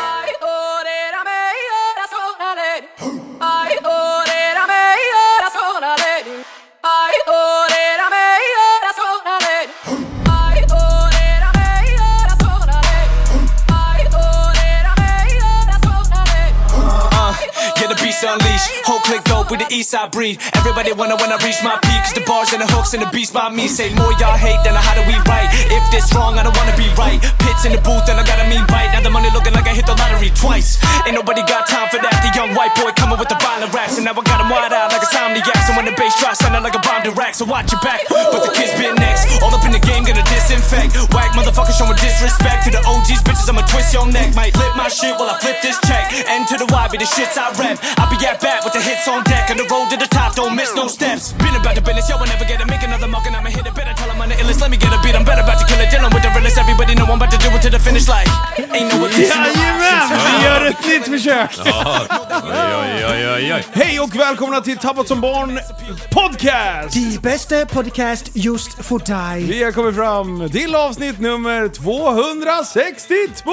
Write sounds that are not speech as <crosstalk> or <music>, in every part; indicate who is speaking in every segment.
Speaker 1: Ay, ordérame y oracionale. Ay, ordérame y oracionale. Ay, ordérame y oracionale. Ay, ordérame y oracionale. Ay, ordérame y oracionale.
Speaker 2: Uh, yeah, the beast unleashed. Whole click go with the E east side breed. Everybody wanna when I reach my peak. 'Cause the bars and the hooks and the beats by me say more y'all hate than how do we write. If this wrong, I don't wanna be right. Pits in the booth and I gotta mean bite. Now the money looking like I hit the lottery twice. Ain't nobody got time for that. The young white boy coming with the violent raps. And now I got him wide eyed like a somniac. And when the bass drops, sounding like a bomb direct. So watch your back. But the kids been next. All up in the game, gonna disinfect. Whack motherfuckers showing disrespect to the OGs, bitches. I'ma twist your neck. Might flip my shit while I flip this check. End to the Y, be the shits I rap. I be at bat with the hits on deck. On the road to the top, don't miss no steps. Been about the business, yo, I never get to make another mark. And I'ma hit it better. Tell 'em I'm the illest. Let me get a beat, I'm better about to kill it. Dealing with the realest. Everybody know I'm about to do it to the finish line. Ain't no addition.
Speaker 3: Jajamän! Vi gör ett nytt försök!
Speaker 4: Ja. Oj, oj, oj, oj, oj.
Speaker 3: Hej och välkomna till Tappat som barn podcast!
Speaker 5: Die bästa podcast just för dig.
Speaker 3: Vi har kommit fram till avsnitt nummer 262!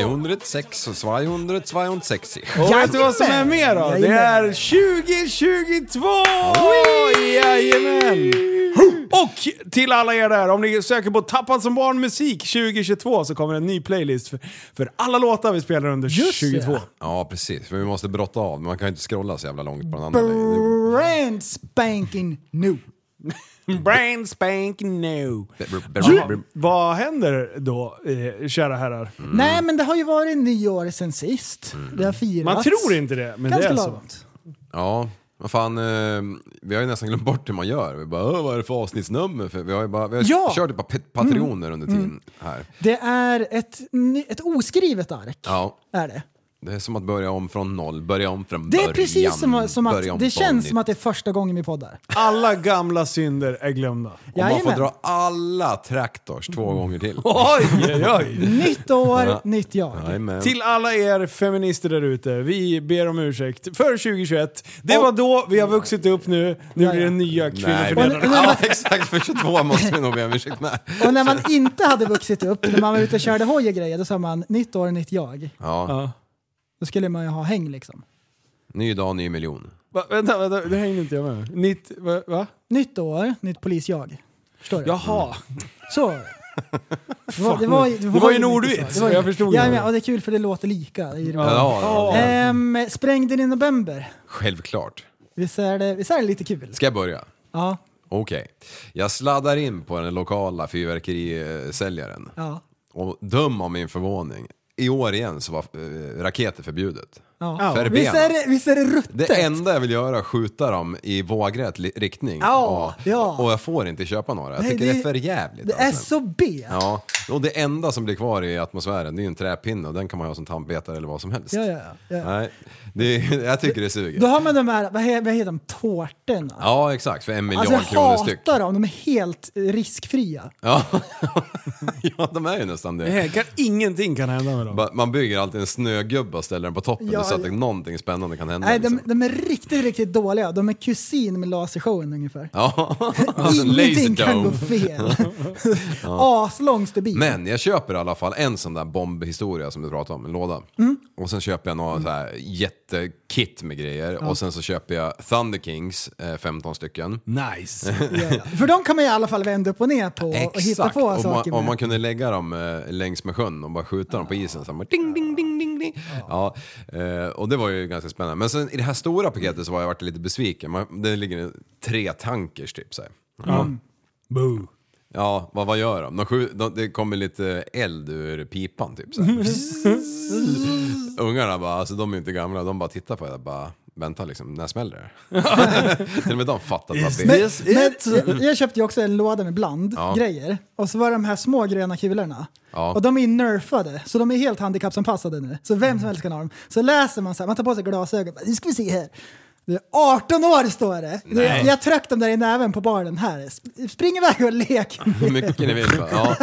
Speaker 4: 206 och 200, 260.
Speaker 3: Och vet du vad som är
Speaker 5: Jajamän!
Speaker 3: mer då? Det är
Speaker 5: Jajamän.
Speaker 3: 2022! Jajamän! Och till alla er där, om ni söker på Tappad som barn musik 2022 så kommer en ny playlist för, för alla låtar vi spelar under
Speaker 5: Just det.
Speaker 3: 2022.
Speaker 4: Ja, precis. För vi måste brotta av. Man kan ju inte scrolla så jävla långt på den andra. Det-
Speaker 5: Brand spanking
Speaker 3: <laughs>
Speaker 5: new.
Speaker 3: Brain spank new.
Speaker 4: det-
Speaker 3: Ja, vad händer då, eh, kära herrar?
Speaker 4: Mm.
Speaker 5: Nej, men det har ju varit nio år sedan sist. Det har firats.
Speaker 3: Man tror inte det, men
Speaker 5: Ganska
Speaker 3: det är så.
Speaker 5: lagom.
Speaker 4: Ja, vad fan. Eh, vi har ju nästan glömt bort hur man gör. Vi bara, "Åh, vad är det för avsnittsnummer? För vi har ju bara, vi har
Speaker 5: Ja. Mm.
Speaker 4: kört ett par pet- patroner under tiden här.
Speaker 5: Det är ett, ny- ett oskrivet ark.
Speaker 4: Ja.
Speaker 5: Är det.
Speaker 4: Det är som att börja om från noll, börja om från
Speaker 5: Det är
Speaker 4: början.
Speaker 5: precis som, som
Speaker 4: börja om
Speaker 5: att det
Speaker 4: från
Speaker 5: känns
Speaker 4: nytt.
Speaker 5: som att det är första gången vi poddar.
Speaker 3: Alla gamla synder är glömda.
Speaker 4: Och man får
Speaker 5: Jajamän.
Speaker 4: dra alla traktors två gånger till.
Speaker 3: Oj, oj,
Speaker 5: <laughs>
Speaker 3: oj.
Speaker 5: Nytt
Speaker 4: Ja.
Speaker 5: år, nytt jag.
Speaker 4: Jajamän.
Speaker 3: Till alla er feminister där ute, vi ber om ursäkt för 2021. Det var då, vi har vuxit upp nu, nu blir det nya
Speaker 4: Nej,
Speaker 3: kvinnoförnedrare.
Speaker 4: men,
Speaker 5: Och-
Speaker 4: ja, <laughs> exakt. För 22 måste vi nog be om ursäkt med.
Speaker 5: Och när man inte hade vuxit upp, när man var ute och körde hoj och grejer, då sa man nytt år, nytt jag.
Speaker 4: Ja.
Speaker 5: Då skulle man ju ha häng liksom.
Speaker 4: Ny dag, ny miljon.
Speaker 3: Va, vänta, vänta, det hängde inte jag med. Nitt, va? va?
Speaker 5: Nytt år, nytt polis-jag. Förstår du?
Speaker 3: Jaha.
Speaker 4: <laughs>
Speaker 5: Så var det. Det var, det var,
Speaker 3: Det var ju en
Speaker 5: mycket
Speaker 3: ordvits,
Speaker 5: så. Det var ju-
Speaker 3: jag förstod
Speaker 5: ja,
Speaker 3: det.
Speaker 5: men, ja, det är kul för det låter lika. I det.
Speaker 4: Ja, ja, ja.
Speaker 5: Ehm, sprängden i november.
Speaker 4: Självklart.
Speaker 5: Visst är, det, visst är det lite kul?
Speaker 4: Ska jag börja?
Speaker 5: Ja.
Speaker 4: Okej. Jag sladdar in på den lokala fyrverkerisäljaren.
Speaker 5: ja.
Speaker 4: Och döm av min förvåning. I år igen så var eh, raketer förbjudet.
Speaker 5: ja.
Speaker 4: För
Speaker 5: Visst,
Speaker 4: benen.
Speaker 5: är det, visst är det ruttet?
Speaker 4: Det enda jag vill göra är att skjuta dem i vågrätt li- riktning.
Speaker 5: Ja, ja.
Speaker 4: Och jag får inte köpa några. Jag
Speaker 5: Nej,
Speaker 4: tycker det, är för jävligt. alltså.
Speaker 5: Det är så B. Ja.
Speaker 4: Ja, och det enda som blir kvar i atmosfären det är ju en träpinne och den kan man ha som tandpetare eller vad som helst.
Speaker 5: Ja, ja, ja.
Speaker 4: Nej, det, jag tycker det suger.
Speaker 5: Då har man de här, vad he- vad heter de, tårtorna?
Speaker 4: Ja, exakt. För en miljard
Speaker 5: Alltså jag
Speaker 4: kronor styck.
Speaker 5: hatar dem, de är helt eh, riskfria.
Speaker 4: Ja. <laughs> ja, de är ju nästan det.
Speaker 3: Nej, Mm. Eh, Kan, ingenting kan hända med dem.
Speaker 4: Ba- Man bygger alltid en snögubbe och ställer den på toppen
Speaker 5: Ja,
Speaker 4: så att
Speaker 5: ja.
Speaker 4: det, någonting spännande kan hända.
Speaker 5: Nej, de,
Speaker 4: liksom.
Speaker 5: de är riktigt, riktigt dåliga. De är kusin med lasershowen ungefär. <laughs>
Speaker 4: Ja, <laughs> alltså en
Speaker 5: Ingenting
Speaker 4: laser
Speaker 5: kan gå
Speaker 4: dome. <laughs>
Speaker 5: fel. Aslång stubin.
Speaker 4: Men jag köper i alla fall en sån där bombhistoria som du pratade om, en låda.
Speaker 5: Mm.
Speaker 4: Och sen köper jag några så här jättekit med grejer och sen så köper jag Thunder Kings, eh, 15 stycken.
Speaker 3: Nice.
Speaker 4: <laughs>
Speaker 5: Ja, ja. För de kan man i alla fall vända upp och ner på och hitta
Speaker 4: Exakt!
Speaker 5: på
Speaker 4: Om man,
Speaker 5: saker
Speaker 4: om man
Speaker 5: med. Ah.
Speaker 4: kunde lägga dem eh, längs med sjön och bara skjuta dem på isen så här, bara ding, ding, ding, ding, ding. Ja. eh, och det var ju ganska spännande. Men sen i det här stora paketet så var jag varit lite besviken. Man, det ligger tre tankers typ så här.
Speaker 3: Boo.
Speaker 4: Ja, vad, vad gör de? de, skju- de det kommer lite eld ur pipan typ. Så
Speaker 5: <laughs>
Speaker 4: här. Ungarna bara, alltså de är inte gamla, de bara tittar på det och bara, vänta liksom, när smäller det?
Speaker 5: <laughs>
Speaker 4: Till och med de fattar att det
Speaker 5: Men, men, jag, jag köpte ju också en låda med
Speaker 4: Ja.
Speaker 5: blandgrejer. Och så var det de här små gröna kulorna.
Speaker 4: Ja.
Speaker 5: Och de är nerfade, så de är helt handikappsanpassade nu. Så vem som helst kan ha dem. Så läser man så här, man tar på sig glasögon. Nu ska vi se här. Det är 18 år står det. det
Speaker 4: Nej.
Speaker 5: jag tryckte dem där i näven på baren här. Sp- Spring iväg och lek.
Speaker 4: <laughs> hur mycket ni vill. va? Ja.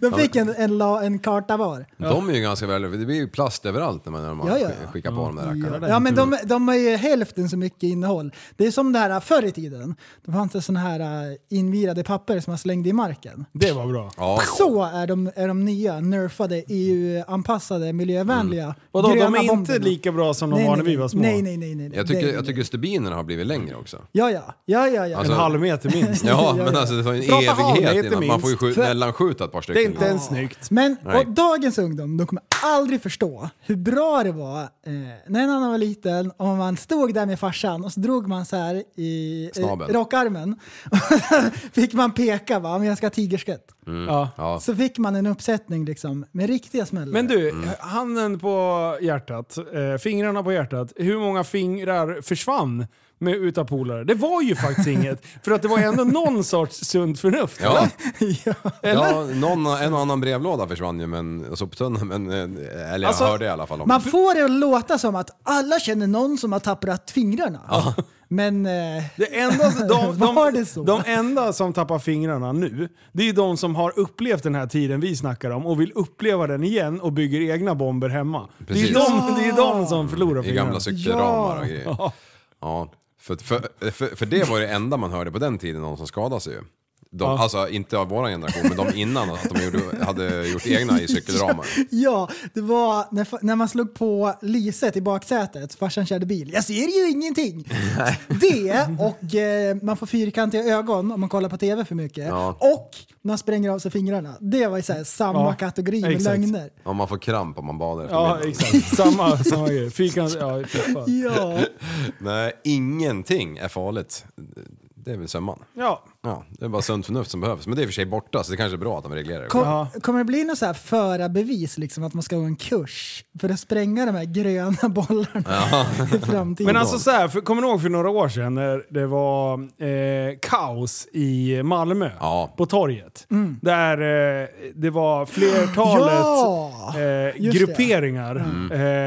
Speaker 5: De fick en, en, la, en karta var.
Speaker 4: De är ju ganska väl, det blir ju plast överallt när man, när man
Speaker 5: Ja, ja.
Speaker 4: skickar på de där rackarna.
Speaker 5: Ja, men de, de har ju hälften så mycket innehåll. Det är som det här förr i tiden. Då fanns det sådana här äh, invirade papper som man slängde i marken.
Speaker 3: Det var bra.
Speaker 4: Ja.
Speaker 5: Så är de, är de nya, nerfade, EU-anpassade, miljövänliga
Speaker 4: Mm.
Speaker 3: Vadå, de
Speaker 5: gröna
Speaker 3: är inte
Speaker 5: bomberna.
Speaker 3: lika bra som de
Speaker 5: Nej,
Speaker 3: var
Speaker 5: nej,
Speaker 3: när vi var små?
Speaker 5: Nej, nej, nej. nej, nej.
Speaker 4: Jag
Speaker 5: Det-
Speaker 4: tycker, jag tycker stubinerna har blivit längre också.
Speaker 5: Ja, ja. ja, ja, ja.
Speaker 4: Alltså-
Speaker 3: En halv meter minst.
Speaker 4: Ja,
Speaker 5: ja,
Speaker 4: men
Speaker 5: ja.
Speaker 4: alltså det tar ju en
Speaker 3: Prata halvmeter
Speaker 4: evighet innan man får ju
Speaker 3: minst.
Speaker 4: skjuta, mellanskjuta ett par
Speaker 3: Det är
Speaker 4: stycken.
Speaker 3: inte ens snyggt.
Speaker 5: Men
Speaker 4: Nej.
Speaker 5: och dagens ungdom, de kommer aldrig förstå hur bra det var eh, när en annan var liten och man stod där med farsan och så drog man så här i eh,
Speaker 4: Snabeln.
Speaker 5: rockarmen. <laughs> fick man peka va, men jag ska ha tigerskott.
Speaker 3: Ja.
Speaker 4: Mm. Ja.
Speaker 5: Så fick man en uppsättning liksom med riktiga smällar.
Speaker 3: Men du,
Speaker 4: Mm.
Speaker 3: handen på hjärtat, eh, fingrarna på hjärtat. Hur många fingrar försvann med, utav polare? Det var ju faktiskt <laughs> inget. För att det var ändå någon sorts sunt förnuft.
Speaker 4: Ja,
Speaker 5: ja.
Speaker 4: ja någon, en och annan brevlåda försvann ju, men, och soptunna, men, eh, eller jag
Speaker 3: Alltså,
Speaker 4: hörde i alla fall om
Speaker 5: Man får det att låta som att alla känner någon som har tappat fingrarna. Men eh,
Speaker 3: Det enda,
Speaker 5: <laughs>
Speaker 3: de,
Speaker 5: Var
Speaker 3: de,
Speaker 5: det så?
Speaker 3: de enda som tappar fingrarna nu, det är ju de som har upplevt den här tiden vi snackar om och vill uppleva den igen och bygger egna bomber hemma. Det är, ju
Speaker 4: Precis.
Speaker 3: de, det är ju de som förlorar
Speaker 4: I
Speaker 3: fingrarna.
Speaker 4: gamla cykelramar och grejer. Ja. För, för, för, för det var det enda man hörde på den tiden, någon som skadade sig ju. De, Alltså inte av vår generation, men de innan, att de gjorde, hade gjort egna i cykelramar.
Speaker 5: <laughs> ja, det var när, fa- när man slog på lyset i baksätet, farsan körde bil. Jag ser ju ingenting! <laughs> Det och eh, man får fyrkantiga ögon om man kollar på tv för mycket.
Speaker 4: Ja.
Speaker 5: Och man spränger av sig fingrarna. Det var ju så här, samma
Speaker 3: Ja,
Speaker 5: kategori med
Speaker 3: exakt.
Speaker 5: lögner.
Speaker 4: Om man får kramp om man badar efter
Speaker 3: Ja,
Speaker 4: middagen.
Speaker 3: exakt. Samma, samma grej. Fyrkant, ja, träffar.
Speaker 5: <laughs> Ja.
Speaker 4: Nej, ingenting är farligt. Det är väl sömman.
Speaker 3: ja.
Speaker 4: Ja, det är bara sunt förnuft som behövs. Men det är i och för sig borta, så det kanske är bra att de reglerar det.
Speaker 5: Kom, Kommer det bli något så här förarbevis, liksom, att man ska gå en kurs för att spränga de här gröna bollarna <laughs> i framtiden?
Speaker 3: Men alltså så här, för, kommer ni ihåg för några år sedan när det var eh, kaos i Malmö?
Speaker 4: Ja.
Speaker 3: På torget.
Speaker 5: Mm.
Speaker 3: Där eh, det var flertalet
Speaker 5: Ja!
Speaker 3: eh,
Speaker 5: Just det. Mm.
Speaker 3: grupperingar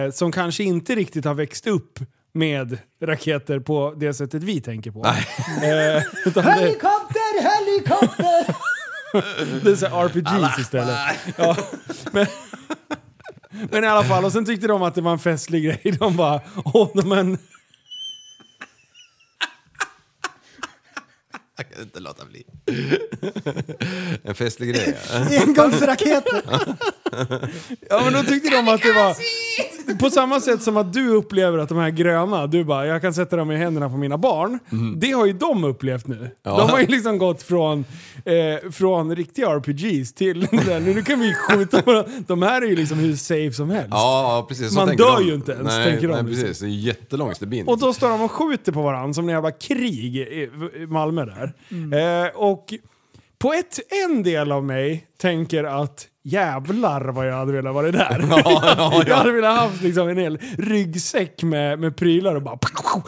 Speaker 3: eh, som kanske inte riktigt har växt upp med raketer på det sättet vi tänker på. Eh, utan det,
Speaker 5: Helikopter, <laughs> helikopter!
Speaker 3: det är så här RPGs istället. Ja, men, <laughs> men i alla fall, och sen tyckte de att det var en festlig grej. De bara, åh men...
Speaker 4: Jag kan inte låta bli. <laughs> en festlig grej. ja.
Speaker 5: Engångsraketer!
Speaker 3: Ja men då tyckte de att det var... På samma sätt som att du upplever att de här gröna, du bara jag kan sätta dem i händerna på mina barn. Det har ju de upplevt nu.
Speaker 4: Ja.
Speaker 3: De har ju liksom gått från, eh, från riktiga RPGs till där, nu kan vi skjuta på dem. De här är ju liksom hur safe som helst.
Speaker 4: Ja, ja, precis. Så
Speaker 3: Man
Speaker 4: tänker
Speaker 3: dör
Speaker 4: de.
Speaker 3: ju inte ens,
Speaker 4: nej,
Speaker 3: tänker de
Speaker 4: Nej,
Speaker 3: liksom.
Speaker 4: precis. Det är jättelång stubin.
Speaker 3: Och då står de och skjuter på varandra som en jävla krig i i Malmö där.
Speaker 4: Mm.
Speaker 3: Eh, och på ett, en del av mig tänker att jävlar vad jag hade velat vara där.
Speaker 4: <laughs> ja,
Speaker 3: <laughs> Jag
Speaker 4: ja.
Speaker 3: hade velat haft liksom en hel ryggsäck med, med prylar och bara...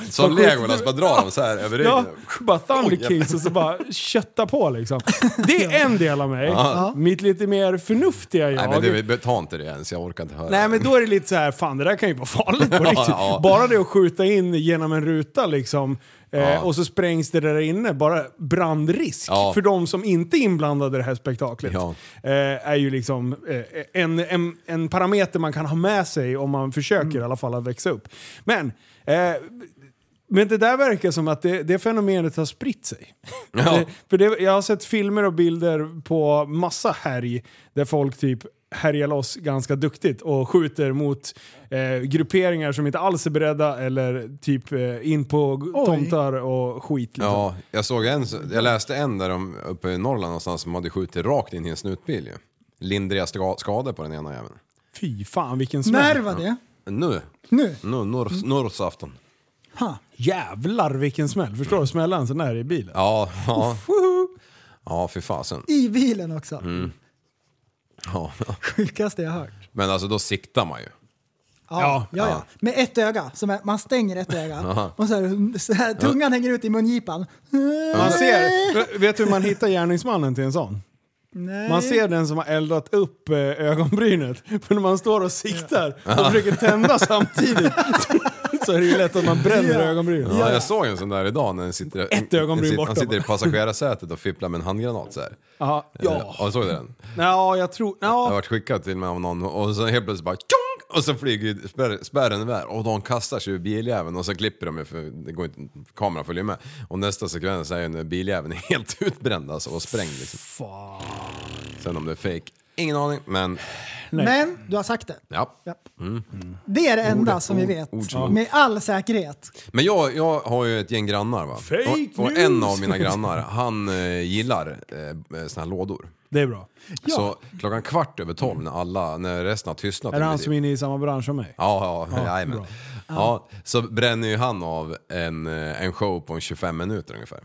Speaker 4: Som
Speaker 3: bara skjuter-
Speaker 4: Legolas, bara drar dem så här över
Speaker 3: Ja,
Speaker 4: ryggen.
Speaker 3: bara Thunder Kings och så bara kötta på
Speaker 4: <laughs>
Speaker 3: liksom. Det är en del av mig. Mitt lite mer förnuftiga jag.
Speaker 4: Nej men du, vi- ta inte det ens, jag orkar inte höra.
Speaker 3: Nej men då är det lite så här, fan det där kan ju vara farligt på riktigt.
Speaker 4: <laughs> ja.
Speaker 3: Bara det att skjuta in genom en ruta liksom. Eh,
Speaker 4: Ja.
Speaker 3: Och så sprängs det där inne, bara brandrisk
Speaker 4: Ja.
Speaker 3: för de som inte är inblandade i det här spektaklet.
Speaker 4: Ja.
Speaker 3: Eh, är ju liksom eh, en, en, en parameter man kan ha med sig om man försöker
Speaker 4: Mm.
Speaker 3: i alla fall att växa upp. Men, eh, men det där verkar som att det, det fenomenet har spritt sig.
Speaker 4: Ja.
Speaker 3: Det, för det, jag har sett filmer och bilder på massa härj där folk typ härjar loss ganska duktigt och skjuter mot eh, grupperingar som inte alls är beredda eller typ eh, in på g- tomtar och skit. Liksom.
Speaker 4: Ja, jag såg en, jag läste en där de uppe i Norrland någonstans som hade skjutit rakt in i en snutbil ju. Lindriga ska- skador på den ena jäveln.
Speaker 3: Fy fan vilken
Speaker 5: När
Speaker 3: smäll.
Speaker 5: var det?
Speaker 4: Nu,
Speaker 5: Nu?
Speaker 4: nu, norr,
Speaker 3: Mm.
Speaker 4: norrsafton.
Speaker 5: Ha.
Speaker 3: Jävlar vilken smäll. Förstår du? Smälla en sån där i bilen.
Speaker 4: Ja, ja. Ja, fy fasen.
Speaker 5: I bilen också.
Speaker 4: Mm. Ja.
Speaker 5: Sjukaste jag hört.
Speaker 4: Men alltså då siktar man ju.
Speaker 5: Ja,
Speaker 3: Ja,
Speaker 5: ja, ja.
Speaker 4: ja.
Speaker 5: Med ett öga. Som är, man stänger ett öga.
Speaker 4: Aha.
Speaker 5: och så här, så här, tungan hänger ut i mungipan.
Speaker 3: Man ser, vet du hur man hittar gärningsmannen till en sån?
Speaker 5: Nej.
Speaker 3: Man ser den som har eldat upp eh, ögonbrynet. <laughs> För när man står och siktar och försöker tända samtidigt <laughs> så är det ju lätt att man bränner
Speaker 5: Ja.
Speaker 3: ögonbrynet.
Speaker 4: Ja, jag såg en sån där idag när den sitter,
Speaker 3: Ett ögonbryn
Speaker 4: den sitter,
Speaker 3: bortom.
Speaker 4: han sitter i passagerarsätet och fipplar med en handgranat så här.
Speaker 3: Ja.
Speaker 4: Eh, Ja, såg du den?
Speaker 3: Ja, jag tror...
Speaker 4: Jag har
Speaker 3: Ja.
Speaker 4: varit skickad till mig av någon och så helt plötsligt bara tjong! Och så flyger ju spärr, spärren iväg och de kastar sig ur biljäveln och så klipper de ju för det går inte, kameran följer med. Och nästa sekvens är ju när biljäveln <laughs> är helt utbränd alltså och sprängd liksom. Sen om det är fake, ingen aning men
Speaker 5: Men du har sagt det.
Speaker 4: ja.
Speaker 5: Japp. Det är det enda som vi
Speaker 4: ord-
Speaker 5: vet.
Speaker 4: ord som-
Speaker 5: Med all säkerhet.
Speaker 4: Men jag, jag har ju ett gäng grannar va.
Speaker 3: Fake
Speaker 4: och, och en
Speaker 3: news!
Speaker 4: av mina grannar han eh, gillar eh, såna här lådor.
Speaker 3: Det är bra.
Speaker 4: Så klockan kvart över tolv när alla, när resten har tystnat.
Speaker 3: Är det han
Speaker 4: ungefär.
Speaker 3: som är inne i samma bransch som mig?
Speaker 4: Ja, ja, ja,
Speaker 3: bra.
Speaker 4: ja, ja, så bränner ju han av en, eh, en show på en 25 minuter ungefär.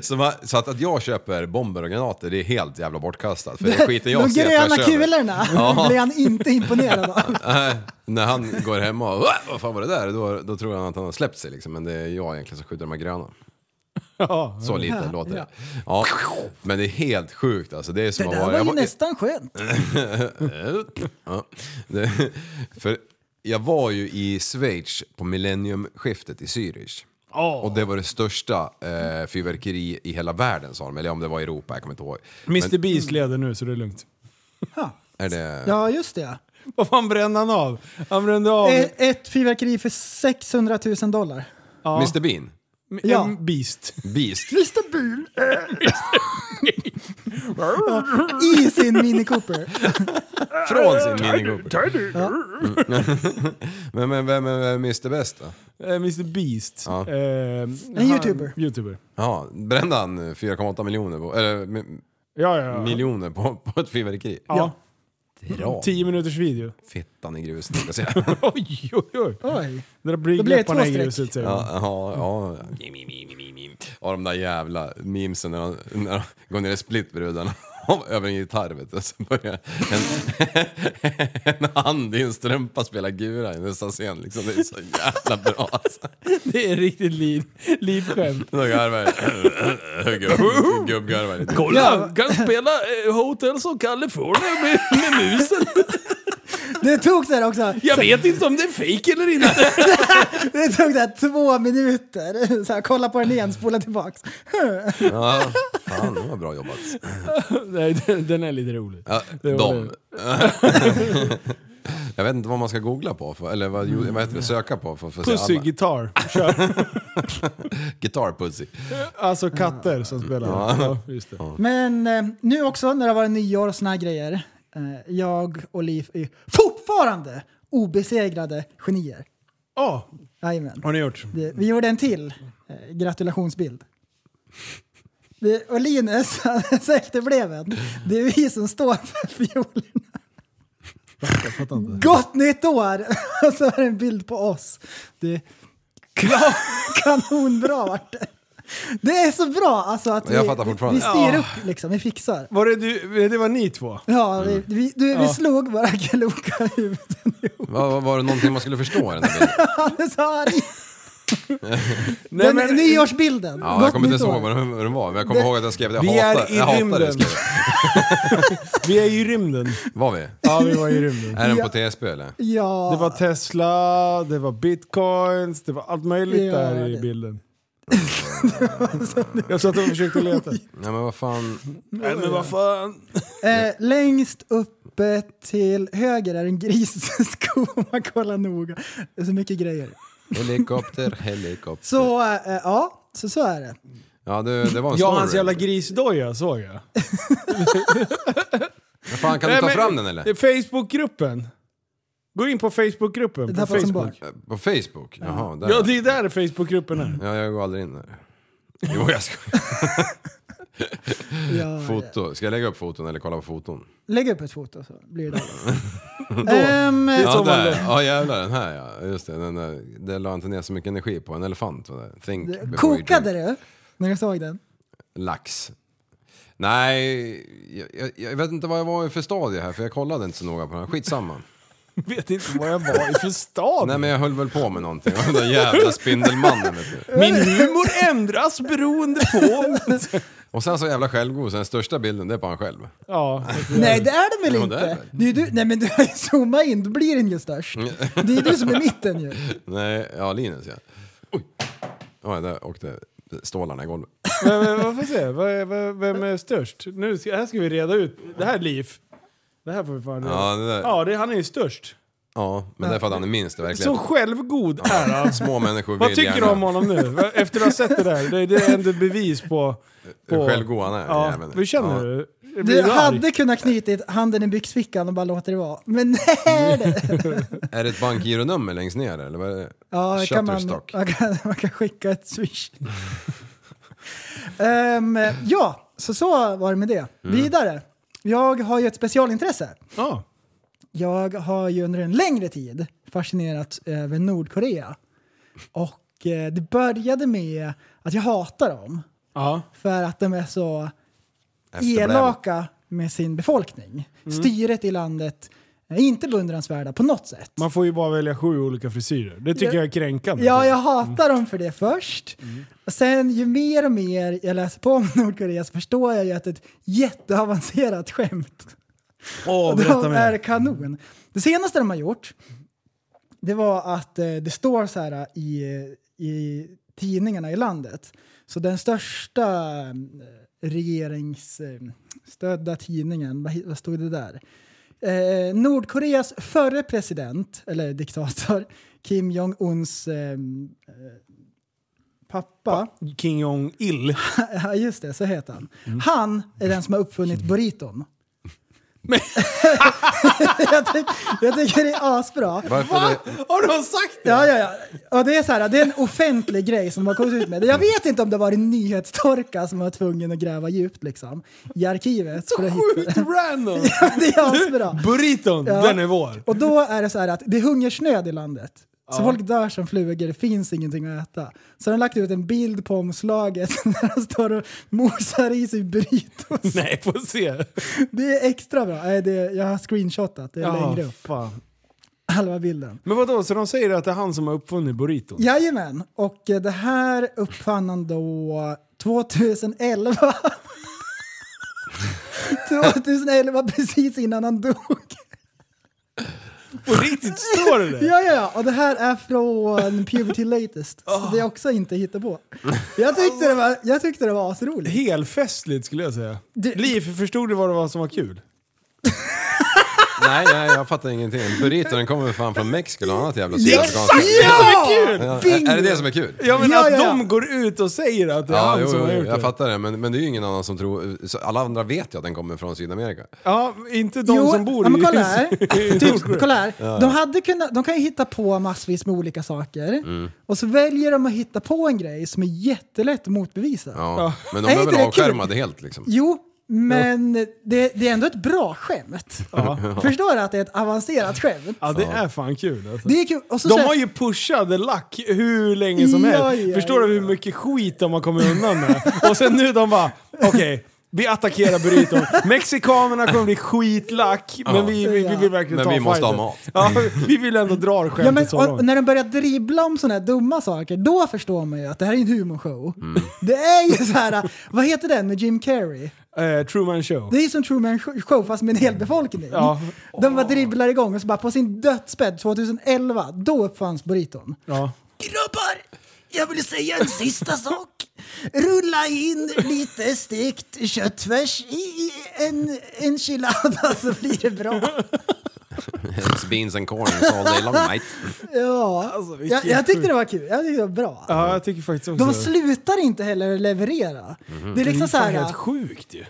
Speaker 4: <laughs> så va- så att, att jag köper bomber och granater det är helt jävla bortkastat. För det skiter jag
Speaker 5: De
Speaker 4: ser
Speaker 5: gröna
Speaker 4: tvärs över.
Speaker 5: kulorna <laughs>
Speaker 3: <laughs>
Speaker 5: blir han inte
Speaker 4: <laughs>
Speaker 5: imponerad av.
Speaker 4: Nej, När han går hemma och "Åh, vad fan var det där? Då, då tror han att han har släppt sig liksom. Men det är jag egentligen som skjuter de här gröna.
Speaker 3: Ja.
Speaker 4: Så lite
Speaker 5: Ja,
Speaker 4: låter
Speaker 5: ja.
Speaker 4: det. Ja, men det är helt sjukt alltså. Det är som
Speaker 5: Det
Speaker 4: att
Speaker 5: där
Speaker 4: vara-
Speaker 5: var
Speaker 4: jag
Speaker 5: ju
Speaker 4: var-
Speaker 5: nästan skönt.
Speaker 4: Ja. <laughs> Det, för jag var ju i Schweiz på millenniumskiftet i Zürich. Och det var det största eh, fyrverkeri i hela världen sa de, eller om det var i Europa, jag kommer inte ihåg.
Speaker 3: Mr Beast leder nu så det är lugnt.
Speaker 4: Är det...
Speaker 5: Ja, just det.
Speaker 3: Vad fan brände han av? Han brände av
Speaker 5: E- ett fyrverkeri för 600 000 dollar.
Speaker 4: Mr Bean?
Speaker 3: m-
Speaker 5: ja.
Speaker 3: en Beast.
Speaker 4: Beast?
Speaker 5: Mr Bean! <laughs> I sin Mini Cooper.
Speaker 4: Från sin Mini Cooper. <laughs> men, men vem är Mr Best då?
Speaker 3: Eh, Mr Beast.
Speaker 4: Ja.
Speaker 3: Eh, en
Speaker 5: youtuber.
Speaker 3: YouTuber.
Speaker 4: Ja, brände han 4,8 miljoner på, eller, mi-
Speaker 3: Ja, ja, ja.
Speaker 4: miljoner på, på ett fyrverkeri?
Speaker 3: Ja.
Speaker 4: Bra.
Speaker 3: Tio minuters video. <laughs>
Speaker 4: Fittan i gruset, tänkte jag säga. <laughs>
Speaker 3: Oj, oj, oj.
Speaker 5: Oj.
Speaker 3: Det där blir
Speaker 5: Då blir det
Speaker 3: läpparna
Speaker 5: två
Speaker 3: i
Speaker 5: streck.
Speaker 3: gruset säger man.
Speaker 4: Ja, ja, ja. Ja, de där jävla memesen när de, när de går ner i splitbrudarna <laughs> över en gitarr vet du. Så börjar en, <laughs> en hand i en strumpa spela gura i nästa scen liksom. Det är så jävla bra alltså.
Speaker 3: Det är riktigt liv, livskämt.
Speaker 4: Då garvar <laughs> jag. Gubb- Gubbgarvar lite.
Speaker 3: Kolla, kan spela Hotels of California med, med musen.
Speaker 5: Det tog där också.
Speaker 3: Jag vet inte om det är fejk eller inte.
Speaker 5: Det tog där två minuter. Så här, kolla på den igen, spola tillbaks.
Speaker 4: Ja, fan det var bra jobbat.
Speaker 3: <laughs> Nej, den, den är lite rolig.
Speaker 4: Ja,
Speaker 3: Det var
Speaker 4: de. <laughs> Jag vet inte vad man ska googla på, för, eller vad, vad heter det, söka på för, för att se
Speaker 3: Mm. Pussy
Speaker 4: alla.
Speaker 3: Guitar. Kör.
Speaker 4: Guitar pussy.
Speaker 3: Alltså katter som spelar. Ja, just det.
Speaker 5: Men eh, nu också när det har varit nyår och såna här grejer. Eh, jag och Liv är fortfarande obesegrade genier.
Speaker 3: Åh,
Speaker 5: Jajamän.
Speaker 3: har ni gjort?
Speaker 5: Det- Vi gjorde en till eh, gratulationsbild. Det, och Linus, <laughs> han är så efterbliven. Det är vi som står för fiolerna. Gott nytt år! <laughs> Och så är det en bild på oss. Det, Kla- <laughs> kanonbra vart det. Det är så bra alltså att
Speaker 4: Jag
Speaker 5: vi,
Speaker 4: fattar fortfarande.
Speaker 5: vi styr upp liksom, vi fixar.
Speaker 3: Var det, du, det var ni två?
Speaker 5: Ja, vi,
Speaker 4: Mm.
Speaker 5: vi, du, vi
Speaker 3: Ja.
Speaker 5: slog våra kloka huvuden ihop.
Speaker 4: Var, var det någonting man skulle förstå i den där bilden?
Speaker 5: <laughs> Han är så arg.
Speaker 3: Nej,
Speaker 5: Den
Speaker 3: men,
Speaker 5: nyårsbilden.
Speaker 4: Ja, jag
Speaker 5: Gott
Speaker 4: kommer inte
Speaker 5: nytt
Speaker 4: ens
Speaker 5: år.
Speaker 4: ihåg vad den, vad den var, men jag kommer
Speaker 3: Det-
Speaker 4: ihåg att jag skrev det. Jag
Speaker 3: vi
Speaker 4: hatar,
Speaker 3: är i
Speaker 4: jag hatar det.
Speaker 3: rymden.
Speaker 4: skrev jag.
Speaker 3: vi är ju i rymden.
Speaker 4: Var vi?
Speaker 3: Ja, vi var i rymden.
Speaker 4: Är den på TSB eller?
Speaker 5: Ja.
Speaker 3: Det var Tesla, det var bitcoins, det var allt möjligt
Speaker 5: Ja,
Speaker 3: där i <laughs>
Speaker 5: det-
Speaker 3: bilden. jag satt och försökte leta.
Speaker 4: Nej men vad fan.
Speaker 3: Nej men vad fan.
Speaker 5: Eh, längst uppe till höger är en <laughs> grissko. Man kollar noga. Det är så mycket grejer.
Speaker 4: Helikopter, helikopter.
Speaker 5: Så eh, ja, så, så är det.
Speaker 4: Ja det, det var en story.
Speaker 3: Ja, hans jävla grisdoja såg jag.
Speaker 4: Vad fan, kan du ta fram den eller?
Speaker 3: Det är Facebookgruppen. Gå in på Facebookgruppen. På
Speaker 5: Tappas som
Speaker 3: Facebook.
Speaker 5: barn.
Speaker 4: På Facebook? Jaha, där.
Speaker 3: Ja, det är där Facebookgruppen är.
Speaker 4: ja, jag går aldrig in
Speaker 5: <laughs>
Speaker 4: där. Jo jag ska.
Speaker 5: Ja, ja.
Speaker 4: Foto. Ska jag lägga upp foton eller kolla på foton?
Speaker 5: Lägg upp ett foto så blir det um,
Speaker 4: Ja,
Speaker 3: som
Speaker 4: där.
Speaker 3: vanligt.
Speaker 4: ja jävlar den här ja. Just det, den där. Det la inte ner så mycket energi på. En elefant var det. Think before you
Speaker 5: Kokade
Speaker 4: drink.
Speaker 5: du när du såg den?
Speaker 4: Lax. Nej, jag, jag, jag vet inte vad jag var i för stadie här för jag kollade inte så noga på den här. Skitsamma.
Speaker 3: Vet inte vad jag var i för stad.
Speaker 4: Nej men jag höll väl på med någonting. <laughs> Den där jävla Spindelmannen vet du.
Speaker 3: Min humor ändras beroende på...
Speaker 4: Och sen så jävla självgod, sen största bilden det är på han själv.
Speaker 3: Ja,
Speaker 5: Nej det är den väl
Speaker 4: Jo, det är
Speaker 5: inte?
Speaker 4: den.
Speaker 5: Det är du, nej men du har ju zoomat in, då blir den ju störst. Det är du som är mitten ju.
Speaker 4: <laughs> Nej, ja Linus ja. Oj! Oj, där åkte stålarna i golvet.
Speaker 3: men, men vad får jag se? Vad är- vad- Vem är störst? Nu ska, här ska vi reda ut. Det här är Liv. Det här får vi fan reda
Speaker 4: Ja, det där.
Speaker 3: Ja, det, han är ju störst.
Speaker 4: Ja, men det är för att han är minst i verkligheten.
Speaker 3: Så självgod är <laughs> han.
Speaker 4: Små människor vill
Speaker 3: Vad tycker du
Speaker 4: gärna.
Speaker 3: om honom nu? Va- Efter att ha sett det där, det, det är ändå bevis på... på
Speaker 4: Hur självgod han är.
Speaker 3: ja,
Speaker 4: jäveln.
Speaker 3: Hur känner
Speaker 4: Ja.
Speaker 3: du? Blir
Speaker 5: Du
Speaker 3: arg?
Speaker 5: hade kunnat knyta handen i byxfickan och bara låta det vara. Men nej! det-
Speaker 4: Är det ett bankgironummer längst ner eller vad är det?
Speaker 5: Ja, det kan man,
Speaker 4: Shutterstock.
Speaker 5: <laughs> man, kan, man kan skicka ett swish. <laughs> Ehm, ja, så så var det med det. Vidare. Jag har ju ett specialintresse.
Speaker 3: Ja.
Speaker 5: Jag har ju under en längre tid fascinerats över Nordkorea. Och eh, det började med att jag hatar dem
Speaker 3: ja.
Speaker 5: för att de är så
Speaker 4: Efterbränd.
Speaker 5: elaka med sin befolkning. Styret i landet är inte beundransvärda på något sätt.
Speaker 3: Man får ju bara välja sju olika frisyrer. Det tycker
Speaker 5: Ja.
Speaker 3: jag är kränkande.
Speaker 5: Ja, jag hatar dem för det först. Och sen ju mer och mer jag läser på om Nordkorea så förstår jag ju att det är ett jätteavancerat skämt.
Speaker 3: Åh,
Speaker 5: Och de
Speaker 3: berätta
Speaker 5: är
Speaker 3: mer.
Speaker 5: kanon. Det senaste de har gjort, det var att eh, det står så här eh, i, i tidningarna i landet. Så den största eh, regeringsstödda tidningen, vad, hi- vad stod det där? Eh, Nordkoreas förre president, eller diktator, <laughs> Kim Jong-Uns eh, eh, pappa,
Speaker 3: King Jong-Il.
Speaker 5: ja just det, så heter han.
Speaker 3: Mm.
Speaker 5: Han är den som har uppfunnit burriton. <laughs> jag, tyck, jag tycker det är asbra.
Speaker 4: Varför det?
Speaker 3: Har de sagt det?
Speaker 5: Ja, ja, ja. Och det, är så här, det är en offentlig grej som har kommit ut med det. Jag vet inte om det var en nyhetstorka som var tvungen att gräva djupt liksom, i arkivet. för att hitta-
Speaker 3: <laughs> Sjukt random!
Speaker 5: det är asbra.
Speaker 3: Burriton,
Speaker 5: Ja.
Speaker 3: den är vår.
Speaker 5: Och då är det så här att det är hungersnöd i landet. Så folk dör som flugor, det finns ingenting att äta. Så de har lagt ut en bild på omslaget <laughs> när de står och mosar i sig burritos.
Speaker 3: Nej, får se.
Speaker 5: Det är extra bra. Nej, det, jag har screenshotat, det är
Speaker 3: Ja,
Speaker 5: längre upp. <laughs>
Speaker 3: fan.
Speaker 5: Halva bilden.
Speaker 3: Men vadå, så de säger att det är han som har uppfunnit burriton?
Speaker 5: Jajamän, och eh, det här uppfann han då 2011. <laughs> 2011, precis innan han dog.
Speaker 3: På riktigt, står det där?
Speaker 5: Ja, ja, ja. Och det här är från Puberty Latest.
Speaker 3: Ah.
Speaker 5: Så det är också inte hittepå. Jag tyckte det var, jag tyckte det var asroligt.
Speaker 3: Helfestligt skulle jag säga.
Speaker 5: Du-
Speaker 3: Liv, förstod du vad det var som var kul?
Speaker 4: Nej, nej, jag fattar ingenting. Burrito, den kommer fan från Mexiko eller annat jävla
Speaker 3: Exakt!
Speaker 4: sydamerikansk-
Speaker 3: Ja! kul!
Speaker 4: Ja,
Speaker 5: Bingo!
Speaker 4: Är det det som är kul?
Speaker 3: Ja men
Speaker 5: Ja,
Speaker 3: att
Speaker 5: ja, ja.
Speaker 3: de går ut och säger att det är
Speaker 4: Ja,
Speaker 3: han
Speaker 4: jo,
Speaker 3: som har
Speaker 4: jo,
Speaker 3: gjort
Speaker 4: jag
Speaker 3: det.
Speaker 4: fattar det. Men, men det är ju ingen annan som tror... så Alla andra vet ju att den kommer från Sydamerika.
Speaker 3: Ja, inte de som bor
Speaker 5: ja, men
Speaker 3: i...
Speaker 5: kolla här.
Speaker 3: <laughs> i-
Speaker 5: typ, kolla här. De, hade kunnat, de kan ju hitta på massvis med olika saker. Och så väljer de att hitta på en grej som är jättelätt att motbevisa.
Speaker 4: Ja. Men de
Speaker 5: Är
Speaker 4: är
Speaker 5: inte
Speaker 4: väl
Speaker 5: det kul?
Speaker 4: avskärmade helt liksom.
Speaker 5: Jo, men det, det är ändå ett bra
Speaker 3: <laughs>
Speaker 5: skämt. Förstår du att det är ett avancerat skämt?
Speaker 3: Ja det är fan kul alltså.
Speaker 5: Det är kul. Och så
Speaker 3: De
Speaker 5: så här-
Speaker 3: har ju pushat The Luck hur länge som
Speaker 5: Ja,
Speaker 3: helst.
Speaker 5: ja,
Speaker 3: Förstår du hur mycket skit de har kommit undan med? Och sen nu de bara, okej, vi attackerar burriton. Mexikanerna kommer bli skitlack, men vi, vi, vi vill verkligen
Speaker 4: Men
Speaker 3: ta
Speaker 4: vi måste
Speaker 3: fighten.
Speaker 4: ha mat.
Speaker 3: Ja, vi vill ändå dra
Speaker 5: Ja,
Speaker 3: skämtet
Speaker 5: men,
Speaker 3: så
Speaker 5: och, och
Speaker 3: långt.
Speaker 5: när de börjar dribbla om sådana här dumma saker, då förstår man ju att det här är en humorshow. Det är ju så här, vad heter den med Jim Carrey?
Speaker 3: Eh, Truman Show.
Speaker 5: Det är ju som Truman Show fast med en hel befolkning.
Speaker 3: Ja.
Speaker 5: De bara dribblar igång och så bara på sin dödsbädd 2011, då uppfanns burriton.
Speaker 3: Ja.
Speaker 5: Grabbar! Jag vill säga en sista sak. Rulla in lite stekt köttfärs i en enchilada så blir det bra.
Speaker 4: It's beans and corn all day long night.
Speaker 5: Ja,
Speaker 3: Alltså, vilken
Speaker 5: jag, jag tyckte det var kul. Jag tyckte det var bra.
Speaker 3: ja, jag tycker faktiskt också
Speaker 5: De
Speaker 3: det.
Speaker 5: slutar inte heller leverera. Det är
Speaker 3: Mm-hmm. Det är
Speaker 5: liksom så
Speaker 3: fan
Speaker 5: här,
Speaker 3: helt sjukt ju.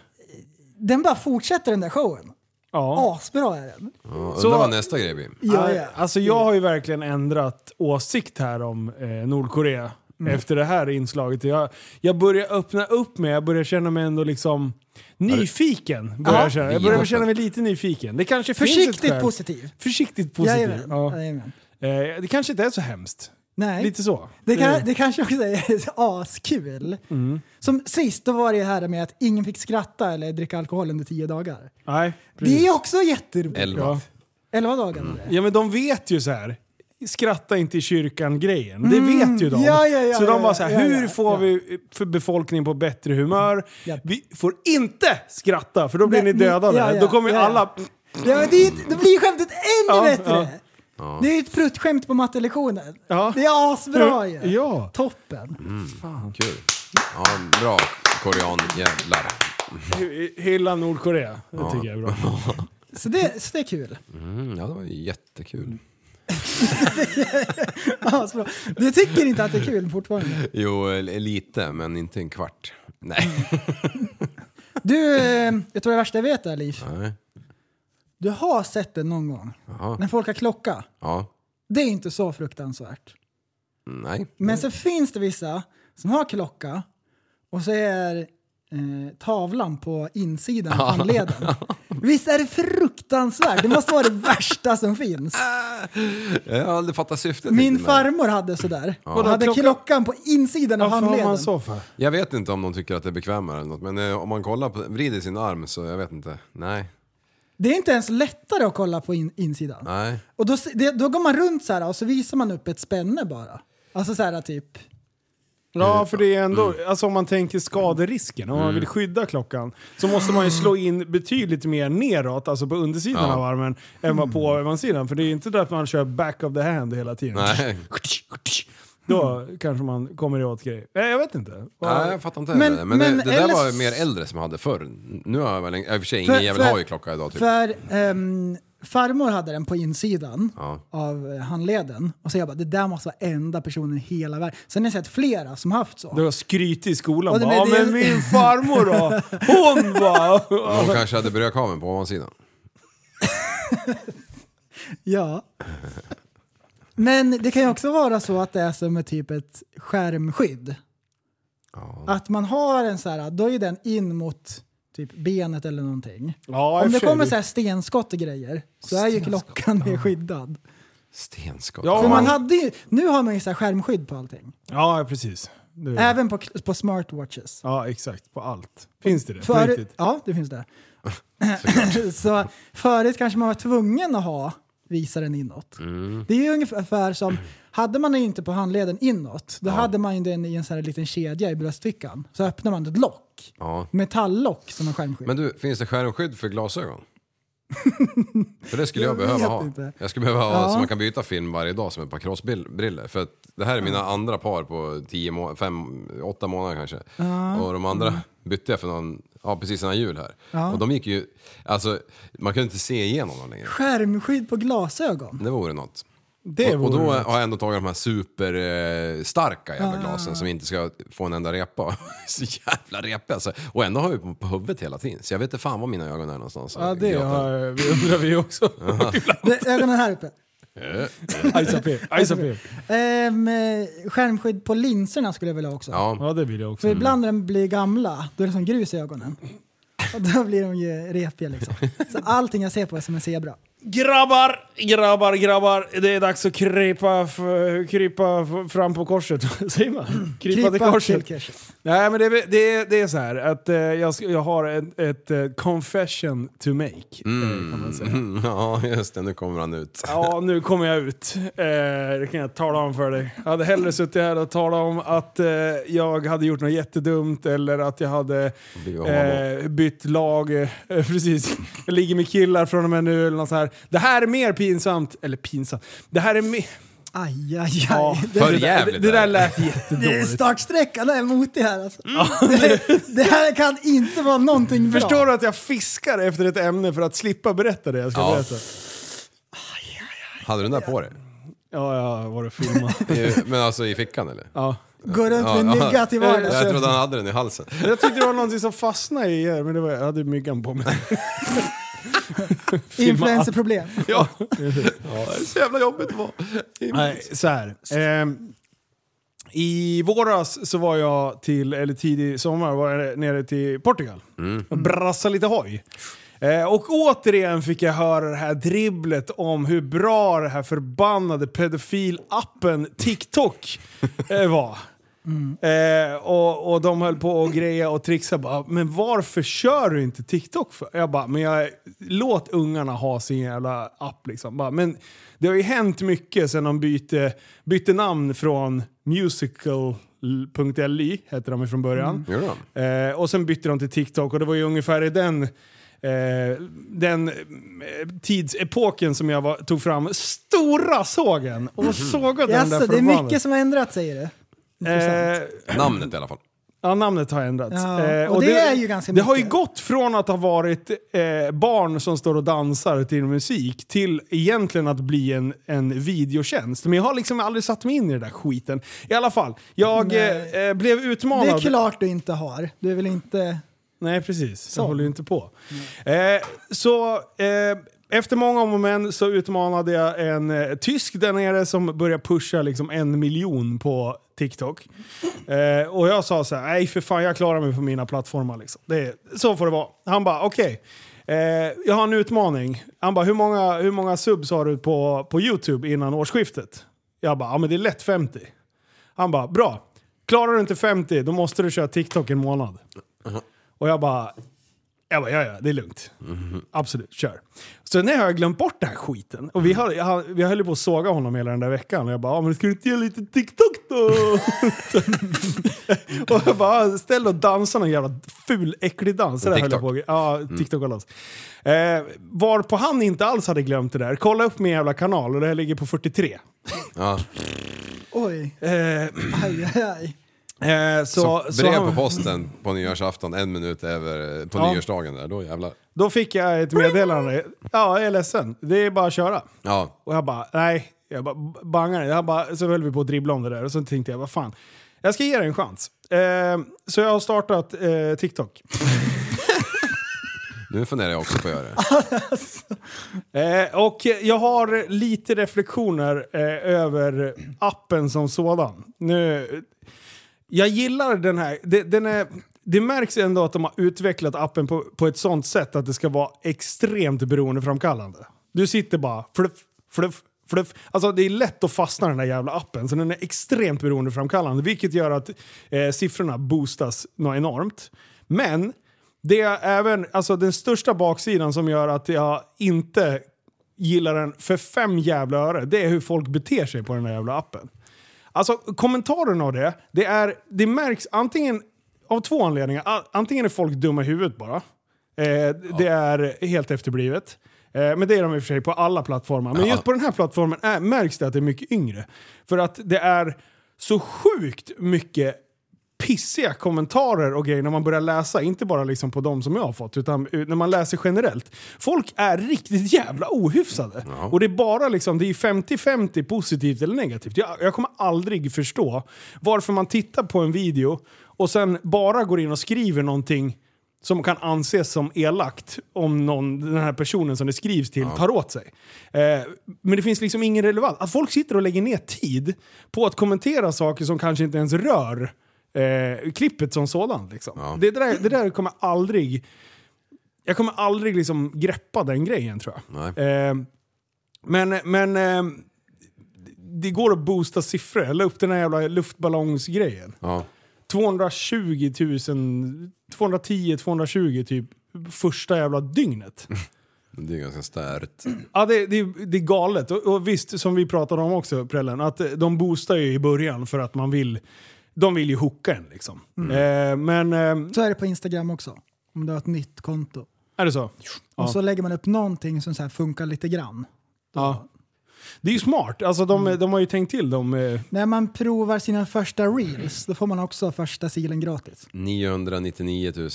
Speaker 5: den bara fortsätter den där showen.
Speaker 3: Ja.
Speaker 5: Asbra är den.
Speaker 4: Ja,
Speaker 3: Så-
Speaker 4: Undrar vad nästa grej blir.
Speaker 5: Ja,
Speaker 3: Nej,
Speaker 5: ja.
Speaker 3: Alltså jag har ju verkligen ändrat åsikt här om eh, Nordkorea
Speaker 5: Mm.
Speaker 3: efter det här inslaget. Jag, jag börjar öppna upp mig, jag börjar känna mig ändå liksom nyfiken. Börjar jag, känna. jag börjar känna mig lite nyfiken. Det kanske finns ett
Speaker 5: Försiktigt
Speaker 3: skäl.
Speaker 5: positiv.
Speaker 3: Försiktigt positiv.
Speaker 5: Jajamän,
Speaker 3: Ja.
Speaker 5: jajamän.
Speaker 3: Eh, det kanske inte är så hemskt.
Speaker 5: Nej.
Speaker 3: Lite så. Eh.
Speaker 5: Det,
Speaker 3: Det-
Speaker 5: kan, det kanske också är <laughs> askul.
Speaker 3: Mm.
Speaker 5: Som sist, då var det ju här med att ingen fick skratta eller dricka alkohol under tio dagar.
Speaker 3: Nej,
Speaker 5: Det är också jätteroligt.
Speaker 4: Elva.
Speaker 3: Ja.
Speaker 5: Elva dagar var det.
Speaker 3: Ja men de vet ju så här. skratta inte i kyrkan-grejen. Det vet ju de.
Speaker 5: Mm. Ja, ja, ja,
Speaker 3: så de
Speaker 5: ja,
Speaker 3: var så här,
Speaker 5: ja, ja,
Speaker 3: hur
Speaker 5: ja.
Speaker 3: får vi för befolkningen på bättre humör?
Speaker 5: Ja.
Speaker 3: Vi får inte skratta för då blir
Speaker 5: Nej,
Speaker 3: ni dödade.
Speaker 5: ja, ja,
Speaker 3: då kommer ju
Speaker 5: ja, ja.
Speaker 3: alla...
Speaker 5: Ja, men det, är ett- då blir ju skämtet ännu
Speaker 3: Ja,
Speaker 5: bättre! Det är ju ett pruttskämt på mattelektionen.
Speaker 3: Ja.
Speaker 5: Det är asbra ju!
Speaker 3: Ja.
Speaker 5: Toppen!
Speaker 4: Kul. Ja, bra korean-jävlar.
Speaker 3: Hy- Hylla Nordkorea. Det tycker jag är bra.
Speaker 5: Så det, så det är kul. <laughs>
Speaker 4: Mm, ja, det var ju jättekul.
Speaker 5: Asbra. Du tycker inte att det är kul fortfarande?
Speaker 4: Jo, eh, lite, men inte en kvart. Nej.
Speaker 5: Du, eh, jag tror det värsta jag vet är Liv.
Speaker 4: Nej.
Speaker 5: Du har sett det någon gång. När folk har klocka.
Speaker 4: Ja.
Speaker 5: Det är inte så fruktansvärt.
Speaker 4: Nej.
Speaker 5: Men så finns det vissa som har klocka och så är eh, tavlan på insidan av handleden. Visst är det fruktansvärt? Det måste vara det värsta som finns.
Speaker 4: Jag har aldrig fattat syftet.
Speaker 5: Min
Speaker 4: riktigt med det.
Speaker 5: farmor hade sådär. Hon
Speaker 3: Vadå,
Speaker 5: hade
Speaker 3: klockan-
Speaker 5: klockan på insidan av
Speaker 3: Varför har
Speaker 5: handleden.
Speaker 3: man så för?
Speaker 4: Jag vet inte om de tycker att det är bekvämare eller något, men eh, om man kollar på, vrider sin arm så jag vet inte. Nej.
Speaker 5: Det är inte ens lättare att kolla på in, insidan.
Speaker 4: Nej.
Speaker 5: Och då, se- det, då går man runt så här och så visar man upp ett spänne bara. Alltså så här typ.
Speaker 3: Ja, för det är ändå, alltså om man tänker skaderisken, om man vill skydda klockan, så måste man ju slå in betydligt mer neråt, alltså på undersidan
Speaker 4: Ja.
Speaker 3: av armen, än vad på ovansidan. För det är ju inte där att man kör back of the hand hela tiden.
Speaker 4: Nej.
Speaker 3: Då kanske man kommer åt grejer. Nej, jag vet inte.
Speaker 4: Nej, jag fattar inte
Speaker 5: Men-
Speaker 4: heller. Men,
Speaker 5: men
Speaker 4: det, det där
Speaker 5: eller-
Speaker 4: var mer äldre som hade förr. Nu har jag väl, en- i och för sig, ingen
Speaker 5: För-
Speaker 4: jävel
Speaker 5: för-
Speaker 4: har ju klocka idag typ.
Speaker 5: För ehm, farmor hade den på insidan
Speaker 4: Ja.
Speaker 5: av eh, handleden. Och så jag bara, det där måste vara enda personen i hela världen. Sen har jag sett flera som haft så.
Speaker 3: Du har skrytit i skolan.
Speaker 5: Och det-
Speaker 3: Bara, ja,
Speaker 5: men det-
Speaker 3: men min farmor då? Hon var...
Speaker 4: Hon kanske hade brödkaveln på ovansidan. <laughs>
Speaker 5: Ja. Men det kan ju också vara så att det är som ett typ ett skärmskydd. Att man har en så här, då är den in mot typ benet eller någonting.
Speaker 3: <laughs> Ja, i och
Speaker 5: Om
Speaker 3: för
Speaker 5: det
Speaker 3: sig,
Speaker 5: kommer
Speaker 3: det-
Speaker 5: så här stenskott och grejer så är ju klockan mer skyddad.
Speaker 4: Stenskott.
Speaker 3: Ja,
Speaker 5: För man
Speaker 3: Ja.
Speaker 5: hade ju, nu har man ju så här skärmskydd på allting.
Speaker 3: Ja, precis. Du.
Speaker 5: Även på, på smartwatches.
Speaker 3: Ja, exakt. På allt. Finns det det? På
Speaker 5: För,
Speaker 3: riktigt?
Speaker 5: ja, det finns
Speaker 3: <laughs>
Speaker 5: det. <laughs> så förut kanske man var tvungen att ha visaren inåt.
Speaker 3: Mm.
Speaker 5: Det är ju ungefär som, hade man den inte på handleden inåt, då hade man ju den i en sån här liten kedja i bröstfickan. Så öppnar man ett lock,
Speaker 4: Ja.
Speaker 5: metalllock som en skärmskydd.
Speaker 4: Men du, finns det skärmskydd för
Speaker 5: <laughs>
Speaker 4: glasögon? för det skulle jag,
Speaker 5: Jag
Speaker 4: behöva
Speaker 5: vet
Speaker 4: ha.
Speaker 5: inte.
Speaker 4: Jag skulle behöva ha
Speaker 5: Ja.
Speaker 4: så man kan byta film varje dag som ett par crossbriller. För att det här är mina andra par på 10 må- fem, åtta månader kanske. Och de andra
Speaker 5: Mm.
Speaker 4: bytte jag för någon, ja precis innan jul här. Och de gick ju, alltså man kunde inte se igenom dem längre.
Speaker 5: Skärmskydd på glasögon?
Speaker 4: Det vore något.
Speaker 3: Det
Speaker 4: och, och då
Speaker 3: vore
Speaker 4: har jag ändå tagit de här superstarka eh, starka
Speaker 3: Ah.
Speaker 4: jävla glasen som inte ska få en enda repa. <laughs> så jävla repa alltså. Och ändå har jag ju på huvudet hela tiden. Så jag vet inte fan var mina ögon är någonstans.
Speaker 3: Ja, det
Speaker 4: Gråten.
Speaker 3: har, vi undrar vi också. <laughs>
Speaker 5: Det- Ögonen här uppe.
Speaker 3: Ajsa P. Ajsa P.
Speaker 5: Ehm, eh, skärmskydd på linserna skulle jag vilja ha också.
Speaker 4: Ja.
Speaker 3: Ja, det vill jag också.
Speaker 5: För
Speaker 4: Mm.
Speaker 5: ibland när de blir gamla, då är det som grus i ögonen. Och då blir de ju repiga liksom. Så allting jag ser på är som en zebra.
Speaker 3: Grabbar, grabbar, grabbar. Det är dags att krypa, f- krypa f- fram på korset. <laughs> Säger man? Krypa till korset.
Speaker 5: till korset.
Speaker 3: Nej, men det, är- det, är- det är så här att eh, jag, ska- jag har ett, ett eh, confession to make. eh, Kan man säga.
Speaker 4: Mm, <laughs> ja, just det. Nu kommer han ut.
Speaker 3: Ja, nu kommer jag ut. Eh, det kan jag tala om för dig. Jag hade hellre suttit här och talat om att eh, jag hade gjort något jättedumt eller att jag hade
Speaker 4: Blivit homo.
Speaker 3: eh, bytt lag. Eh, <laughs> precis. Jag ligger med killar från och med nu eller något så här. Det här är mer pinsamt. Eller pinsamt. Det här är mer...
Speaker 5: Aj, aj, aj.
Speaker 3: Ja,
Speaker 5: det,
Speaker 4: För
Speaker 3: det, där- det,
Speaker 4: jävligt
Speaker 3: det
Speaker 4: är
Speaker 3: där <laughs>
Speaker 4: det.
Speaker 3: lät
Speaker 5: det är
Speaker 3: jättedåligt.
Speaker 5: startsträckan är emot det här alltså. det, det här kan inte vara någonting bra.
Speaker 3: Förstår du att jag fiskar efter ett ämne för att slippa berätta det jag ska
Speaker 4: Ja.
Speaker 3: berätta?
Speaker 4: Hade du den där på dig?
Speaker 3: Ja, jag var och filmade.
Speaker 4: I- Men alltså i fickan eller?
Speaker 3: Ja.
Speaker 5: Går runt med en
Speaker 4: Ja, ja.
Speaker 5: mygga till
Speaker 4: Jag
Speaker 5: vardags.
Speaker 4: trodde han hade den i halsen. <laughs>
Speaker 3: Jag tyckte det var någonting som fastnade i er, men det var, jag hade myggan på mig.
Speaker 5: Influencerproblem.
Speaker 4: Ja. ja, det är så jävla jobbigt att vara.
Speaker 3: Nej, så här. Ehm, I våras så var jag till, eller tidig sommar, var jag nere till Portugal. Och brassade lite hoj. Eh, Eh, och återigen fick jag höra det här dribblet om hur bra det här förbannade pedofilappen TikTok eh, var. Eh, och, och de höll på och greja och trixa bara, men varför kör du inte TikTok för? Jag bara, men jag, låt ungarna ha sin jävla app liksom. Bara, men det har ju hänt mycket sedan de bytte, bytte namn från musical.ly, hette de ju från
Speaker 5: Mm.
Speaker 3: början.
Speaker 4: Gör de?
Speaker 3: Eh, och sen bytte de till TikTok och det var ju ungefär i den, eh, den eh, tidsepoken som jag var, tog fram stora sågen och sågade den där
Speaker 5: Mm. Jaså, det är
Speaker 3: förbannat.
Speaker 5: mycket som har ändrat säger du?
Speaker 3: Eh,
Speaker 4: Namnet i alla fall.
Speaker 3: Ja, namnet har ändrats. Eh,
Speaker 5: Ja, och det är ju ganska
Speaker 3: Det har ju
Speaker 5: mycket.
Speaker 3: gått från att ha varit eh, barn som står och dansar till musik till egentligen att bli en, en videotjänst. Men jag har liksom aldrig satt mig in i den där skiten. I alla fall, jag eh, eh, blev
Speaker 5: Det
Speaker 3: utmanad.
Speaker 5: är klart du inte har. Du är väl inte...
Speaker 3: Nej, precis. Så. Jag håller ju inte på. Eh, så eh, efter många om och men så utmanade jag en eh, tysk där nere som började pusha liksom en miljon på TikTok. Eh, och jag sa så här, nej för fan jag klarar mig på mina plattformar liksom. Det, så får det vara. Han bara, okej. Eh, jag har en utmaning. Han bara, hur många, hur många subs har du på, på YouTube innan årsskiftet? Jag bara, ja men det är lätt 50. Han bara, bra. Klarar du inte 50 då måste du köra TikTok en månad. Och jag bara, jag bara, ja ja, det är lugnt. Absolut, kör. Så nu har jag glömt bort den här skiten. Och vi, har, jag, har- vi höll ju på att såga honom hela den där veckan. Och jag bara, ja, men ska du inte göra lite TikTok då? <laughs> och jag bara, ställ och dansa någon jävla ful, äcklig dans. Det där höll jag på. Ja,
Speaker 4: Mm.
Speaker 3: TikTok och dans. Eh, varpå han inte alls hade glömt det där. Kolla upp min jävla kanal och det här ligger på 43.
Speaker 4: Ja.
Speaker 5: Oj,
Speaker 3: Eh, <clears throat>
Speaker 5: aj, aj, aj.
Speaker 3: eh, så,
Speaker 4: Så,
Speaker 3: så
Speaker 4: brev
Speaker 3: han-
Speaker 4: på posten på nyårsafton, en minut över, eh, på
Speaker 3: Ja.
Speaker 4: nyårsdagen där, då jävlar.
Speaker 3: Då fick jag ett meddelande. Ja, jag är ledsen. Det är bara att köra.
Speaker 4: Ja.
Speaker 3: Och jag bara, nej. Jag bara bangade. Jag bara, så höll vi på att dribbla om det där och så tänkte jag, vad fan. Jag ska ge det en chans. Eh, så jag har startat eh, TikTok.
Speaker 4: Nu funderar jag också på att göra det.
Speaker 3: Eh, och jag har lite reflektioner eh, över appen som sådan. Nu, jag gillar den här. Det, den är, det märks ändå att de har utvecklat appen på, på ett sånt sätt att det ska vara extremt beroendeframkallande. Du sitter bara fluff, fluff, fluff. Alltså det är lätt att fastna i den där jävla appen. Så den är extremt beroendeframkallande. Vilket gör att eh, siffrorna boostas något enormt. Men det är även, alltså den största baksidan som gör att jag inte gillar den för fem jävla öre. Det är hur folk beter sig på den där jävla appen. Alltså kommentaren av det, det, är, det märks antingen av två anledningar. A- Antingen är folk dumma i huvudet bara. Eh, Det är helt efterblivet. Eh, men det är de i och för sig på alla plattformar. Men just på den här plattformen är, märks det att det är mycket yngre. För att det är så sjukt mycket pissiga kommentarer och grejer när man börjar läsa, inte bara liksom på de som jag har fått, utan eh, när man läser generellt. Folk är riktigt jävla ohyfsade. Och det är bara liksom, det är 50-50 positivt eller negativt. Jag, jag kommer aldrig förstå varför man tittar på en video och sen bara går in och skriver någonting som kan anses som elakt om någon, den här personen som det skrivs till tar åt sig. Eh, men det finns liksom ingen relevans. Att folk sitter och lägger ner tid på att kommentera saker som kanske inte ens rör eh, klippet som sådant. Liksom. Det, där, det där kommer aldrig... Jag kommer aldrig liksom greppa den grejen tror jag. Eh, men men eh, det går att boosta siffror. Jag la upp den här jävla luftballongsgrejen.
Speaker 4: Ja.
Speaker 3: 220 000, 210, 220 typ första jävla dygnet.
Speaker 4: Det är ganska starkt.
Speaker 3: Ja, det, det, det är galet. Och, och visst, som vi pratade om också Prellen, att eh, de boostar ju i början för att man vill, de vill ju hooka en liksom. Eh, men, eh,
Speaker 5: Så är det på Instagram också. Om du har ett nytt konto.
Speaker 3: är det så? Ja.
Speaker 5: Och så lägger man upp någonting som så här funkar lite grann.
Speaker 3: Ja. Det är ju smart, alltså de, de har ju tänkt till de... eh,
Speaker 5: När man provar sina första reels, då får man också första silen gratis.
Speaker 4: Mm. 999 000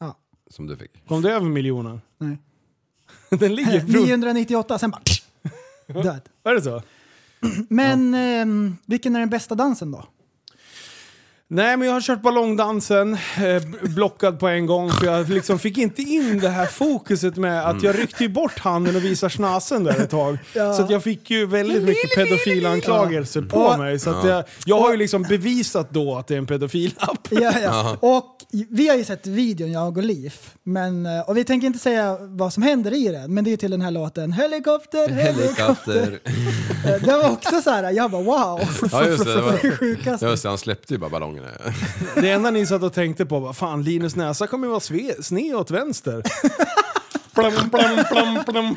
Speaker 5: Ja.
Speaker 4: som du fick.
Speaker 3: Kom du över miljonen? <laughs>
Speaker 5: Nej.
Speaker 4: <laughs>
Speaker 3: Den <laughs> ligger... runt-
Speaker 5: 998, sen bara... <laughs> Död.
Speaker 3: Är det så?
Speaker 4: <laughs>
Speaker 5: Men ehm, vilken är den bästa dansen då?
Speaker 3: Nej, men jag har kört ballongdansen, eh, b- blockad på en gång, för jag liksom fick inte in det här fokuset med att jag ryckte ju bort handen och visade snasen där ett tag. Så att jag fick ju väldigt mycket pedofilanklagelser på
Speaker 5: Ja.
Speaker 3: mig. Så att jag, jag har ju liksom bevisat då att det är en pedofilapp.
Speaker 5: Ja, ja. Och vi har ju sett videon, jag och Liv. Men, eh, och vi tänker inte säga vad som händer i den, men det är till den här
Speaker 4: <laughs>
Speaker 5: låten Helikopter, helikopter.
Speaker 4: Helikopter.
Speaker 5: Det var också så här, jag bara wow.
Speaker 4: <laughs> Ja just det, det
Speaker 5: <laughs>
Speaker 4: var,
Speaker 5: är sjukaste.
Speaker 4: just det, han släppte ju bara ballongerna.
Speaker 3: Det enda ni satt och tänkte på var fan Linus näsa kommer ju vara sve, sned åt vänster. Plam, plam, plam, plam.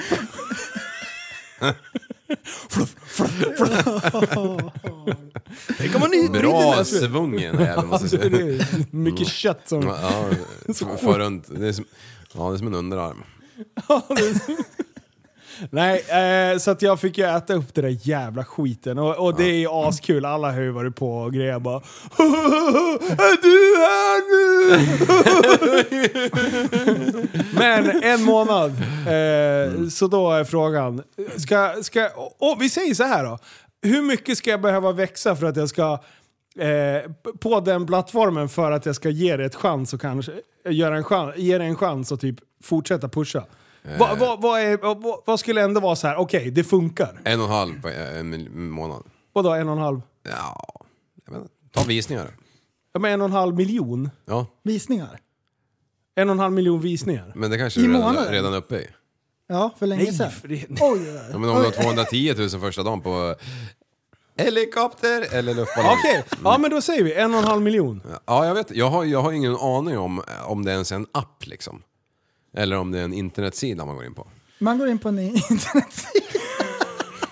Speaker 3: Fluff, fluff, fluff. Tänk om man utbryter
Speaker 4: Bra
Speaker 3: näsan.
Speaker 4: svungen även måste
Speaker 3: <laughs>
Speaker 4: jag
Speaker 3: Det
Speaker 4: säga. Mm.
Speaker 3: är Mycket kött som...
Speaker 4: Ja, för runt. Det är som, ja, det är som en underarm.
Speaker 3: Nej, eh, så att jag fick ju äta upp den där jävla skiten. Och, och det är ju
Speaker 4: Mm.
Speaker 3: askul, alla har ju varit på och grejer bara <laughs> Är du här nu? Men en månad. Eh, så då är frågan, ska, ska, oh, vi säger så här då. Hur mycket ska jag behöva växa för att jag ska eh, p- på den plattformen för att jag ska ge det ett chans och kanske göra en chans, ge det en chans och typ fortsätta pusha? Vad va, va är- va, va, vad skulle ändå vara så här? okej det funkar.
Speaker 4: En och en halv på en mil- månad.
Speaker 3: Vadå en och en halv?
Speaker 4: Ja, jag vet inte. Ta visningar.
Speaker 3: Ja men en och en halv miljon?
Speaker 4: Ja,
Speaker 5: Visningar.
Speaker 3: En och en halv miljon visningar?
Speaker 4: men det kanske
Speaker 5: I
Speaker 4: du redan,
Speaker 5: månaden?
Speaker 4: redan är uppe i.
Speaker 5: Ja, för länge
Speaker 3: Nej,
Speaker 5: sedan.
Speaker 3: för det-
Speaker 5: Oj, oj, oj.
Speaker 4: Ja, men om du har 210 000 första dagen på helikopter eller luftballong.
Speaker 3: Okej, ja men då säger vi en och en halv miljon.
Speaker 4: Ja, jag vet. Jag har, jag har ingen aning om, om det ens är en app liksom. Eller om det är en internetsida man går in på.
Speaker 5: Man går in på en ny <laughs> internetsida. <laughs>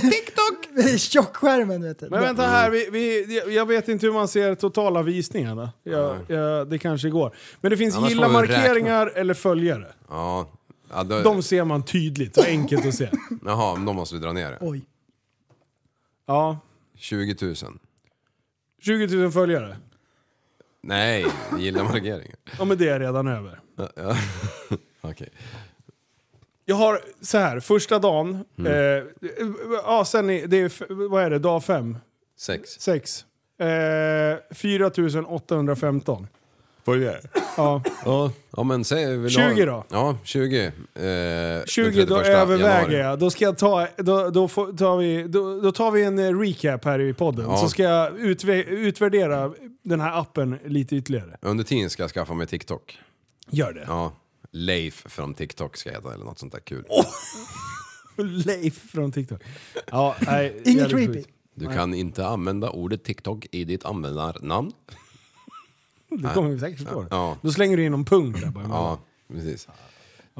Speaker 5: TikTok! Tjockskärmen vet du.
Speaker 3: Men vänta här, vi, vi, jag vet inte hur man ser totala visningarna. Jag, jag, det kanske går. Men det finns
Speaker 4: Annars
Speaker 3: gilla
Speaker 4: får vi räkna. Eh.
Speaker 3: markeringar eller följare.
Speaker 4: Ja, ja då,
Speaker 3: De ser man tydligt, så enkelt att
Speaker 4: <laughs>
Speaker 3: se.
Speaker 4: jaha, men de måste vi dra ner det.
Speaker 5: Oj.
Speaker 3: Ja,
Speaker 4: 20 000.
Speaker 3: 20 000 följare.
Speaker 4: Nej, gilla markeringen.
Speaker 3: Ja men det är redan över.
Speaker 4: Ja, ja. Okej.
Speaker 3: Jag har så här, första dagen,
Speaker 4: Mm.
Speaker 3: eh, ja sen är, det är, f- vad är det, dag fem?
Speaker 4: Sex.
Speaker 3: Sex. Eh, 4815.
Speaker 4: Följare?
Speaker 3: Ja.
Speaker 4: Ja, ja men säg... Vill
Speaker 3: 20
Speaker 4: ha,
Speaker 3: då?
Speaker 4: Ja, 20. Eh, den
Speaker 3: 20, då
Speaker 4: 31 januari.
Speaker 3: överväger jag. Då, ska jag ta, då, då, får, tar vi, då, då tar vi en eh, recap här i podden.
Speaker 4: Ja.
Speaker 3: Så ska jag utve- utvärdera den här appen lite ytterligare.
Speaker 4: Under tiden ska jag skaffa mig TikTok.
Speaker 3: Gör det.
Speaker 4: Ja. Leif från TikTok ska jag heta eller något sånt där kul.
Speaker 3: <laughs> Leif från TikTok. Ja, nej,
Speaker 5: <laughs> Inget
Speaker 3: jävligt
Speaker 5: creepy.
Speaker 3: sjukt.
Speaker 4: Du kan inte använda ordet TikTok i ditt användarnamn.
Speaker 3: Det kommer vi säkert förstå.
Speaker 4: Ja.
Speaker 3: Då slänger du in någon punkt där bara.
Speaker 4: Ja, precis.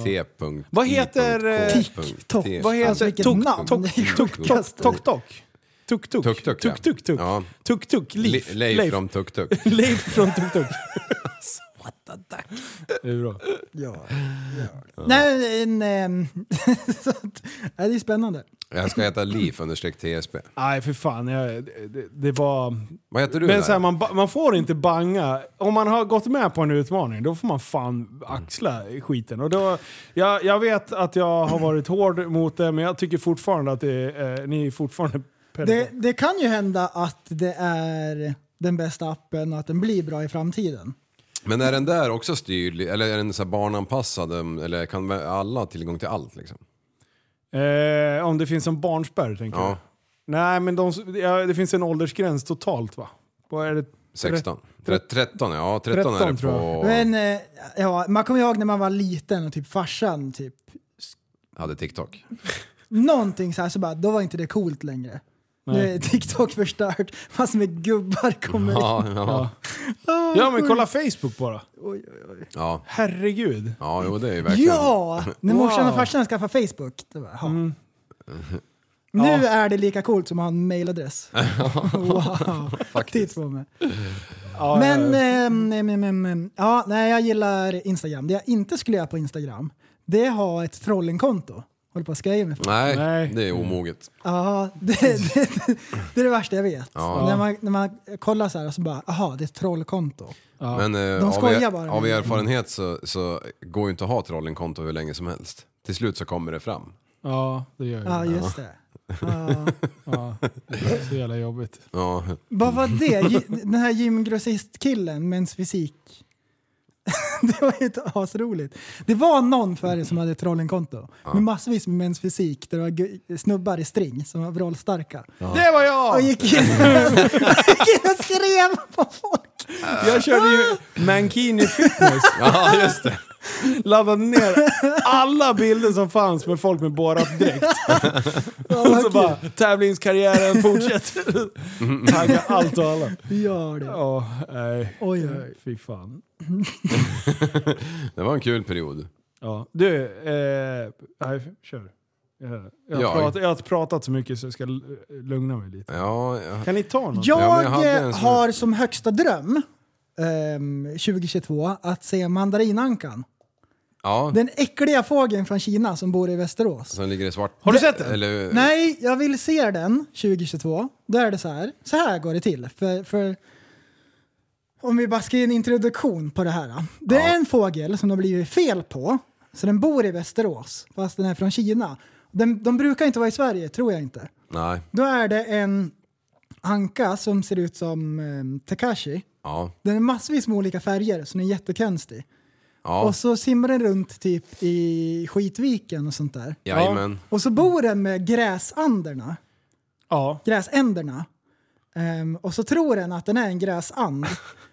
Speaker 4: T.
Speaker 3: Vad heter, eh,
Speaker 5: TikTok?
Speaker 3: Vad heter
Speaker 5: Alltså, vilket
Speaker 3: tok,
Speaker 5: namn.
Speaker 3: tok,
Speaker 5: Det är ju
Speaker 3: tok, tok,
Speaker 5: sjukaste.
Speaker 3: tok, tok. Tuk tuk.
Speaker 4: Tuk Tuk, ja.
Speaker 3: tuk, tuk, tuk.
Speaker 4: Ja.
Speaker 3: Tuk tuk. Leif.
Speaker 4: Leif från Tuk Tuk.
Speaker 3: <laughs> Leif från Tuk
Speaker 4: <laughs>
Speaker 3: Alltså, Tuk. Det är bra.
Speaker 5: Ja. ja. Nej, en, ehm, <laughs> så att, nej, det är spännande.
Speaker 4: Jag ska heta Leif understreck TSB.
Speaker 3: Nej, för fan. Jag, det, det var...
Speaker 4: Vad heter du
Speaker 3: Men
Speaker 4: där?
Speaker 3: så här, man, ba- man får inte banga. Om man har gått med på en utmaning, då får man
Speaker 4: Mm.
Speaker 3: fan axla skiten. Och då, jag, jag vet att jag har varit hård mot det, men jag tycker fortfarande att det, är, eh, ni är fortfarande
Speaker 5: Det,
Speaker 3: det...
Speaker 5: det kan ju hända att det är den bästa appen och att den blir bra i framtiden.
Speaker 4: Men är den där också styrd, eller är den så här barnanpassad, em, eller kan vä- alla ha tillgång till allt liksom?
Speaker 3: Eh, Om det finns en barnspärr, tänker jag.
Speaker 4: Ja,
Speaker 3: Nej, men de, ja, det finns en åldersgräns totalt, va? Vad är det?
Speaker 4: 16. Tre- 13, ja 13 är
Speaker 3: 13
Speaker 4: det
Speaker 3: tror jag.
Speaker 4: på...
Speaker 5: Men eh, ja, man kommer ihåg när man var liten och typ farsan typ
Speaker 4: Hade TikTok.
Speaker 5: någonting så här så bara, då var inte det coolt längre. Nu är TikTok förstört, massor med gubbar kommer in.
Speaker 4: Ja, ja.
Speaker 3: Ja, men kolla Facebook bara.
Speaker 4: Ja,
Speaker 3: Herregud.
Speaker 4: ja jo det är ju verkligen...
Speaker 5: Ja! När morsan
Speaker 3: Wow. Mm.
Speaker 5: och farsan skaffade Facebook. Det bara, ja. Nu
Speaker 3: Ja.
Speaker 5: är det lika coolt som att ha en
Speaker 3: <laughs>
Speaker 5: mailadress. wow, titt på mig.
Speaker 3: Ja,
Speaker 5: Men,
Speaker 3: ja,
Speaker 5: ehm, ehm, ehm, ehm, ehm, ja, nej jag gillar Instagram. Det jag inte skulle göra på Instagram, det är ha ett trollingkonto. Håller på att skoja med folk.
Speaker 4: Nej,
Speaker 3: Nej.
Speaker 4: det är omoget.
Speaker 5: Ja, det, det, det, det är det värsta jag vet.
Speaker 4: Ja.
Speaker 5: När, man, när man kollar så här och så bara, aha, det är ett trollkonto.
Speaker 4: Men eh,
Speaker 5: De
Speaker 4: av,
Speaker 5: skojar
Speaker 4: er,
Speaker 5: bara.
Speaker 4: av
Speaker 3: Mm.
Speaker 4: erfarenhet så, så går ju inte att ha trollingkonto hur länge som helst. Till slut så kommer det fram.
Speaker 3: Ja, det gör jag.
Speaker 5: Ja, just det. Ja.
Speaker 3: Ja. Så jävla jobbigt.
Speaker 4: Ja.
Speaker 5: Vad var det? Gy- Den här gymgrossistkillen med ens fysik. <laughs> Det var ju inte asroligt. Det var någon förr som hade ett trollingkonto med massvis med mens fysik där det var gu- snubbar i string som var vrålstarka.
Speaker 3: Det var jag!
Speaker 5: Och <laughs> gick in, gick in och skrev på folk.
Speaker 3: Jag körde ju Mankini fitness.
Speaker 4: <laughs> ja, just det.
Speaker 3: Laddade ner alla bilder som fanns med folk med borat
Speaker 4: <laughs>
Speaker 3: dräkt.
Speaker 5: Ja,
Speaker 3: Och så
Speaker 5: vad
Speaker 3: bara, tävlingskarriären
Speaker 4: <laughs>
Speaker 3: fortsätter.
Speaker 4: Mm.
Speaker 3: Tagga allt och alla.
Speaker 5: kul. Gör det.
Speaker 3: Ja, nej.
Speaker 5: Oj,
Speaker 3: Nej,
Speaker 5: oj.
Speaker 3: Fy fan.
Speaker 4: Det var en kul period.
Speaker 3: Ja. Du, eh, nej, kör. Jag, jag,
Speaker 4: Jag.
Speaker 3: har pratat, jag har pratat så mycket så jag ska l- lugna mig lite.
Speaker 4: Ja, ja.
Speaker 3: Kan ni ta något?
Speaker 4: Ja, men
Speaker 5: Jag
Speaker 4: jag hade
Speaker 5: eh,
Speaker 4: en sån-
Speaker 5: har som högsta dröm ehm, 2022 att se mandarinankan.
Speaker 4: ja.
Speaker 5: Den äckliga fågeln från Kina som bor i Västerås.
Speaker 4: Som ligger i svart.
Speaker 3: Har du sett den?
Speaker 4: Eller,
Speaker 5: Nej, jag vill se den 2022. Då är det så här. Så här går det till. För, för om vi bara ska ge en introduktion på det här. Det är en fågel som det har blivit fel på. Så den bor i Västerås, fast den är från Kina. Den, de brukar inte vara i Sverige, tror jag inte.
Speaker 4: Nej.
Speaker 5: Då är det en anka som ser ut som eh, Takashi.
Speaker 4: Ja.
Speaker 5: Den är massvis med olika färger, så den är jättekonstig.
Speaker 4: Ja.
Speaker 5: Och så simmar den runt typ i Skitviken och sånt där.
Speaker 4: Jajamän.
Speaker 5: Och så bor den med gräsanderna.
Speaker 3: Ja.
Speaker 5: gräsänderna. Ehm, och så tror den att den är en gräsand.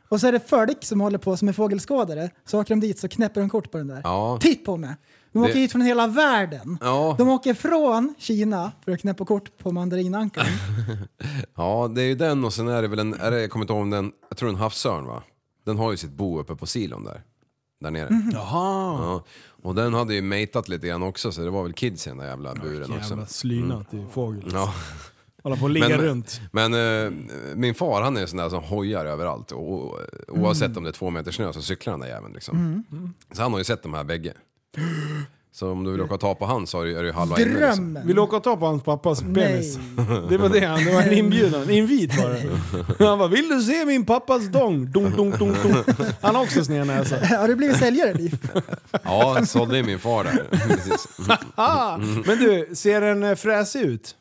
Speaker 5: Och så är det folk som håller på som är fågelskådare. Så åker de dit så knäpper de kort på den där.
Speaker 4: Ja.
Speaker 5: Titt på mig! De åker
Speaker 4: Det-
Speaker 5: hit från hela världen.
Speaker 4: Ja.
Speaker 5: De åker från Kina för att knäppa kort på mandarinankan.
Speaker 4: ja, det är ju den och sen är det väl en, är det, jag kommer inte ihåg om den, jag tror en havsörn va? Den har ju sitt bo uppe på silon där. Där nere.
Speaker 3: Mhm. Jaha.
Speaker 4: Ja. Och den hade ju matat lite grann också så det var väl kids i den där jävla buren
Speaker 3: Jävla
Speaker 4: också. Mm.
Speaker 3: slynat i fågel.
Speaker 4: Ja.
Speaker 3: Hålla på att ligga
Speaker 4: Men-
Speaker 3: runt.
Speaker 4: Men eh, min far han är en sån där som hojar överallt. Och, och, oavsett om det är två meter snö så cyklar han där jäveln liksom.
Speaker 3: Mm.
Speaker 4: Så han har ju sett de här bägge. Så om du vill åka och ta på han så är du- är du halva inne. Liksom.
Speaker 5: Drömmen!
Speaker 3: Vill du åka och ta på hans pappas penis?
Speaker 5: Nej.
Speaker 3: Det var det han, det var en inbjudan. Invit var det. Han bara, vill du se min pappas dong? Dunk, dunk, dunk, dunk. Han har också snednäsa.
Speaker 5: Har du blivit säljare Liv?
Speaker 4: <laughs> Ja, så det är min
Speaker 3: <laughs>
Speaker 4: far där. Precis.
Speaker 3: Ah, men du, ser den eh, fräsig ut?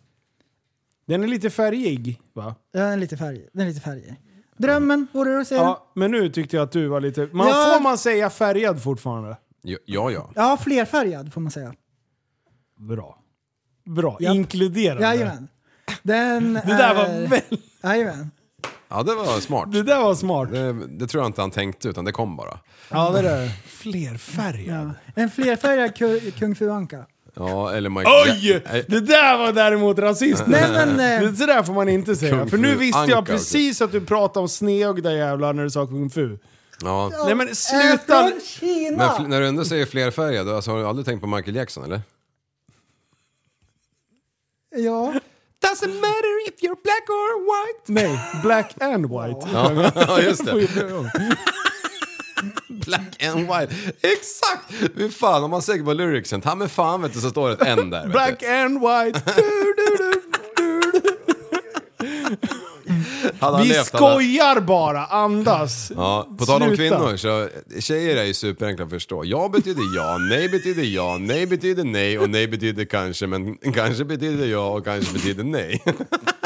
Speaker 3: Den är lite färgig, va?
Speaker 5: Ja, den är lite färg. Den är lite färg. Drömmen vore det att se. Ja,
Speaker 3: Ja, men nu tyckte jag att du var lite... Man,
Speaker 5: Ja.
Speaker 3: Får man säga färgad fortfarande?
Speaker 4: Ja, ja. ja.
Speaker 5: ja flerfärgad får man säga.
Speaker 3: Bra. Bra.
Speaker 5: Japp.
Speaker 3: Inkluderande.
Speaker 5: Jajamän. Eh. Den
Speaker 3: Det där var
Speaker 5: är-
Speaker 3: väl,
Speaker 5: Jajamän.
Speaker 4: Ja, det var smart.
Speaker 3: Det där var smart.
Speaker 4: Det, det tror jag inte han tänkte utan det kom bara.
Speaker 3: Ja, det där. Flerfärgad.
Speaker 5: Ja. En flerfärgad ku-
Speaker 4: <laughs>
Speaker 5: kung fu-anka.
Speaker 4: Ja, eller Mike
Speaker 3: Oj!
Speaker 4: Ja, eh,
Speaker 3: Det där var däremot rasism.
Speaker 5: Nej, men, eh,
Speaker 3: det sådär får man inte säga.
Speaker 4: Kung
Speaker 3: För nu
Speaker 4: fu
Speaker 3: visste jag
Speaker 4: anka,
Speaker 3: precis att du pratade om snedögda jävlar när du sa kung fu.
Speaker 4: ja.
Speaker 3: Nej men sluta!
Speaker 5: Är från Kina!
Speaker 4: Men fl- när du ändå säger flerfärgad, alltså, har du aldrig tänkt på Michael Jackson eller?
Speaker 5: Ja.
Speaker 3: Doesn't matter if you're black or white. Nej, black and white.
Speaker 4: <laughs> Ja, just det.
Speaker 3: Ja.
Speaker 4: Black and white. Exakt! Fy fan, om man söker på lyricsen, ta mig fan vet du, så står det ett N där. vet du.
Speaker 3: Black and white.
Speaker 4: <laughs>
Speaker 3: Du, du, du, du, du.
Speaker 4: Hade han
Speaker 3: Vi
Speaker 4: levt, hade han-
Speaker 3: skojar bara, andas.
Speaker 4: Ja, på tal om
Speaker 3: Sluta.
Speaker 4: kvinnor så, tjejer är ju superenkla att förstå. Ja betyder ja, nej betyder ja, nej betyder nej och nej betyder kanske, men kanske betyder ja och kanske betyder nej.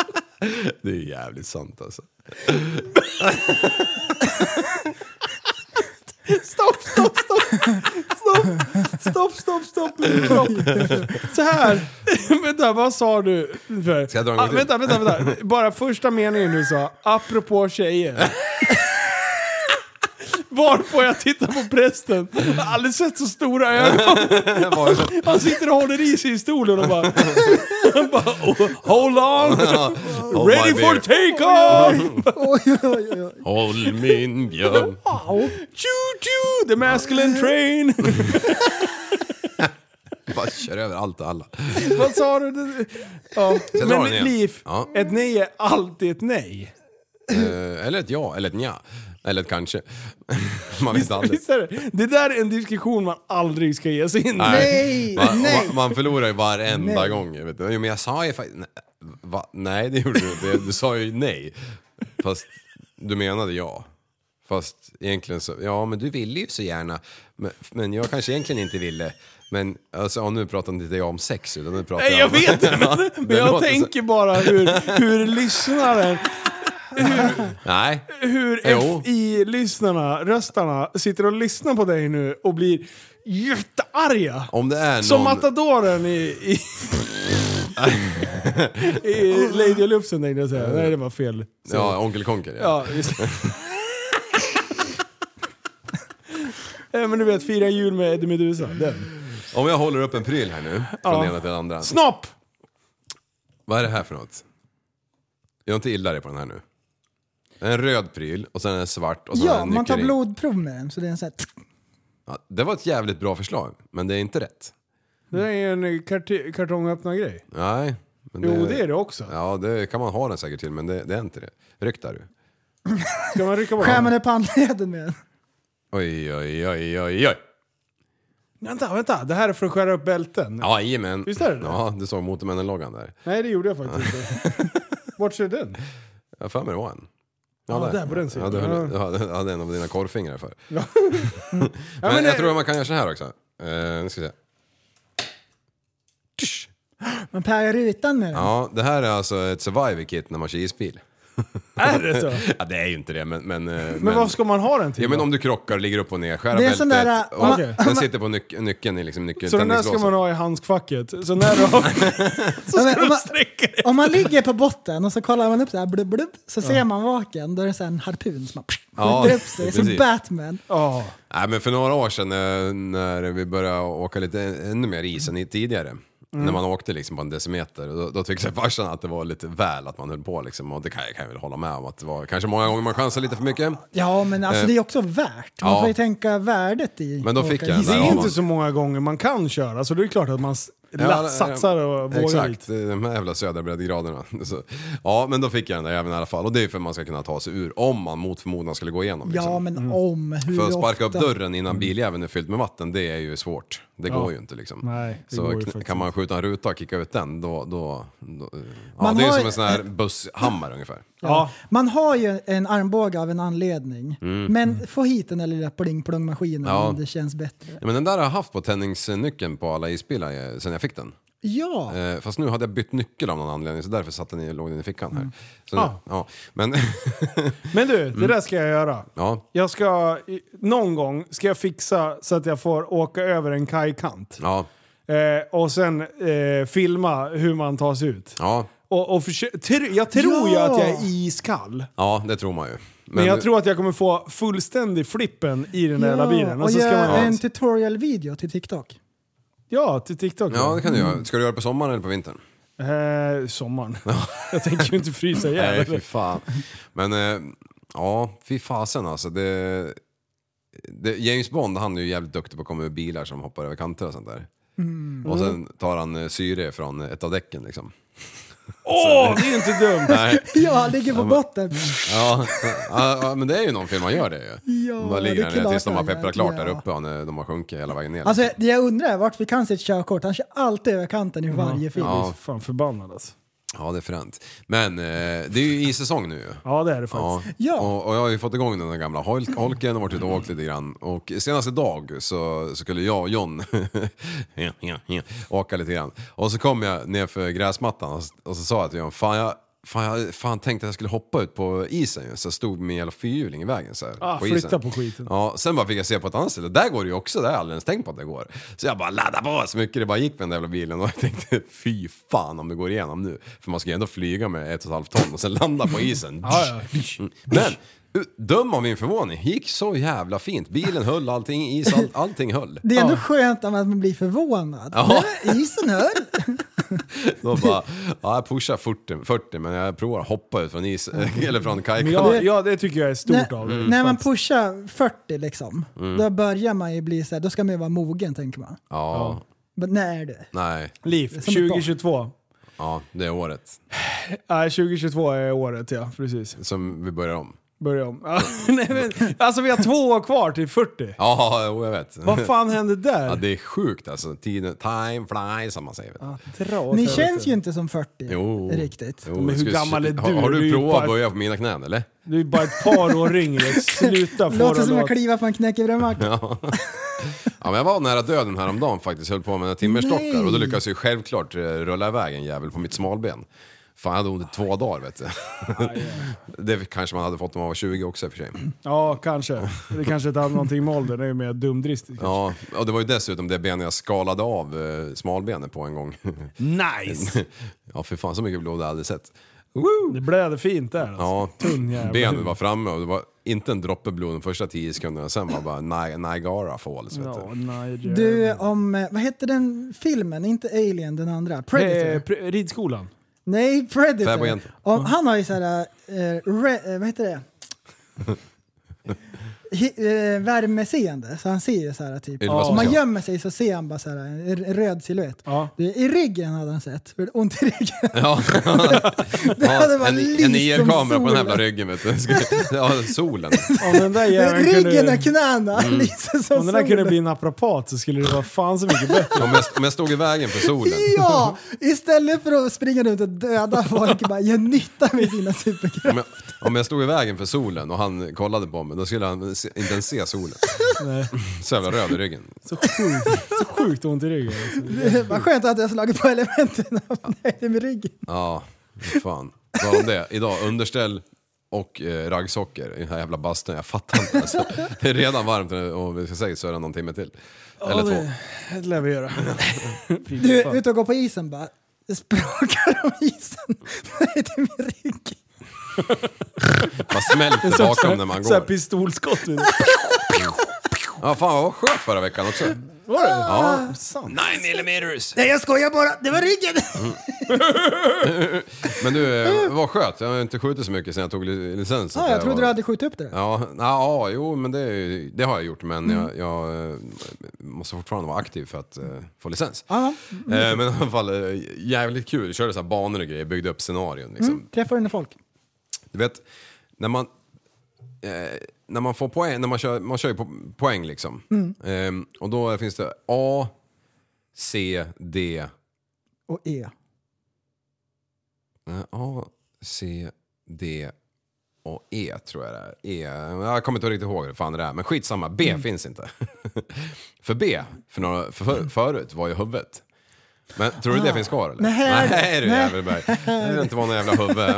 Speaker 4: <laughs> Det är jävligt sant alltså. <laughs>
Speaker 3: Stopp, stopp, stopp! Stopp, stopp, stopp, stopp, min kropp. Så här. <laughs> vänta, vad sa du?
Speaker 4: jag dra
Speaker 3: ah,
Speaker 4: en gång till?
Speaker 3: vänta, vänta, vänta. Bara första meningen du sa, apropå
Speaker 4: <laughs>
Speaker 3: tjejer. Varpå jag tittar på prästen. Jag har aldrig sett så stora ögon.
Speaker 4: Var det-
Speaker 3: Han sitter och håller i sig i stolen och bara... Han bara oh, hold on!
Speaker 4: Oh, my
Speaker 3: Ready for
Speaker 4: beer.
Speaker 3: take-off!
Speaker 5: Oj, oj, oj.
Speaker 4: Håll min björn.
Speaker 5: Wow.
Speaker 3: Choo-choo! The masculine train!
Speaker 4: Bara kör över allt och alla.
Speaker 3: <laughs> Vad sa du? Det- Ja.
Speaker 4: drar den
Speaker 3: Men
Speaker 4: igen.
Speaker 3: Liv,
Speaker 4: Ja.
Speaker 3: ett nej är alltid ett nej.
Speaker 4: Eh, Eller ett ja, eller ett nja. Eller ett kanske. <laughs> Man
Speaker 3: <laughs>
Speaker 4: vet aldrig.
Speaker 3: Visst är det? Det där är en diskussion man aldrig ska ge sig in i.
Speaker 5: Nej,
Speaker 4: Man,
Speaker 5: nej.
Speaker 4: man, man förlorar ju varenda gång. Vet du. Jo, men jag sa ju faktiskt... Nej, det gjorde du inte. Du sa ju nej. Fast du menade ja. Fast egentligen så, ja men du ville ju så gärna. Men, men jag kanske egentligen inte ville. Men alltså, ja, nu pratar inte jag om sex utan nu pratar
Speaker 3: Nej jag
Speaker 4: om...
Speaker 3: vet
Speaker 4: <laughs>
Speaker 3: det,
Speaker 4: Ja,
Speaker 3: men,
Speaker 4: det
Speaker 3: men jag
Speaker 4: låter så-
Speaker 3: tänker bara hur, hur lyssnaren,
Speaker 4: Nej.
Speaker 3: hur
Speaker 4: Jo.
Speaker 3: FI-lyssnarna, röstarna, sitter och lyssnar på dig nu och blir jättearga.
Speaker 4: Om det är någon...
Speaker 3: Som matadoren i...
Speaker 4: <laughs>
Speaker 3: i I Lady och Lufsen tänkte jag säga. Nej det var fel. Så-
Speaker 4: Ja, Onkel Konker. Ja.
Speaker 3: Ja, just <laughs> det. Nej, Eh, Men du vet, fira jul med Eddie Meduza. Den.
Speaker 4: Om jag håller upp en pryl här nu, från
Speaker 3: Ja.
Speaker 4: ena till den andra.
Speaker 3: Snopp!
Speaker 4: Vad är det här för något? Jag är inte illa det på den här nu. Det är En röd pryl och sen en svart och sen
Speaker 5: Ja,
Speaker 4: en
Speaker 5: man tar
Speaker 4: nyckelring.
Speaker 5: blodprov med den så det är en sån här...
Speaker 4: Ja, det var ett jävligt bra förslag, men det är inte rätt.
Speaker 3: Det är ju en eh, kart- kartongöppnargrej.
Speaker 4: Nej. Men
Speaker 3: Jo, det är det också.
Speaker 4: Ja, det kan man ha den säkert till, men det, det är inte det. Ryck där du.
Speaker 3: Ska man rycka bort
Speaker 5: Skär man
Speaker 3: den?
Speaker 5: upp handleden med den.
Speaker 4: Oj, oj, oj, oj, oj.
Speaker 3: Vänta, vänta. Det här är för att skära upp bälten.
Speaker 4: Ja, Jajamän.
Speaker 3: Visst är det det?
Speaker 4: Ja, du såg Motormännen-loggan där.
Speaker 3: Nej, det gjorde jag faktiskt inte.
Speaker 4: <laughs>
Speaker 3: Vart är den?
Speaker 4: Jag har för mig det var en.
Speaker 3: Ja, där på den sidan.
Speaker 4: Ja, du, höll,
Speaker 3: Ja.
Speaker 4: du hade, du hade en av dina korvfingrar för. <laughs> men,
Speaker 3: men det-
Speaker 4: jag tror att man kan göra så här också. Eh, nu ska vi se. Tysch.
Speaker 5: Man pajar rutan med den.
Speaker 4: Ja, det här är alltså ett survivor kit när man kör isbil.
Speaker 3: Är det så? Men,
Speaker 4: Ja, det är ju inte det, men... Men, eh, men,
Speaker 3: vad ska man ha den till?
Speaker 4: Ja men
Speaker 3: då?
Speaker 4: om du krockar, ligger upp och ner, skär
Speaker 5: Det är
Speaker 4: bältet
Speaker 5: sån där, äh,
Speaker 4: och
Speaker 5: om man-
Speaker 3: om <laughs>
Speaker 4: den sitter på nyc- nyckeln i liksom nyckeln.
Speaker 3: eh, så den där ska man ha i handskfacket. Så när du har...
Speaker 4: <laughs>
Speaker 5: Ja, men om, man,
Speaker 3: sträcker dig.
Speaker 5: om man ligger på botten och så kollar man upp så här blub, blub, så ser man vaken. Då är det så här en harpun som man
Speaker 4: Ja,
Speaker 5: skjuter upp sig. Som
Speaker 4: precis.
Speaker 5: Batman.
Speaker 3: Ja.
Speaker 4: Nej men för några år sedan eh, när vi började åka lite ännu mer is än i- tidigare.
Speaker 3: Mm.
Speaker 4: När man åkte liksom på en decimeter, då, då tyckte farsan att det var lite väl att man höll på liksom. Och det kan jag, kan jag väl hålla med om att det var kanske många gånger man chansade lite för mycket.
Speaker 5: Ja, men alltså
Speaker 4: Eh.
Speaker 5: det är också värt. Man
Speaker 4: Ja.
Speaker 5: får ju tänka värdet i
Speaker 4: Men då
Speaker 5: att
Speaker 4: fick
Speaker 5: åka
Speaker 4: jag den
Speaker 3: Det
Speaker 5: is.
Speaker 4: där.
Speaker 3: är
Speaker 4: har
Speaker 3: inte
Speaker 4: man.
Speaker 3: så många gånger man kan köra, så det är klart att man s- la-
Speaker 4: Ja,
Speaker 3: satsar och vågar
Speaker 4: Exakt,
Speaker 3: lite.
Speaker 4: de här jävla södra breddgraderna. <laughs> Så, ja, men då fick jag den där även i alla fall. Och det är ju för att man ska kunna ta sig ur om man mot förmodan skulle gå igenom. Liksom.
Speaker 5: Ja, men om hur
Speaker 4: För att sparka upp
Speaker 5: ofta.
Speaker 4: dörren
Speaker 3: Mm.
Speaker 4: innan biljäveln är fylld med vatten, det är ju svårt. Det går ju inte liksom.
Speaker 3: Nej, det
Speaker 4: så
Speaker 3: går ju
Speaker 4: kn-
Speaker 3: faktiskt
Speaker 4: kan man skjuta en ruta och kicka ut den, då... då, då ja,
Speaker 5: Man
Speaker 4: det är ju
Speaker 5: har-
Speaker 4: som en sån här busshammare ungefär.
Speaker 3: Ja.
Speaker 5: Man har ju en armbåge av en anledning. Men få hit den där lilla pling-plong-maskinen
Speaker 4: Mm. Ja.
Speaker 5: om det känns bättre.
Speaker 4: Ja, men den där har jag haft på tändningsnyckeln på alla isbilar eh, sen jag fick den.
Speaker 5: Ja,
Speaker 4: Eh, fast nu hade jag bytt nyckel av någon anledning, så därför satt den i, låg den i fickan här. Så,
Speaker 3: Ah.
Speaker 4: ja, men... <laughs>
Speaker 3: Men du, det där ska jag göra.
Speaker 4: ja,
Speaker 3: Jag ska, i- någon gång ska jag fixa så att jag får åka över en kajkant.
Speaker 4: ja,
Speaker 3: Eh, och sen eh, filma hur man tar sig ut.
Speaker 4: ja,
Speaker 3: Och, och försö- tr- jag tror ju
Speaker 5: Ja.
Speaker 3: att jag är iskall.
Speaker 4: ja, det tror man ju.
Speaker 3: Men jag tror att jag kommer få fullständig flippen i den där
Speaker 5: ja.
Speaker 3: jävla bilen.
Speaker 5: och
Speaker 3: Och så ska
Speaker 5: göra
Speaker 3: man,
Speaker 5: en tutorial-video till TikTok.
Speaker 3: ja, till TikTok.
Speaker 4: Ja, det kan du göra. Ska du göra det på sommaren eller på vintern?
Speaker 3: Eh, sommaren. jag tänker ju inte frysa ihjäl.
Speaker 4: Nej, fy fan. Men eh, ja, fy fasen alltså. Det, det, James Bond, han är ju jävligt duktig på att komma ur bilar som hoppar över kanter och sånt där.
Speaker 5: Mm.
Speaker 4: Och sen tar han eh, syre från ett av däcken liksom.
Speaker 3: Åh, det är inte dumt!
Speaker 4: Nej, <laughs>
Speaker 5: Ja, ligger på botten.
Speaker 4: ja, ja, ja, men det är ju någon film man gör det ju.
Speaker 5: Ja,
Speaker 4: Bara
Speaker 5: det
Speaker 4: ligger
Speaker 5: är
Speaker 4: han ner
Speaker 5: klart
Speaker 4: tills de har
Speaker 5: han gör.
Speaker 4: pepprat klart där
Speaker 5: Ja.
Speaker 4: uppe och han, eh, de har sjunkit hela vägen ner. liksom.
Speaker 5: Alltså, det jag undrar är vart vi kan se ett körkort. Han kör alltid över kanten
Speaker 4: Mm.
Speaker 5: i varje film.
Speaker 3: Jag är fan förbannad alltså.
Speaker 4: Ja, det är fränt. Men eh, det är ju issäsong nu ju.
Speaker 3: Ja, det är det faktiskt.
Speaker 4: Ja.
Speaker 5: Ja.
Speaker 4: Och, och jag har ju fått igång den där gamla holk- holken och varit ute och åkt lite grann. Och senast idag så, så skulle jag och John <laughs> ja, ja, ja, åka lite grann. Och så kom jag ner för gräsmattan och, s- och så sa jag till John, fan jag Fan, jag fan tänkte att jag skulle hoppa ut på isen ju, så jag stod med hela fyrhjuling i vägen så här,
Speaker 3: Ah,
Speaker 4: på
Speaker 3: flytta
Speaker 4: isen.
Speaker 3: på skiten.
Speaker 4: Ja, sen bara fick jag se på ett annat ställe, där går det ju också, där har jag aldrig ens tänkt på att det går. Så jag bara laddade på så mycket det bara gick med den där jävla bilen och jag tänkte fy fan om det går igenom nu. För man ska ju ändå flyga med ett och ett halvt ton och sen landa på isen.
Speaker 3: Ja, ja.
Speaker 4: Mm. Men u- döm av min förvåning, gick så jävla fint. Bilen höll, allting, is, all, allting höll.
Speaker 5: Det är ändå skönt att man blir förvånad.
Speaker 4: Ja.
Speaker 5: Nej,
Speaker 3: <laughs>
Speaker 5: isen höll.
Speaker 4: Då bara, ja, jag pushar 40, 40 men jag provar att hoppa ut från is, <laughs> eller från
Speaker 3: Men
Speaker 4: kajkan.
Speaker 3: ja,
Speaker 5: Det-
Speaker 3: ja, det tycker jag är stort
Speaker 5: när,
Speaker 3: av dig.
Speaker 5: när man
Speaker 3: faktiskt.
Speaker 5: pushar 40 liksom,
Speaker 4: Mm.
Speaker 5: då börjar man ju bli så här, då ska man ju vara mogen tänker man.
Speaker 4: Ja,
Speaker 5: Men när är det?
Speaker 4: nej,
Speaker 3: Liv,
Speaker 5: som ett barn.
Speaker 3: 2022.
Speaker 4: ja, det är året
Speaker 3: Nej, 2022 är året ja, precis.
Speaker 4: som vi börjar om.
Speaker 3: Börja om. <laughs> Nej, men, alltså vi har två år kvar till 40.
Speaker 4: Ja, jo, jag vet.
Speaker 3: Vad fan hände
Speaker 4: Ja,
Speaker 3: där?
Speaker 4: det är sjukt alltså. Tiden, time flies som man säger. vet du.
Speaker 3: Dra åt
Speaker 5: Ni
Speaker 3: helvete.
Speaker 5: känns ju inte som 40
Speaker 4: Jo.
Speaker 5: riktigt.
Speaker 4: Jo,
Speaker 3: Men hur
Speaker 4: skulle-
Speaker 3: gammal är
Speaker 4: Har,
Speaker 3: du?
Speaker 4: har
Speaker 3: Du är
Speaker 4: du
Speaker 3: ju
Speaker 4: provat
Speaker 3: bara-
Speaker 4: att böja på mina knän eller?
Speaker 3: Du är bara ett par år <laughs> yngre. Sluta
Speaker 5: Låter som
Speaker 3: kliver.
Speaker 5: jag kliver på en knäckebrödmack.
Speaker 4: Ja, men jag var nära döden häromdagen faktiskt. Höll på med mina timmerstockar
Speaker 5: Nej.
Speaker 4: och då lyckades jag ju självklart eh, rulla iväg en jävel på mitt smalben. Fan, jag hade ont i två dagar vet du.
Speaker 3: Ah,
Speaker 4: <laughs> Det kanske man hade fått om man var 20 också i och för sig.
Speaker 3: Ja, kanske. Det kanske inte hade någonting med åldern, det är ju mer dumdristigt.
Speaker 4: Ja, och det var ju dessutom det ben jag skalade av eh, smalbenet på en gång. <laughs>
Speaker 3: Nice!
Speaker 4: Ja, för fan så mycket blod har jag aldrig sett.
Speaker 3: Det blöder fint där alltså.
Speaker 4: Ja,
Speaker 3: Tunn jävel.
Speaker 4: benet var framme och det var inte en droppe blod de första 10 sekunderna. Sen var bara Ni- Niagara Falls vet
Speaker 3: Ja,
Speaker 4: du.
Speaker 3: nej, det-
Speaker 5: Du, om, eh, vad hette den filmen? Inte Alien, den andra. Predator?
Speaker 3: Eh, pre- ridskolan.
Speaker 5: Nej, Predator.
Speaker 4: Fäbodjäntan.
Speaker 5: Om, han har ju så här, eh, re, eh, vad
Speaker 3: <laughs>
Speaker 5: heter det? Hi, eh, värmeseende, så han ser ju så här typ.
Speaker 4: Ylva
Speaker 5: Om man
Speaker 4: Special.
Speaker 5: gömmer sig så ser han bara så här en r- röd silhuett.
Speaker 3: Ja.
Speaker 5: Du, I ryggen hade han sett, för ont i ryggen.
Speaker 4: <laughs> Ja.
Speaker 5: hade
Speaker 4: ja,
Speaker 5: varit
Speaker 4: en
Speaker 5: list
Speaker 4: en IR-kamera
Speaker 5: som
Speaker 4: på den här
Speaker 5: solen.
Speaker 4: jävla ryggen vet du. Ska- Ja, solen.
Speaker 3: Om den
Speaker 5: <laughs>
Speaker 3: där jäveln
Speaker 5: Ryggen och
Speaker 3: kunde, Mm.
Speaker 5: knäna lyser som
Speaker 3: om den där kunde
Speaker 5: solen.
Speaker 3: bli en naprapat så skulle det vara fan så mycket bättre.
Speaker 4: Om jag, om jag stod i vägen för solen.
Speaker 5: Ja! Istället för att springa runt och döda folk bara gör nytta med dina superkrafter.
Speaker 4: Om jag, om jag stod i vägen för solen och han kollade på mig, då skulle han se, inte ens se solen. Så jävla röd i ryggen.
Speaker 3: Så sjukt, så sjukt ont i ryggen. Alltså.
Speaker 5: Vad skönt att jag har slagit på <laughs> elementen av nöjd med ryggen.
Speaker 4: Ja, fan. Vad om det. Idag, underställ och eh, raggsockor i den här jävla bastun. Jag fattar inte. Alltså. Det är redan varmt nu och vi ska säga så är det någon timme till. Eller två.
Speaker 3: Det lär vi göra.
Speaker 5: Du är ute och går på isen bara. Sprakar om isen. <laughs> Nej, det är min rygg.
Speaker 4: Man
Speaker 5: <laughs>
Speaker 4: smälter bakom när man
Speaker 3: Såhär
Speaker 4: går.
Speaker 3: pistolskott. <laughs> vet du.
Speaker 4: Ja, fan vad jag sköt förra veckan också.
Speaker 3: Var det?
Speaker 4: Ja.
Speaker 3: Sant.
Speaker 4: 9 millimeters!
Speaker 5: Nej, jag skojar bara. Det var ryggen.
Speaker 4: Men du, eh, vad sköt? Jag har inte skjutit så mycket sen jag tog li- licensen.
Speaker 5: Ja, jag trodde du
Speaker 4: var-
Speaker 5: hade skjutit upp det. där.
Speaker 4: Ja, na, ja, jo, men det, är ju- det har jag gjort. Men
Speaker 5: Mm.
Speaker 4: jag, jag eh, måste fortfarande vara aktiv för att eh, få licens.
Speaker 5: Ja,
Speaker 4: Eh, men i alla fall, eh, jävligt kul. Körde så här banor och grejer, byggde upp scenarion. Liksom.
Speaker 5: träffar du folk?
Speaker 4: Du vet, när man, eh, när man får poäng, när man kör, man kör ju po- poäng liksom.
Speaker 5: Mm.
Speaker 4: Ehm, och då finns det A, C, D.
Speaker 5: Och E.
Speaker 4: eh, A, C, D och E tror jag det är. E, jag kommer inte riktigt ihåg hur fan det är, men skitsamma. B
Speaker 5: Mm.
Speaker 4: finns inte. <laughs> för B, för, några, för,
Speaker 5: Mm.
Speaker 4: för förut, var ju huvudet. Men tror du det finns kvar eller?
Speaker 5: Ah. Nej,
Speaker 4: <laughs> Nej du
Speaker 5: nej.
Speaker 4: jävelberg. Det vill inte vara någon jävla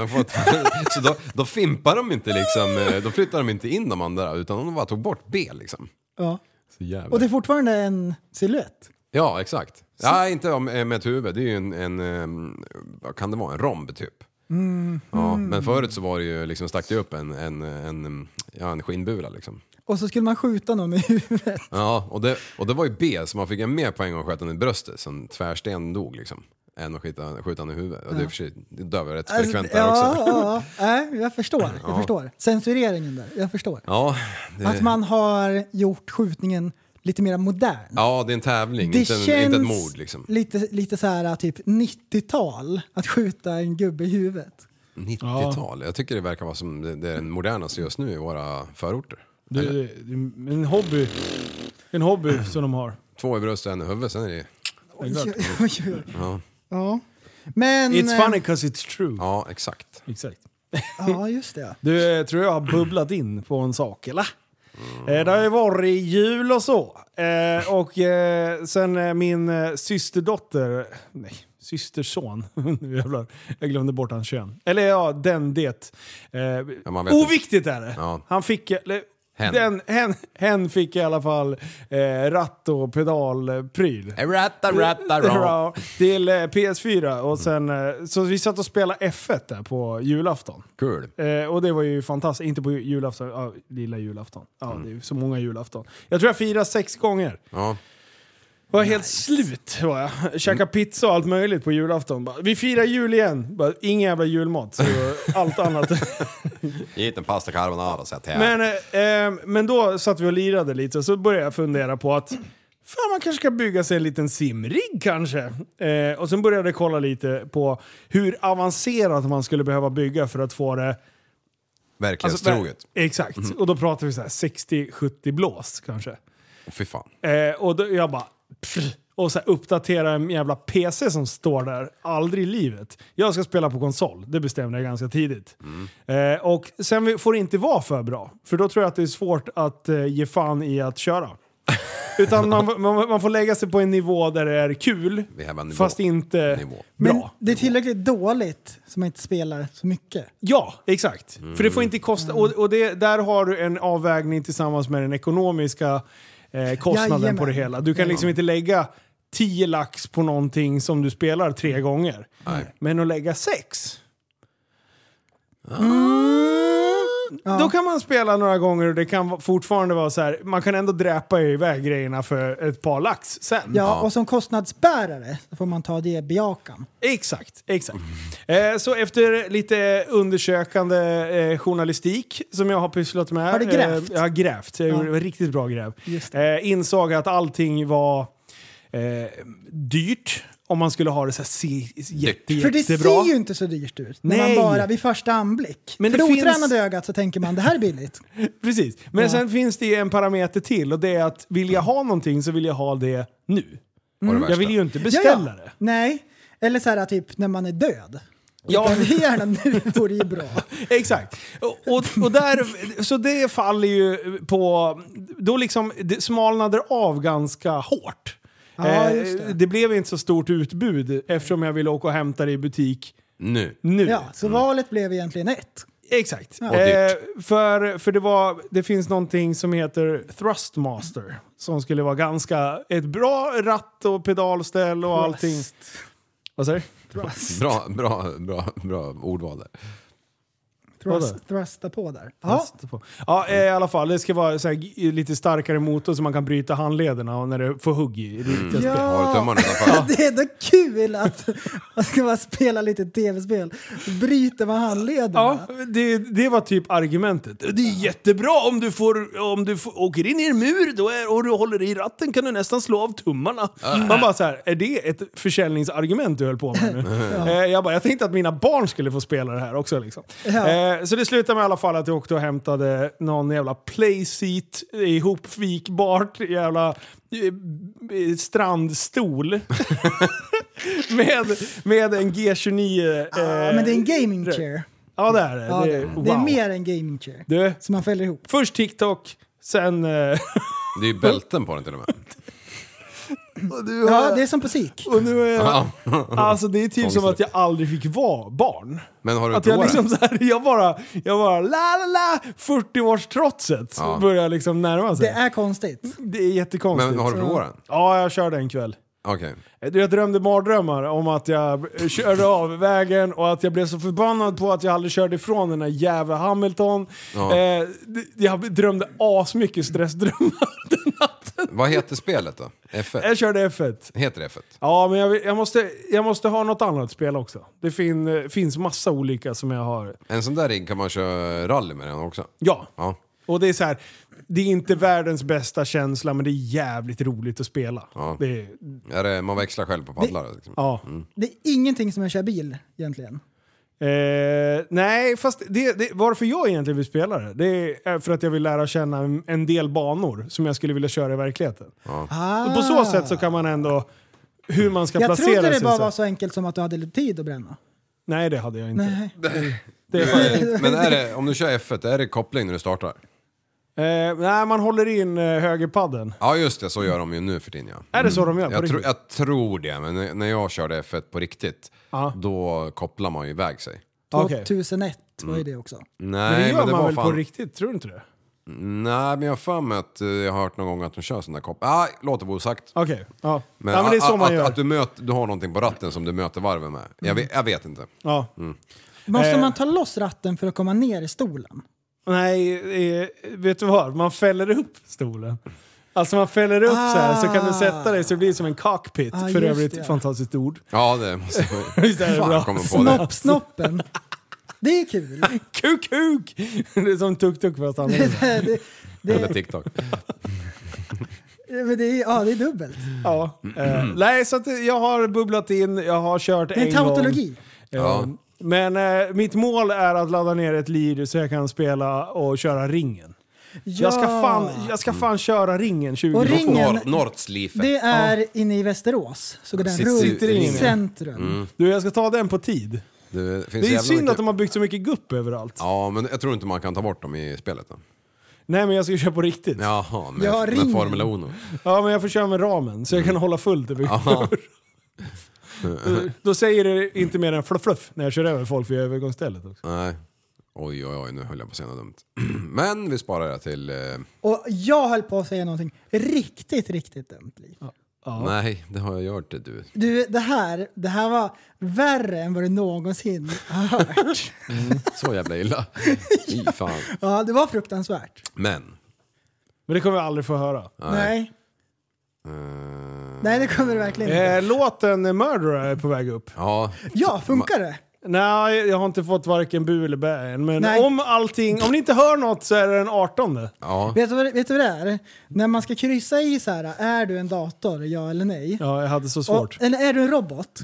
Speaker 4: huvud. <laughs> Så då, då fimpar de inte liksom, eh, då flyttar de inte in de andra utan de bara tog bort B liksom.
Speaker 5: Ja.
Speaker 4: Så jävla.
Speaker 5: Och det är fortfarande en silhuett.
Speaker 4: Ja exakt. Ja, inte om- eh, med ett huvud, det är ju en, en eh, vad kan det vara, en romb typ.
Speaker 5: Mm.
Speaker 4: Ja, men förut så var det ju liksom, stack det upp en, en, en, ja, en skinnbula liksom.
Speaker 5: Och så skulle man skjuta någon i huvudet.
Speaker 4: Ja, och det, och det var ju B, så man fick en mer poäng av att skjuta den i bröstet, så en tvärsten dog liksom. Än att skjuta, skjuta den i huvudet. Och det är i och för sig, det dör vi rätt frekvent där
Speaker 5: Alltså, ja,
Speaker 4: också.
Speaker 5: ja, ja. Nej, jag förstår. Jag förstår. Censureringen där. Jag förstår.
Speaker 4: Ja, det,
Speaker 5: Att man har gjort skjutningen lite mer modern.
Speaker 4: ja, det är en tävling,
Speaker 5: Det
Speaker 4: inte, en,
Speaker 5: känns
Speaker 4: inte ett mord liksom.
Speaker 5: lite, lite så här typ 90-tal att skjuta en gubbe i huvudet.
Speaker 4: 90-tal, jag tycker det verkar vara som det, det är den modernaste just nu i våra förorter.
Speaker 3: Du, du- en hobby. En hobby som de har.
Speaker 4: Två i bröstet och en i huvudet, sen är det
Speaker 5: Oj, <laughs> oj, oj, oj. Ja. Men...
Speaker 3: It's
Speaker 5: eh,
Speaker 3: funny 'cause it's true.
Speaker 4: Ja, exakt.
Speaker 3: Exakt.
Speaker 5: Ja, just det.
Speaker 3: Du, eh, tror jag har bubblat in på en sak, eller? Eh, Det har ju varit jul och så. Eh, och eh, sen eh, min eh, systerdotter, nej, systerson, <laughs> nu jävlar, jag glömde bort hans kön. Eller ja, den det. Eh,
Speaker 4: man vet
Speaker 3: oviktigt är det.
Speaker 4: Ja.
Speaker 3: Han fick, eller,
Speaker 4: Hen.
Speaker 3: Den, hen, hen fick i alla fall eh, ratt och pedalpryl.
Speaker 4: Ratta, <laughs> ratta,
Speaker 3: <laughs>
Speaker 4: ra.
Speaker 3: Ja, Till eh, PS4 och sen, eh, så vi satt och spelade F1 där på julafton.
Speaker 4: Kul.
Speaker 3: Eh, och det var ju fantastiskt. Inte på ju- julafton, ja, lilla julafton. Ja, det är ju så många julafton. Jag tror jag firade sex gånger.
Speaker 4: Ja.
Speaker 3: Var helt slut var jag. Käkade pizza och allt möjligt på julafton. Bara, vi firar jul igen! Bara, ingen jävla julmat. Så allt annat.
Speaker 4: Hit en pasta carbonara så jag tävlar.
Speaker 3: men, eh, eh, men då satt vi och lirade lite och så började jag fundera på att Fan, man kanske ska bygga sig en liten simrigg kanske. Eh, och sen började jag kolla lite på hur avancerat man skulle behöva bygga för att få det
Speaker 4: Verklighetstroget.
Speaker 3: Alltså, Exakt,
Speaker 4: Mhm.
Speaker 3: och då pratar vi så här 60-70 blås kanske.
Speaker 4: Åh, Fy fan.
Speaker 3: Eh, och då, jag bara... pff, Och så här, uppdatera en jävla PC som står där. Aldrig i livet. Jag ska spela på konsol. Det bestämde jag ganska tidigt.
Speaker 4: Mm.
Speaker 3: Eh, och sen vi- får det inte vara för bra. För då tror jag att det är svårt att eh, ge fan i att
Speaker 4: <laughs>
Speaker 3: köra. Utan man, man, man får lägga sig på en nivå där det är kul,
Speaker 4: Vi har en nivå.
Speaker 3: fast inte
Speaker 4: Nivå.
Speaker 3: bra.
Speaker 5: Men det är tillräckligt dåligt så man inte spelar så mycket.
Speaker 3: Ja, exakt. För det får inte kosta. Och, och det, där har du en avvägning tillsammans med den ekonomiska eh, kostnaden
Speaker 5: Jajamän.
Speaker 3: på det hela. Du kan liksom inte lägga 10 lax på någonting som du spelar tre gånger.
Speaker 4: Nej.
Speaker 3: Men att lägga sex. Mm. Då kan man spela några gånger och det kan va- fortfarande vara så här. man kan ändå dräpa iväg grejerna för ett par lax sen.
Speaker 5: Ja, och som kostnadsbärare så får man ta det i beakan.
Speaker 3: Exakt, exakt. Eh, så efter lite undersökande eh, journalistik som jag har pysslat med.
Speaker 5: Har du grävt?
Speaker 3: Eh, jag har grävt. Jag gjorde en riktigt bra gräv.
Speaker 5: Just
Speaker 3: Eh, insåg att allting var eh, dyrt om man skulle ha det så här se, jätte,
Speaker 5: För det
Speaker 3: jättebra.
Speaker 5: ser ju inte så dyrt ut när
Speaker 3: Nej.
Speaker 5: man bara vid första anblick.
Speaker 3: Men
Speaker 5: Men För
Speaker 3: det
Speaker 5: det
Speaker 3: finns-
Speaker 5: otränade ögat så tänker man det här är billigt.
Speaker 3: Precis. Men sen finns det ju en parameter till och det är att vill jag ha någonting så vill jag ha det nu.
Speaker 4: Var det
Speaker 3: Jag
Speaker 4: värsta.
Speaker 3: vill ju inte
Speaker 5: Ja,
Speaker 3: beställa
Speaker 5: ja.
Speaker 3: det.
Speaker 5: Nej, eller så här typ när man är död.
Speaker 3: Ja.
Speaker 5: Ja. Det är gärna nu vore ju bra.
Speaker 3: Exakt. Och, och, och där, så det faller ju på... Då liksom det smalnade av ganska hårt.
Speaker 5: Ja,
Speaker 3: Eh,
Speaker 5: just det.
Speaker 3: blev inte så stort utbud eftersom jag ville åka och hämta det i butik
Speaker 4: Nu.
Speaker 3: nu.
Speaker 5: Ja, så valet blev egentligen ett.
Speaker 3: Exakt.
Speaker 4: Och dyrt.
Speaker 3: Eh, för för det, var, det finns någonting som heter Thrustmaster. Som skulle vara ganska... Ett bra ratt och pedalställ och allting. Vad säger du?
Speaker 4: Bra, bra, bra, bra ordval där.
Speaker 3: Vadå?
Speaker 5: Thrust, thrusta på där. Ja,
Speaker 3: På. Ja, eh, i alla fall. Det ska vara så här, g- lite starkare motor så man kan bryta handlederna och när det får hugg i. i riktiga spel.
Speaker 5: <laughs> Ja.
Speaker 4: Har du tummarna utanför?
Speaker 5: Det är då kul att man ska bara spela lite tv-spel. Bryter man handlederna.
Speaker 3: Ja, det, det var typ argumentet. Det är jättebra om du, får, om du får, åker in i en mur då är, och du håller i ratten kan du nästan slå av tummarna. Man bara så här, är det ett försäljningsargument du höll på med
Speaker 5: <laughs>
Speaker 3: nu? Eh, jag bara, jag tänkte att mina barn skulle få spela det här också. Liksom.
Speaker 5: Ja.
Speaker 3: Eh, så det slutade med i alla fall att jag åkte och hämtade någon jävla playseat eh, ihopvikbart jävla eh, eh,
Speaker 5: <laughs>
Speaker 3: strandstol. <laughs> med, med en G29...
Speaker 5: Ja,
Speaker 3: eh,
Speaker 5: men det är en gaming chair.
Speaker 3: Ja det är det.
Speaker 5: Ja,
Speaker 3: det,
Speaker 5: det,
Speaker 3: är,
Speaker 5: är,
Speaker 3: wow.
Speaker 5: det är mer än gaming chair.
Speaker 3: Du,
Speaker 5: Så man fäller ihop.
Speaker 3: först TikTok, sen...
Speaker 5: <laughs>
Speaker 3: eh,
Speaker 4: Det är ju bälten på den till och med.
Speaker 3: <laughs>
Speaker 5: Ja, det är som på SIK.
Speaker 3: Och nu är jag,
Speaker 4: Ja.
Speaker 3: alltså det är typ som att jag aldrig fick vara barn.
Speaker 4: <laughs> Men har du
Speaker 3: Att jag
Speaker 4: provat
Speaker 3: liksom
Speaker 4: den?
Speaker 3: så här, <laughs> jag bara, jag bara la la la, 40-årstrotset
Speaker 4: Ja.
Speaker 3: börjar liksom närma sig.
Speaker 5: Det
Speaker 3: Det är,
Speaker 5: är konstigt.
Speaker 3: jättekonstigt.
Speaker 4: Men har du provat den?
Speaker 3: Ja, jag körde en kväll.
Speaker 4: Okej.
Speaker 3: Du, Jag drömde mardrömmar om att jag körde av vägen och att jag blev så förbannad på att jag aldrig körde ifrån den där jävla Hamilton.
Speaker 4: Ja.
Speaker 3: Eh, d- jag drömde asmycket stressdrömmar <laughs> den natten.
Speaker 4: Vad heter spelet då? F1?
Speaker 3: Jag körde F1.
Speaker 4: Heter det F1?
Speaker 3: Ja, men jag, vill- jag, måste, jag måste ha något annat spel också. Det fin, eh, finns massa olika som jag har.
Speaker 4: En sån där rigg kan man köra rally med den också.
Speaker 3: Ja.
Speaker 4: Ja.
Speaker 3: Och det är så här, det är inte världens bästa känsla, men det är jävligt roligt att spela.
Speaker 4: Ja.
Speaker 3: Det är,
Speaker 4: Är det, man växlar själv på paddlar. Liksom.
Speaker 3: ja.
Speaker 5: Det är ingenting som jag kör bil egentligen.
Speaker 3: Eh, nej, fast det, det, varför jag egentligen vill spela det, det är för att jag vill lära känna en, en del banor som jag skulle vilja köra i verkligheten.
Speaker 5: Ah.
Speaker 3: Och på så sätt så kan man ändå, hur man ska
Speaker 5: jag
Speaker 3: placera sig.
Speaker 5: trodde det bara
Speaker 3: så-
Speaker 5: var så enkelt som att du hade lite tid att bränna.
Speaker 3: Nej, det hade jag inte.
Speaker 5: Nej.
Speaker 3: Det är
Speaker 4: Eh, Men är det, om du kör F1, är det koppling när du startar?
Speaker 3: Eh, nej, man håller in eh, högerpadden.
Speaker 4: Ja just det, så gör de ju nu för tiden ja.
Speaker 3: Är det så de gör? på
Speaker 4: Jag, tro,
Speaker 3: riktigt?
Speaker 4: jag tror det, men när- när jag körde F1 på riktigt,
Speaker 3: Ja.
Speaker 4: då kopplar man ju iväg sig.
Speaker 5: Eh,
Speaker 3: Okej.
Speaker 5: 2001 var ju det också.
Speaker 4: Nej,
Speaker 3: Men det
Speaker 4: men
Speaker 3: gör
Speaker 4: det,
Speaker 3: man
Speaker 4: var
Speaker 3: väl
Speaker 4: fan...
Speaker 3: på riktigt? Tror du inte det?
Speaker 4: Nej, men jag har för mig att eh, jag har hört någon gång att de kör sån där koppling. Ah, låt det vara osagt.
Speaker 3: Okej. Ja.
Speaker 4: Men,
Speaker 3: ja, men det är så
Speaker 4: att,
Speaker 3: man
Speaker 4: att,
Speaker 3: gör. Mm.
Speaker 4: Att du, möter, du har någonting på ratten som du möter varven med. Jag vet, jag vet inte.
Speaker 3: ja.
Speaker 5: Måste
Speaker 3: Eh.
Speaker 5: man ta loss ratten för att komma ner i stolen?
Speaker 3: Nej, eh, vet du vad? Man fäller upp stolen. Alltså man fäller upp så här så kan du sätta dig så det blir som en cockpit.
Speaker 5: Ah,
Speaker 3: för
Speaker 5: just
Speaker 3: övrigt
Speaker 5: det.
Speaker 3: fantastiskt ord. <laughs>
Speaker 4: Ja, det måste
Speaker 3: Visst är det
Speaker 4: Fan,
Speaker 3: bra?
Speaker 4: jag <laughs> kommer på det.
Speaker 5: Snoppsnoppen. Det är
Speaker 4: <laughs>
Speaker 5: kul.
Speaker 3: Kuk, kuk! <laughs> Det är som tuk-tuk fast annorlunda.
Speaker 5: det, det,
Speaker 4: Eller typ. TikTok.
Speaker 5: men det, är, ja, det är dubbelt.
Speaker 3: Ja. Eh, nej, så att jag har bubblat in, jag har kört
Speaker 5: Det är
Speaker 3: gång.
Speaker 5: en tautologi.
Speaker 3: Eh,
Speaker 4: Ja.
Speaker 3: Men eh, mitt mål är att ladda ner ett lir så jag kan spela och köra ringen. Jag ska fan, jag ska fan köra ringen 20
Speaker 5: Och ring- Ingen-
Speaker 4: Nor- Nordslife.
Speaker 5: Det är inne i Västerås, så går den
Speaker 4: Sitter-
Speaker 5: runt
Speaker 4: sitter
Speaker 5: i
Speaker 4: inne. Mm.
Speaker 5: centrum.
Speaker 3: Du, jag ska ta den på tid.
Speaker 4: Det, finns
Speaker 3: Det är
Speaker 4: jävla
Speaker 3: synd
Speaker 4: mycket-
Speaker 3: att de har byggt så mycket gupp överallt.
Speaker 4: Ja, men jag tror inte man kan ta bort dem i spelet då.
Speaker 3: Nej men jag ska köra på riktigt. Ja.
Speaker 4: Jaha, med,
Speaker 5: Ja, ringen.
Speaker 4: med Formel 1.
Speaker 3: men jag får köra med ramen så jag kan hålla fullt. över- Då säger det inte mer än fluff, fluff när jag kör över folk vid övergångsstället. Också.
Speaker 4: Nej. Oj, oj, oj, nu höll jag på att säga något dumt. <clears throat> Men vi sparar det till... Eh,
Speaker 5: Och jag höll på att säga någonting riktigt, riktigt dumt. Liv.
Speaker 4: Nej, det har jag gjort det du.
Speaker 5: Du, det här, det här var värre än vad du någonsin <laughs> har hört.
Speaker 4: Så
Speaker 3: <laughs>
Speaker 4: jävla illa. Fy fan.
Speaker 5: Ja, det var fruktansvärt.
Speaker 4: Men.
Speaker 3: Men det kommer vi aldrig få höra.
Speaker 5: Nej. Nej,
Speaker 4: eh,
Speaker 5: det kommer det verkligen inte.
Speaker 3: Eh, låten Murderer är på väg upp.
Speaker 4: Ja,
Speaker 5: Ja, funkar det?
Speaker 3: Nej, jag har inte fått varken bu eller bä än. Men
Speaker 5: Nej.
Speaker 3: om allting, om ni inte hör något så är det den 18.
Speaker 4: ja.
Speaker 5: Vet du, vad, vet du vad det är? När man ska kryssa i så här, är du en dator, ja eller nej?
Speaker 3: Ja, jag hade så svårt.
Speaker 5: Och, eller är du en robot?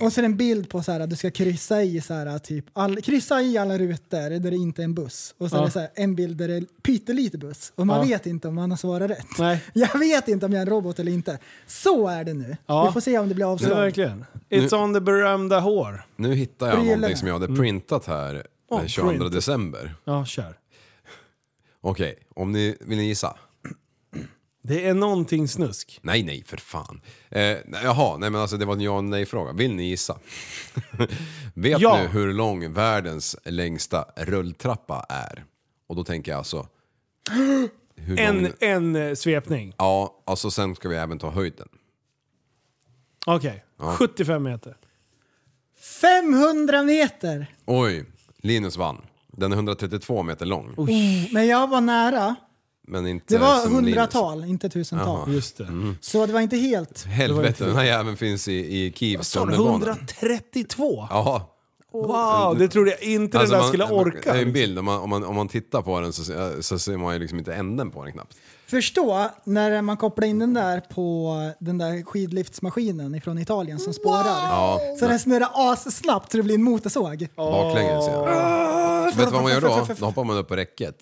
Speaker 5: Och så är det en bild på så här att du ska kryssa i så här typ all, kryssa i alla rutor där det inte är en buss. Och så
Speaker 3: Ja.
Speaker 5: är det så här, en bild där det är pyttelite buss. Och man
Speaker 3: Ja.
Speaker 5: vet inte om man har svarat rätt.
Speaker 3: Nej.
Speaker 5: <laughs> Jag vet inte om jag är en robot eller inte. Så är det nu.
Speaker 3: Ja.
Speaker 5: Vi får se om det blir
Speaker 3: Så
Speaker 5: avslag.
Speaker 3: verkligen. It's on the berömda hår.
Speaker 4: Nu hittar
Speaker 5: Och
Speaker 4: jag
Speaker 5: det gäller
Speaker 4: någonting
Speaker 5: det.
Speaker 4: som jag hade printat här
Speaker 3: Mm. Åh,
Speaker 4: den 22
Speaker 3: print.
Speaker 4: december.
Speaker 3: Ja, kör.
Speaker 4: Okej, om ni vill ni gissa?
Speaker 3: Det är någonting snusk.
Speaker 4: Nej, nej, för fan. Eh, nej, jaha, nej men alltså det var en ja och nej-fråga. Vill ni gissa? <laughs> Vet
Speaker 3: Ja.
Speaker 4: ni hur lång världens längsta rulltrappa är? Och då tänker jag alltså... <gasps> Hur
Speaker 3: En,
Speaker 4: lång...
Speaker 3: en eh, svepning.
Speaker 4: Ja, alltså sen ska vi även ta höjden.
Speaker 3: Okej. 75 meter.
Speaker 5: 500 meter!
Speaker 4: Oj, Linus vann. Den är 132 meter lång.
Speaker 5: Men jag var nära.
Speaker 4: Men inte
Speaker 5: Det var
Speaker 4: som Linus.
Speaker 5: hundratal, inte tusental.
Speaker 3: Just det.
Speaker 5: Så det var inte helt...
Speaker 4: Helvete, den här jäveln finns i, i Kievs
Speaker 3: Så
Speaker 4: tunnelbana.
Speaker 3: 132?
Speaker 4: Ja,
Speaker 3: Wow, det trodde jag inte den där skulle orka.
Speaker 4: Det är en bild, om man, om man, om man tittar på den så, ser- så ser man ju liksom inte änden på den knappt.
Speaker 5: Förstå när man kopplar in den där på den där skidliftsmaskinen ifrån Italien som spårar.
Speaker 4: Ja,
Speaker 5: Så den snurrar assnabbt så det blir en motorsåg.
Speaker 4: baklänges ja. Vet du vad man gör då? Då hoppar man upp på räcket.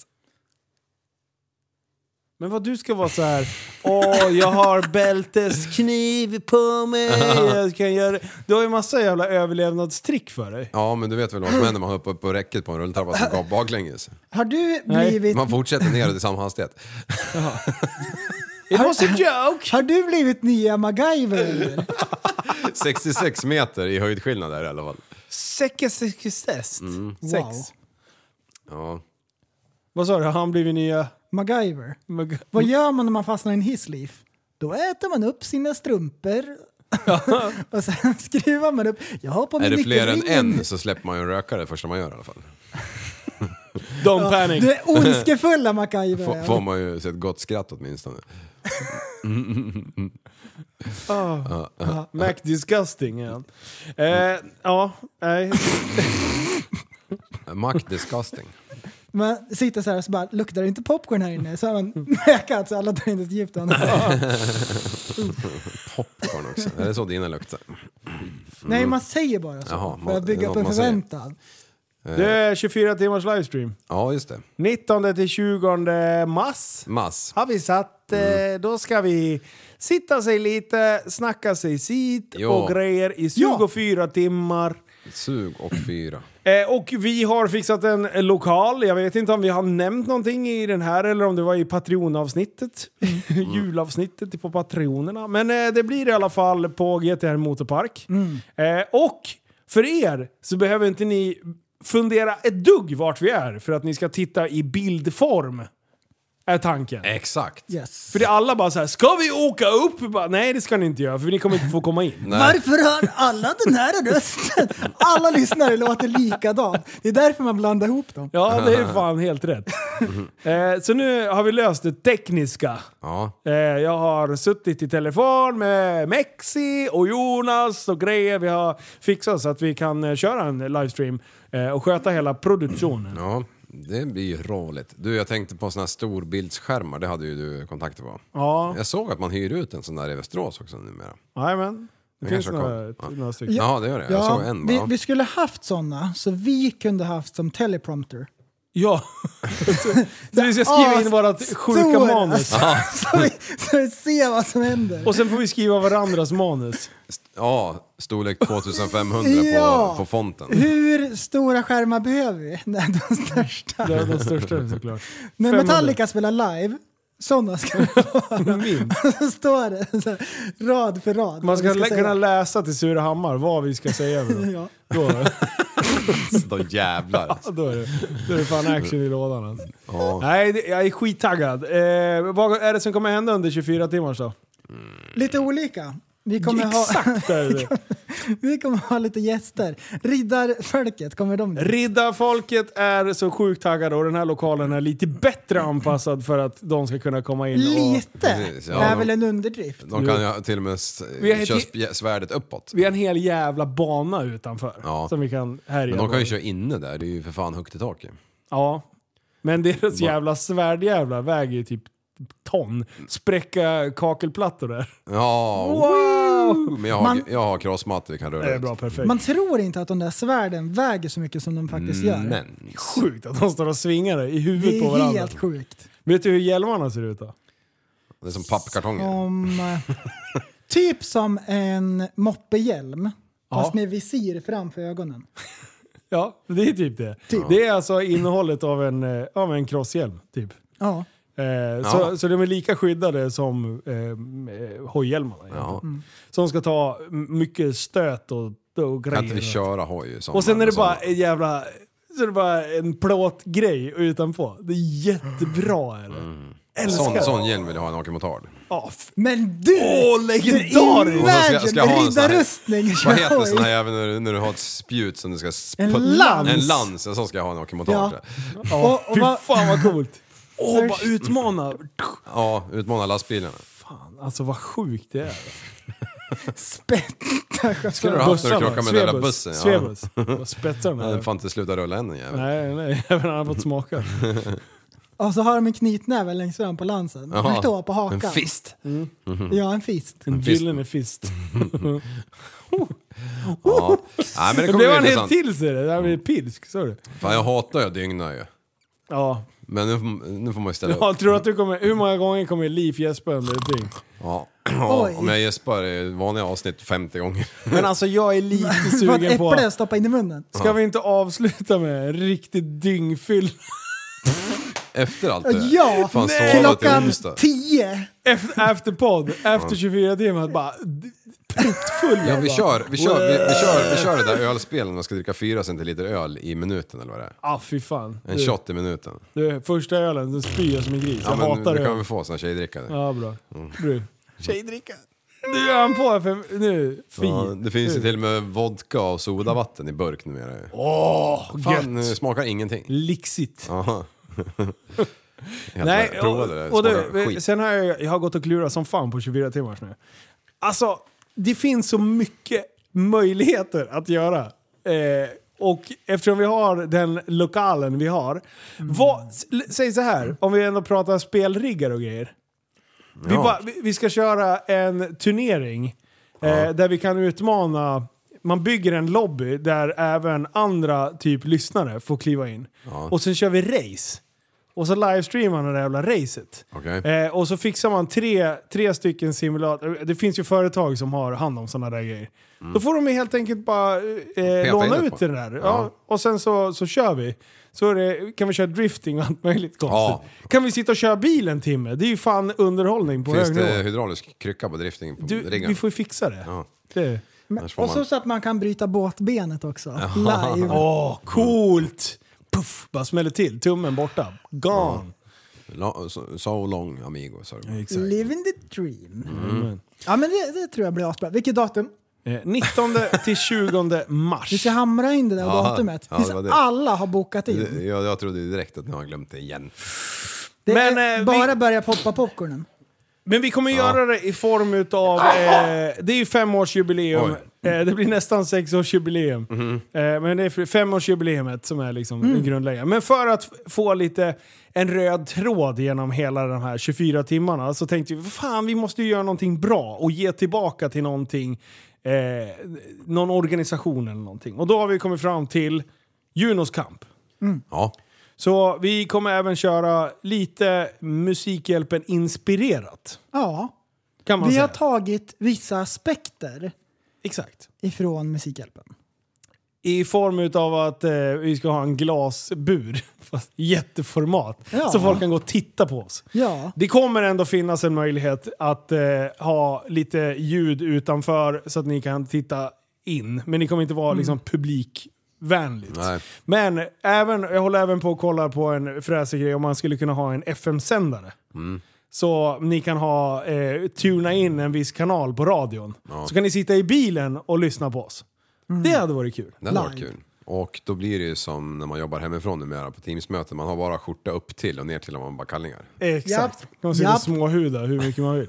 Speaker 3: Men vad du ska vara så här. åh jag
Speaker 4: <laughs>
Speaker 3: har bälteskniv på mig. Jag kan göra... Du har ju massa jävla överlevnadstrick för dig.
Speaker 4: Ja, men du vet väl vad som händer när man hoppar upp på räcket på en rulltrappa som går baklänges?
Speaker 5: Har du
Speaker 3: Nej.
Speaker 5: blivit,
Speaker 4: Man fortsätter neråt i samma hastighet.
Speaker 3: It was
Speaker 4: <laughs>
Speaker 3: a joke!
Speaker 5: har du blivit nya MacGyver eller?
Speaker 4: 66 meter i höjdskillnad där i alla fall.
Speaker 3: Sex.
Speaker 4: Mm.
Speaker 5: Wow.
Speaker 3: Sex.
Speaker 4: Ja.
Speaker 3: Vad sa du, har han blivit nya...
Speaker 5: MacGyver.
Speaker 4: <laughs>
Speaker 3: Mag-
Speaker 5: Vad
Speaker 4: Mm.
Speaker 5: gör man när man fastnar i en hissliv? Då äter man upp sina strumpor <laughs> och sen skruvar man upp. Jag har på mig
Speaker 4: Är det fler än
Speaker 5: nyckelringen.
Speaker 4: en så släpper man ju en rökare det första man gör i alla fall.
Speaker 3: Don't panic!
Speaker 5: Du är ondskefulla MacGyver.
Speaker 4: F- får man ju se ett gott skratt åtminstone.
Speaker 3: Ah. Mac disgusting ja. Eh, ja,
Speaker 4: Eh.
Speaker 3: nej.
Speaker 4: Mack disgusting.
Speaker 5: Man sitter så här och så bara, luktar det inte popcorn här inne? Så har man
Speaker 4: Mm.
Speaker 5: mäkat så alla tar in ett djupt andetag.
Speaker 4: Popcorn också. Är det så dina luktar?
Speaker 5: Nej, man säger bara så.
Speaker 4: Mm. Jaha,
Speaker 5: för
Speaker 4: man-
Speaker 5: att
Speaker 4: det är
Speaker 5: bygga upp
Speaker 4: något
Speaker 5: en
Speaker 4: man säger.
Speaker 5: förväntan.
Speaker 3: Det är 24 timmars livestream.
Speaker 4: Ja, just det.
Speaker 3: 19 till 20 mars
Speaker 4: Mass.
Speaker 3: har vi satt.
Speaker 4: Mm.
Speaker 3: Eh, då ska vi sitta sig lite, snacka sig sit
Speaker 4: Ja.
Speaker 3: och grejer i 24 timmar.
Speaker 4: Sug och fyra.
Speaker 3: Eh, och vi har fixat en eh, lokal. Jag vet inte om vi har nämnt någonting i den här eller om det var i Patreon-avsnittet.
Speaker 4: Mm.
Speaker 3: <laughs> Julavsnittet på Patreonerna. Men eh, det blir i alla fall på GTR Motorpark.
Speaker 4: Mm.
Speaker 3: Eh, och för er så behöver inte ni fundera ett dugg vart vi är för att ni ska titta i bildform. Är tanken.
Speaker 4: Exakt.
Speaker 5: Yes.
Speaker 3: För det är alla bara så här, ska vi åka upp? Bara, Nej det ska ni inte göra för ni kommer inte få komma in.
Speaker 5: Varför har alla den här rösten? Alla lyssnare låter likadant. Det är därför man blandar ihop dem.
Speaker 3: Ja, det
Speaker 4: <laughs>
Speaker 3: är fan helt rätt. eh, så nu har vi löst det tekniska.
Speaker 4: Ja.
Speaker 3: Eh, jag har suttit i telefon med Mexi och Jonas och grejer. Vi har fixat så att vi kan eh, köra en livestream eh, och sköta hela produktionen.
Speaker 4: Ja, det blir ju roligt. Du, jag tänkte på såna här storbildsskärmar, det hade ju du kontakter på.
Speaker 3: Ja,
Speaker 4: Jag såg att man hyr ut en sån där i Västerås också numera.
Speaker 3: jajamän. Det
Speaker 4: Jag
Speaker 3: finns
Speaker 4: kanske har
Speaker 3: några,
Speaker 4: koll. Ja.
Speaker 3: några stycken.
Speaker 4: Ja, det gör det. Jag såg en
Speaker 5: vi,
Speaker 4: bara.
Speaker 5: vi skulle haft sådana så vi kunde haft som teleprompter.
Speaker 3: Ja. <laughs> så vi ska skriva in vårat sjuka
Speaker 5: Stora.
Speaker 3: manus.
Speaker 5: <laughs> så, vi, så vi ser vad som händer.
Speaker 3: Och sen får vi skriva varandras manus.
Speaker 4: Ja, storlek 2500
Speaker 5: Ja.
Speaker 4: på, på fonten.
Speaker 5: Hur stora skärmar behöver vi? <laughs> Nej, de största.
Speaker 3: Det är de största
Speaker 4: <laughs>
Speaker 3: såklart.
Speaker 5: När
Speaker 3: 500.
Speaker 5: Metallica spelar live, sådana ska det vara. <laughs> Så står det så här, rad för rad.
Speaker 3: Man
Speaker 5: vad vi
Speaker 3: ska lä-
Speaker 5: säga.
Speaker 3: kunna läsa till Surahammar vad vi ska säga.
Speaker 5: <laughs>
Speaker 3: för något.
Speaker 5: Ja.
Speaker 3: Då,
Speaker 4: <laughs> Då jävlar. alltså. Mm.
Speaker 3: då, är det, då är det fan action i lådan. Alltså.
Speaker 4: Ja.
Speaker 3: Nej, det, jag är skittaggad. Eh, vad är det som kommer hända under 24 timmar då?
Speaker 5: Lite olika. Vi kommer, ha,
Speaker 3: Exakt! Där är
Speaker 5: <laughs>
Speaker 3: det.
Speaker 5: vi kommer ha lite gäster. Riddarfolket, kommer de dit?
Speaker 3: Riddarfolket är så sjukt taggade och den här lokalen är lite bättre anpassad för att de ska kunna komma in och...
Speaker 5: Lite
Speaker 4: Precis, ja,
Speaker 5: är
Speaker 4: de-
Speaker 5: väl en underdrift.
Speaker 4: De kan ju till och med s-
Speaker 3: Vi har
Speaker 4: köra
Speaker 3: ett-
Speaker 4: spj- svärdet uppåt.
Speaker 3: Vi har en hel jävla bana utanför
Speaker 4: Ja.
Speaker 3: som vi kan härja
Speaker 4: Men de kan ju
Speaker 3: på.
Speaker 4: köra inne där, det är ju för fan högt i tak ju.
Speaker 3: Ja. Men deras jävla svärdjävlar väger ju typ ton. Spräcka kakelplattor där.
Speaker 4: Ja,
Speaker 3: Wow!
Speaker 4: men jag har,
Speaker 5: Man-
Speaker 4: jag har crossmatt vi kan röra
Speaker 3: Det är
Speaker 4: ut.
Speaker 3: bra, perfekt.
Speaker 5: Man tror inte att de där svärden väger så mycket som de faktiskt
Speaker 4: Mm,
Speaker 5: gör.
Speaker 4: Men,
Speaker 3: Sjukt att de står och svingar i
Speaker 5: det
Speaker 3: huvudet på
Speaker 5: är
Speaker 3: varandra.
Speaker 5: helt sjukt.
Speaker 3: Vet du hur hjälmarna ser ut då?
Speaker 4: det är som pappkartonger.
Speaker 5: Om,
Speaker 4: <laughs>
Speaker 5: eh, typ som en moppehjälm, fast med visir framför ögonen.
Speaker 3: Ja, det är typ det. Det är alltså innehållet av en, eh, av en crosshjälm, typ.
Speaker 5: Ja.
Speaker 3: Eh, så, så de är lika skyddade som eh, eh, hojhjälmarna. egentligen.
Speaker 4: Ja.
Speaker 3: Som ska ta m- mycket stöt och, och
Speaker 4: Kan inte vi
Speaker 3: grejer.
Speaker 4: köra hoj? som-
Speaker 3: Och sen är det
Speaker 4: som-
Speaker 3: bara en jävla... Så är det bara en plåtgrej utanpå. Det är jättebra är det.
Speaker 4: Mm.
Speaker 3: Älskar
Speaker 4: Sån,
Speaker 3: det.
Speaker 4: sån hjälm vill jag ha,
Speaker 3: <laughs>
Speaker 4: en hakemotard.
Speaker 3: Ja, f-
Speaker 5: Men du!
Speaker 3: Åh, legendariskt!
Speaker 4: Och så ska- ska jag ha en sån här-
Speaker 5: Riddarrustning!
Speaker 4: Vad heter sån här jävel när, du- när du har ett spjut som du ska... sp-
Speaker 5: En lans.
Speaker 4: En lans, en sån ska jag ha en hakemotard.
Speaker 5: Ja.
Speaker 4: Ja.
Speaker 3: ja.
Speaker 5: och
Speaker 3: Fy
Speaker 5: vad-
Speaker 3: fan vad coolt! Åh,
Speaker 5: Först-
Speaker 3: bara utmana.
Speaker 4: ja, utmana lastbilarna.
Speaker 3: Fan, alltså vad sjukt det är.
Speaker 5: <laughs> Spetta
Speaker 4: Skulle du ha haft när du krockade med den där bussen? Ja.
Speaker 3: Svebus.
Speaker 4: <laughs>
Speaker 3: Svebus. Spetsar
Speaker 4: Jag hade
Speaker 3: den
Speaker 4: fan inte slutat rulla än den jäveln.
Speaker 3: Nej, nej. Även han har fått
Speaker 4: <laughs>
Speaker 3: smaka.
Speaker 5: Och så har de en knytnäve längst fram på lansen.
Speaker 4: Jaha.
Speaker 5: Den står på hakan. Mm.
Speaker 4: En fist. Mhm.
Speaker 5: Ja, en fist. <laughs>
Speaker 3: En
Speaker 4: fist.
Speaker 3: gyllene fist.
Speaker 4: Ja. Nej, men det
Speaker 3: Det
Speaker 4: kommer
Speaker 3: blev
Speaker 4: bli
Speaker 3: han helt
Speaker 4: intressant.
Speaker 3: till sig det. Det här blir pilsk, sa du?
Speaker 4: Fan, jag hatar ju att dygna ju.
Speaker 3: Ja.
Speaker 4: Men nu, får- nu får man ju ställa upp.
Speaker 3: ja tror du att du kommer, hur många gånger kommer Liv gäspa under ett dygn?
Speaker 4: Ja. <clears throat> Ja,
Speaker 5: Oj.
Speaker 4: om jag gäspar i vanliga avsnitt 50 gånger. <laughs>
Speaker 3: Men alltså jag är <laughs> lite
Speaker 5: För ett
Speaker 3: sugen på...
Speaker 5: äpple att stoppa in i munnen.
Speaker 3: Ska vi inte avsluta med en riktig dyngfyll?
Speaker 4: Efter allt det
Speaker 5: Ja!
Speaker 4: Fan,
Speaker 5: Nej.
Speaker 4: sova till
Speaker 5: Klockan
Speaker 4: onsdag.
Speaker 5: tio!
Speaker 3: Efter, efter podd, efter 24 timmar, bara d- pruttfulla.
Speaker 4: Ja, vi
Speaker 3: bara.
Speaker 4: kör, vi kör, vi, vi kör, vi kör det där ölspelet när man ska dricka fyra centiliter öl i minuten eller vad det är.
Speaker 3: Ah fy fan.
Speaker 4: En
Speaker 3: Du,
Speaker 4: shot i minuten.
Speaker 3: du, första ölen, den spyr jag som en gris.
Speaker 4: Ja,
Speaker 3: jag
Speaker 4: men
Speaker 3: hatar
Speaker 4: du
Speaker 3: öl.
Speaker 4: kan Mm. väl få sån här tjejdrickande.
Speaker 3: Ja, bra. Du. Tjejdricka. Nu är han på för nu. Fi.
Speaker 4: Ja, det finns ju till och med vodka och sodavatten i burk numera ju.
Speaker 3: Mm. Åh,
Speaker 4: Fan,
Speaker 3: gött.
Speaker 4: det smakar ingenting.
Speaker 3: Lixigt.
Speaker 4: Jaha. <laughs> Helt
Speaker 3: Nej,
Speaker 4: rätt. Provade det,
Speaker 3: och, och
Speaker 4: smakar
Speaker 3: du,
Speaker 4: skit.
Speaker 3: sen har jag, jag har gått och klurat som fan på 24 timmars nu. Alltså, det finns så mycket möjligheter att göra. Eh, och eftersom vi har den lokalen vi har. Vad, s- l- säg så här, om vi ändå pratar spelriggar och grejer. Vi,
Speaker 4: Ja.
Speaker 3: bara, vi, vi ska köra en turnering eh, där vi kan utmana... Man bygger en lobby där även andra typ lyssnare får kliva in. Och sen kör vi race. Och så livestreamar man det jävla racet.
Speaker 4: Okej.
Speaker 3: Eh, och så fixar man tre, tre stycken simulator. Eh, Det finns ju företag som har hand om sådana där grejer. Då får de ju helt enkelt bara eh, låna
Speaker 4: Mm. in det
Speaker 3: ut
Speaker 4: på.
Speaker 3: den där. Ja.
Speaker 4: Ja.
Speaker 3: Och sen så, så kör vi. Så är det, kan vi köra drifting och allt möjligt konstigt. Kan vi sitta och köra bil en timme? Det är ju fan underhållning på
Speaker 4: Finns
Speaker 3: hög nivå.
Speaker 4: det hydraulisk krycka på drifting på
Speaker 3: Du,
Speaker 4: riggen?
Speaker 3: vi får ju fixa det.
Speaker 4: Ja.
Speaker 3: det.
Speaker 5: Men,
Speaker 4: Annars får
Speaker 5: och så,
Speaker 4: man-
Speaker 5: så att man kan bryta båtbenet också. Live.
Speaker 3: Åh, coolt! Puff, bara smäller till. Tummen borta. Gone.
Speaker 4: La- so- So long amigo, sa du.
Speaker 5: Living the dream.
Speaker 4: Mm.
Speaker 5: Ja men det, det tror jag blir asbra. Vilket datum?
Speaker 3: Eh, 19 till 20 mars.
Speaker 5: Vi ska hamra in det där
Speaker 4: Aha.
Speaker 5: datumet.
Speaker 4: Ja,
Speaker 5: Tills
Speaker 4: det var det.
Speaker 5: alla har bokat
Speaker 4: Det-
Speaker 5: in.
Speaker 4: Jag, jag trodde ju direkt att nu har jag glömt det igen.
Speaker 5: Det
Speaker 3: Men,
Speaker 5: är
Speaker 3: eh,
Speaker 5: bara
Speaker 3: vi-
Speaker 5: börja poppa popcornen.
Speaker 3: Men vi kommer göra det i form utav... Eh, det är ju femårsjubileum
Speaker 4: Oj.
Speaker 3: Eh, det blir nästan sexårsjubileum. Eh, men det är för- femårsjubileumet som är liksom
Speaker 5: Mm.
Speaker 3: grundläggande. Men för att f- få lite en röd tråd genom hela de här 24 timmarna så tänkte vi fan vi måste ju göra någonting bra och ge tillbaka till någonting, eh, någon organisation eller någonting. Och då har vi kommit fram till Junos kamp.
Speaker 4: Ja.
Speaker 3: Så vi kommer även köra lite Musikhjälpen inspirerat.
Speaker 5: Ja,
Speaker 3: Kan man
Speaker 5: vi
Speaker 3: säga.
Speaker 5: har tagit vissa aspekter
Speaker 3: Exakt.
Speaker 5: ifrån Musikhjälpen.
Speaker 3: I form av att eh, vi ska ha en glasbur. <laughs> Fast jätteformat.
Speaker 5: Ja.
Speaker 3: Så folk kan gå och titta på oss.
Speaker 5: Ja,
Speaker 3: Det kommer ändå finnas en möjlighet att eh, ha lite ljud utanför så att ni kan titta in. Men ni kommer inte
Speaker 5: Mm.
Speaker 3: vara liksom publikvänligt.
Speaker 4: Nej.
Speaker 3: Men även, jag håller även på att kolla på en fräsig grej om man skulle kunna ha en FM-sändare.
Speaker 4: Mm.
Speaker 3: Så ni kan ha, eh, tuna in en viss kanal på radion. Så kan ni sitta i bilen och lyssna på oss.
Speaker 5: Mm.
Speaker 3: Det hade varit kul.
Speaker 4: Det hade varit kul. Och då blir det ju som när man jobbar hemifrån numera på Teamsmöten. Man har bara skjorta upp till och ner till om man bara kallingar.
Speaker 3: Exakt.
Speaker 5: Japp.
Speaker 3: Kan man sitta och
Speaker 5: Japp.
Speaker 3: småhuda hur mycket man vill.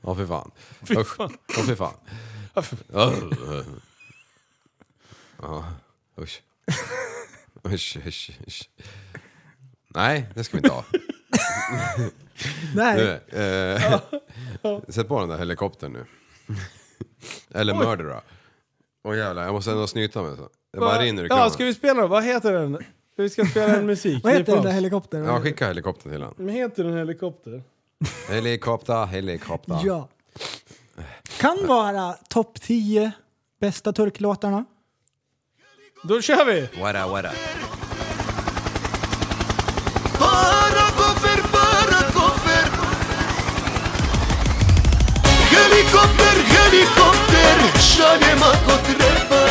Speaker 4: Ja, fy fan. Usch. Ja, fy fan. Ja, usch. Usch, usch, usch. Nej, det ska vi inte ha.
Speaker 5: nej.
Speaker 4: Nu, eh, Sätt på den där helikoptern nu. Eller mördera. Åh jävlar, jag måste ändå snyta mig. Så. <laughs> Det bara rinner ur
Speaker 3: ja,
Speaker 4: kranen.
Speaker 3: ska vi spela Vad heter den? Vi ska spela en musik.
Speaker 5: Vad heter
Speaker 3: Klippa
Speaker 5: den
Speaker 3: oss.
Speaker 5: där helikoptern?
Speaker 4: Ja, skicka helikoptern till honom.
Speaker 3: Vad heter den helikopter?
Speaker 4: Helikopter, helikopter.
Speaker 5: Ja. Kan vara topp 10 bästa turklåtarna.
Speaker 3: Då kör vi!
Speaker 4: Wada, wada.
Speaker 6: Helikopter, helikopter, šalje mako treba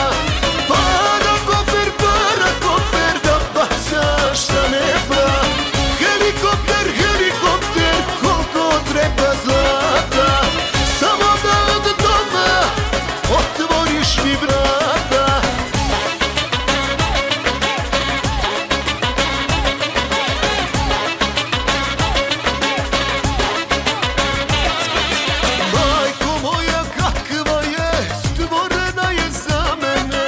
Speaker 6: Parakofer, parakofer, da bacaš sa neba Helikopter, helikopter, koliko treba zlata Samo da od doma otvoriš mi vrata Majko moja kakva je, stvorena je za mene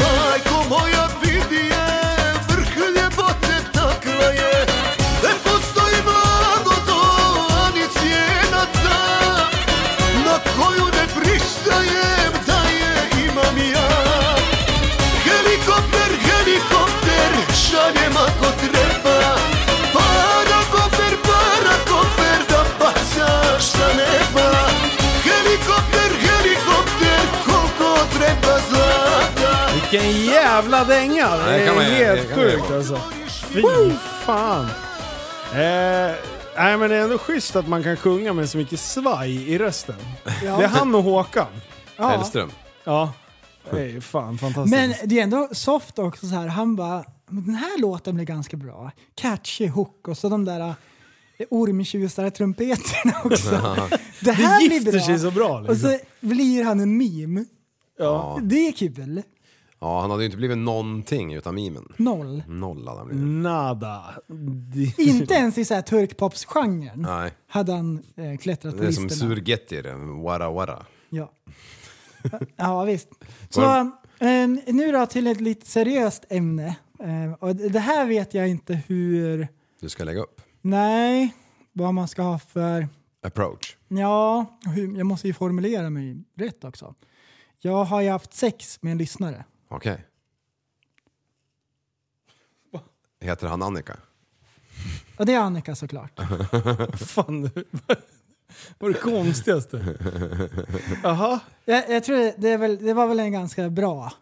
Speaker 6: Majko moja vidi je, vrh ljepote takva je Ne postoji blagoto, ani cijena ta Na koju ne pristajem, da je imam ja Helikopter, helikopter, šaljem ako treba Parakofer, parakofer, da bacaš sa neba Helikopter, helikopter, koliko treba zlata
Speaker 3: Vilken jävla dänga!
Speaker 4: det
Speaker 3: Det är
Speaker 4: kan man- det
Speaker 3: helt
Speaker 4: kan man
Speaker 3: sjukt
Speaker 4: göra.
Speaker 3: alltså. Fy fan! Eh, nej men det är ändå schysst att man kan sjunga med så mycket svaj i rösten. Det är han och Håkan.
Speaker 4: Hellström.
Speaker 3: Ja. Det är ju fan fantastiskt.
Speaker 5: Men det är ändå soft också så här. Han bara, "Men den här låten blir ganska bra. Catchy hook och så de där eh, ormtjusare trumpeterna
Speaker 4: <laughs>
Speaker 5: också. det här
Speaker 3: Det
Speaker 5: blir
Speaker 3: gifter
Speaker 5: bra.
Speaker 3: sig så bra, liksom.
Speaker 5: Och så blir han en meme. Det är kul.
Speaker 4: Ja, han hade ju inte blivit någonting utan mimen.
Speaker 5: Noll.
Speaker 4: Noll hade han blivit.
Speaker 5: Mm.
Speaker 3: Nada. Det-
Speaker 5: Inte ens i så här turkpopsgenren
Speaker 4: Mm. Nej.
Speaker 5: hade han eh, klättrat på
Speaker 4: Det är som
Speaker 5: listorna.
Speaker 4: surgetti, wara wara.
Speaker 5: Ja.
Speaker 4: <laughs>
Speaker 5: ja, visst. Så ehm, nu då till ett lite seriöst ämne. Ehm, och det det här vet jag inte hur...
Speaker 4: Du ska lägga upp.
Speaker 5: Nej, vad man ska ha för...
Speaker 4: Approach.
Speaker 5: Ja, hur, jag måste ju formulera mig rätt också. Jag har ju haft sex med en lyssnare.
Speaker 4: Okej. Heter han Annika?
Speaker 5: Och det är
Speaker 4: <laughs>
Speaker 5: Annika såklart.
Speaker 3: Fan. <laughs> det var det konstigaste. Jaha.
Speaker 5: Jag, jag tror det, är väl, det var väl en ganska bra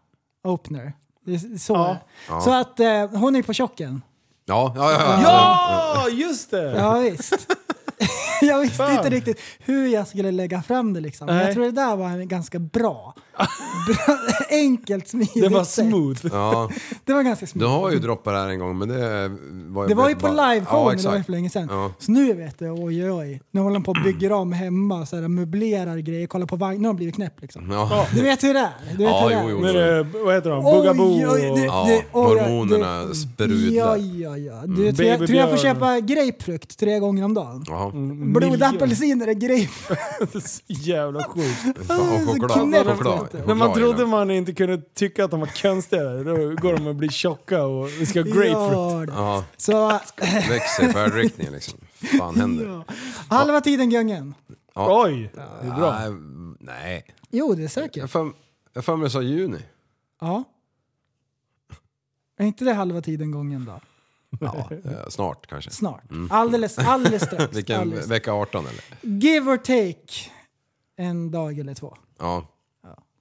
Speaker 5: opener. Det är Så,
Speaker 4: Ja.
Speaker 5: så att eh, hon är på chocken.
Speaker 4: Ja, ja, ja.
Speaker 3: Ja, just det!
Speaker 5: Ja, visst. <laughs> jag visste
Speaker 3: Fan.
Speaker 5: inte riktigt hur jag skulle lägga fram det liksom. Men
Speaker 3: Nej.
Speaker 5: jag tror det där var en ganska bra. bra <laughs> enkelt, smidigt
Speaker 3: Det var
Speaker 5: sätt.
Speaker 3: smooth.
Speaker 4: ja.
Speaker 5: Det var ganska
Speaker 4: Du
Speaker 5: smooth.
Speaker 4: har ju droppat det här en gång, men det var ju...
Speaker 5: Det var ju på liveshowen, det var ju
Speaker 4: exakt.
Speaker 5: för länge sedan.
Speaker 4: Ja. Mm.
Speaker 5: Så nu vet jag, oj oj. Nu håller de på och bygger om hemma, så här, möblerar grejer, kollar på vagn. Nu har de blivit knäpp liksom.
Speaker 4: Ja.
Speaker 5: Du vet hur det är? Du vet
Speaker 4: Mm. Ja,
Speaker 5: hur det är.
Speaker 4: jo, jo.
Speaker 3: Nu är det, vad heter de?
Speaker 5: Oj,
Speaker 3: Bugaboo
Speaker 5: oj, det-
Speaker 3: och...
Speaker 4: Ja,
Speaker 5: det- oj, ja,
Speaker 4: hormonerna
Speaker 5: det-
Speaker 4: sprudlar.
Speaker 5: Ja, ja, ja. Du, tror jag,
Speaker 3: Mm. Baby
Speaker 5: tror jag får
Speaker 3: björn.
Speaker 5: köpa grapefrukt tre gånger om dagen.
Speaker 4: Jaha.
Speaker 5: Blodapelsiner är grejer.
Speaker 3: Så Jävla sjukt.
Speaker 4: Fan, Och choklad.
Speaker 5: Så knäppt
Speaker 4: choklad, choklad,
Speaker 5: lite.
Speaker 3: När man
Speaker 4: i
Speaker 3: trodde
Speaker 4: den.
Speaker 3: man inte kunde tycka att de var konstigare, då går de och blir tjocka och vi ska ha grapefruit.
Speaker 5: Ja, det.
Speaker 4: Ja,
Speaker 5: Så <clears throat>
Speaker 4: växer i färdriktningen liksom. fan händer?
Speaker 5: halva tiden gungen.
Speaker 3: Oj! Det är bra.
Speaker 4: Nej, nej.
Speaker 5: Jo, det är
Speaker 4: Jag har
Speaker 5: säkert.
Speaker 4: för- jag har för mig du sa juni.
Speaker 5: Ja. Är inte det halva tiden gången då?
Speaker 4: Ja, eh, snart kanske.
Speaker 5: Snart. Alldeles, <laughs> alldeles strax.
Speaker 4: Vilken
Speaker 5: alldeles.
Speaker 4: vecka 18 eller?
Speaker 5: Give or take en dag eller två.
Speaker 4: Ja.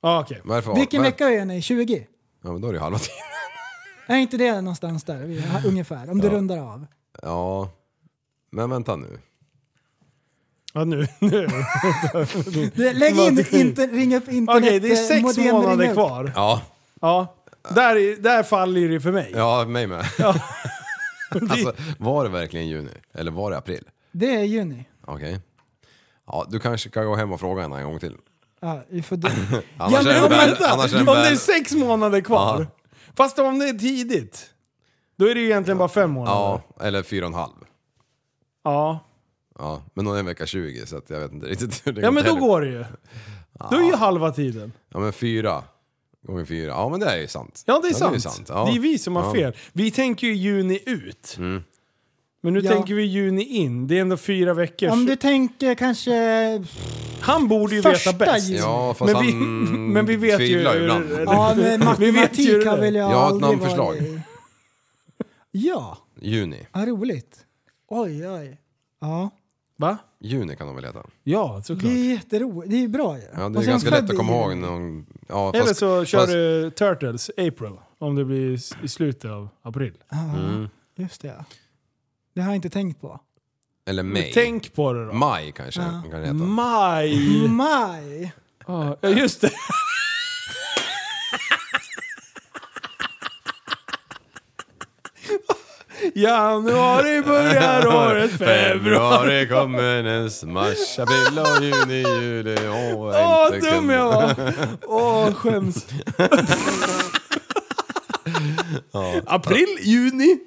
Speaker 3: Ah, okej.
Speaker 4: Varför?
Speaker 5: Vilken
Speaker 4: var-
Speaker 5: vecka är ni? 20?
Speaker 4: Ja, men då är det ju halva tiden.
Speaker 5: Är inte det någonstans där? Vi- Ungefär. Om du rundar av.
Speaker 4: Ja. Men vänta nu.
Speaker 3: Ja, nu. nu.
Speaker 5: Lägg in, inte, ring upp internet. eh,
Speaker 3: Okej, det är sex
Speaker 5: modem, ring
Speaker 3: månader
Speaker 5: upp.
Speaker 3: kvar.
Speaker 4: Ja,
Speaker 3: Ja. Där, är- där faller det för mig.
Speaker 4: ja mig med. <laughs> alltså, var det verkligen juni? Eller var det april?
Speaker 5: Det är juni.
Speaker 4: Okej. Ja, du kanske kan gå hem och fråga henne en gång till.
Speaker 5: Ja, vi får dö.
Speaker 4: <laughs> Annars
Speaker 5: men
Speaker 4: är
Speaker 5: om
Speaker 4: det väl,
Speaker 3: Vänta,
Speaker 4: annars är det
Speaker 3: om
Speaker 4: väl,
Speaker 3: det är sex månader kvar.
Speaker 4: Ja.
Speaker 3: Fast om det är tidigt, då är det ju egentligen bara fem månader.
Speaker 4: Ja, eller fyra och en halv.
Speaker 3: Ja.
Speaker 4: Ja, men hon är en vecka 20 så att jag vet inte riktigt hur det
Speaker 3: Ja men då
Speaker 4: till.
Speaker 3: går det ju. Då är ju halva tiden.
Speaker 4: Ja men fyra gånger fyra, ja men det är ju sant.
Speaker 3: Ja det är
Speaker 4: ju
Speaker 3: sant.
Speaker 4: Ja.
Speaker 3: Det är vi som har
Speaker 4: Ja. Mm.
Speaker 3: fel. Vi tänker ju juni ut. Men nu
Speaker 5: Ja.
Speaker 3: tänker vi juni in. Det är ändå fyra veckor.
Speaker 5: Om du tänker kanske...
Speaker 3: Han borde ju
Speaker 5: Första
Speaker 3: veta bäst.
Speaker 5: juni.
Speaker 4: Ja, fast
Speaker 3: Men vi,
Speaker 4: han
Speaker 3: <laughs> men vi vet ju...
Speaker 4: tvivlar ju ibland.
Speaker 5: Ja, men
Speaker 3: <laughs> Vi vet ju
Speaker 5: matematik
Speaker 3: det.
Speaker 5: har väl jag
Speaker 4: Jag har ett
Speaker 5: aldrig
Speaker 4: namnförslag.
Speaker 5: varit i. Ja,
Speaker 4: Juni.
Speaker 5: vad roligt. Oj, oj. Ja,
Speaker 3: Va?
Speaker 4: Juni kan de väl heta.
Speaker 3: Ja, såklart.
Speaker 5: det är jätteroligt. Det är ju bra ju.
Speaker 4: Ja,
Speaker 5: Och
Speaker 4: det
Speaker 5: så
Speaker 4: är
Speaker 5: är
Speaker 4: ganska
Speaker 5: han
Speaker 4: lätt
Speaker 5: född
Speaker 4: att komma
Speaker 5: i
Speaker 4: ihåg.
Speaker 5: juni.
Speaker 4: Någon, ja,
Speaker 3: Eller
Speaker 4: fast-
Speaker 3: så kör
Speaker 4: fast-
Speaker 3: du Turtles, April. Om det blir s- i slutet av april.
Speaker 4: Mm.
Speaker 5: Just det. ja. Det har jag inte tänkt på.
Speaker 4: Eller maj.
Speaker 3: Tänk på det då.
Speaker 4: Maj kanske de kan heta.
Speaker 3: Maj.
Speaker 5: <laughs> Maj.
Speaker 3: Ja, just det. <laughs> Januari
Speaker 4: <laughs>
Speaker 3: börjar året, februari...
Speaker 4: Februari kommer näst mars, april och juni, juli. Åh,
Speaker 3: Åh,
Speaker 4: vad
Speaker 3: vad dum jag var! Åh,
Speaker 4: <laughs>
Speaker 3: skäms. <laughs> April,
Speaker 4: <laughs>
Speaker 3: juni.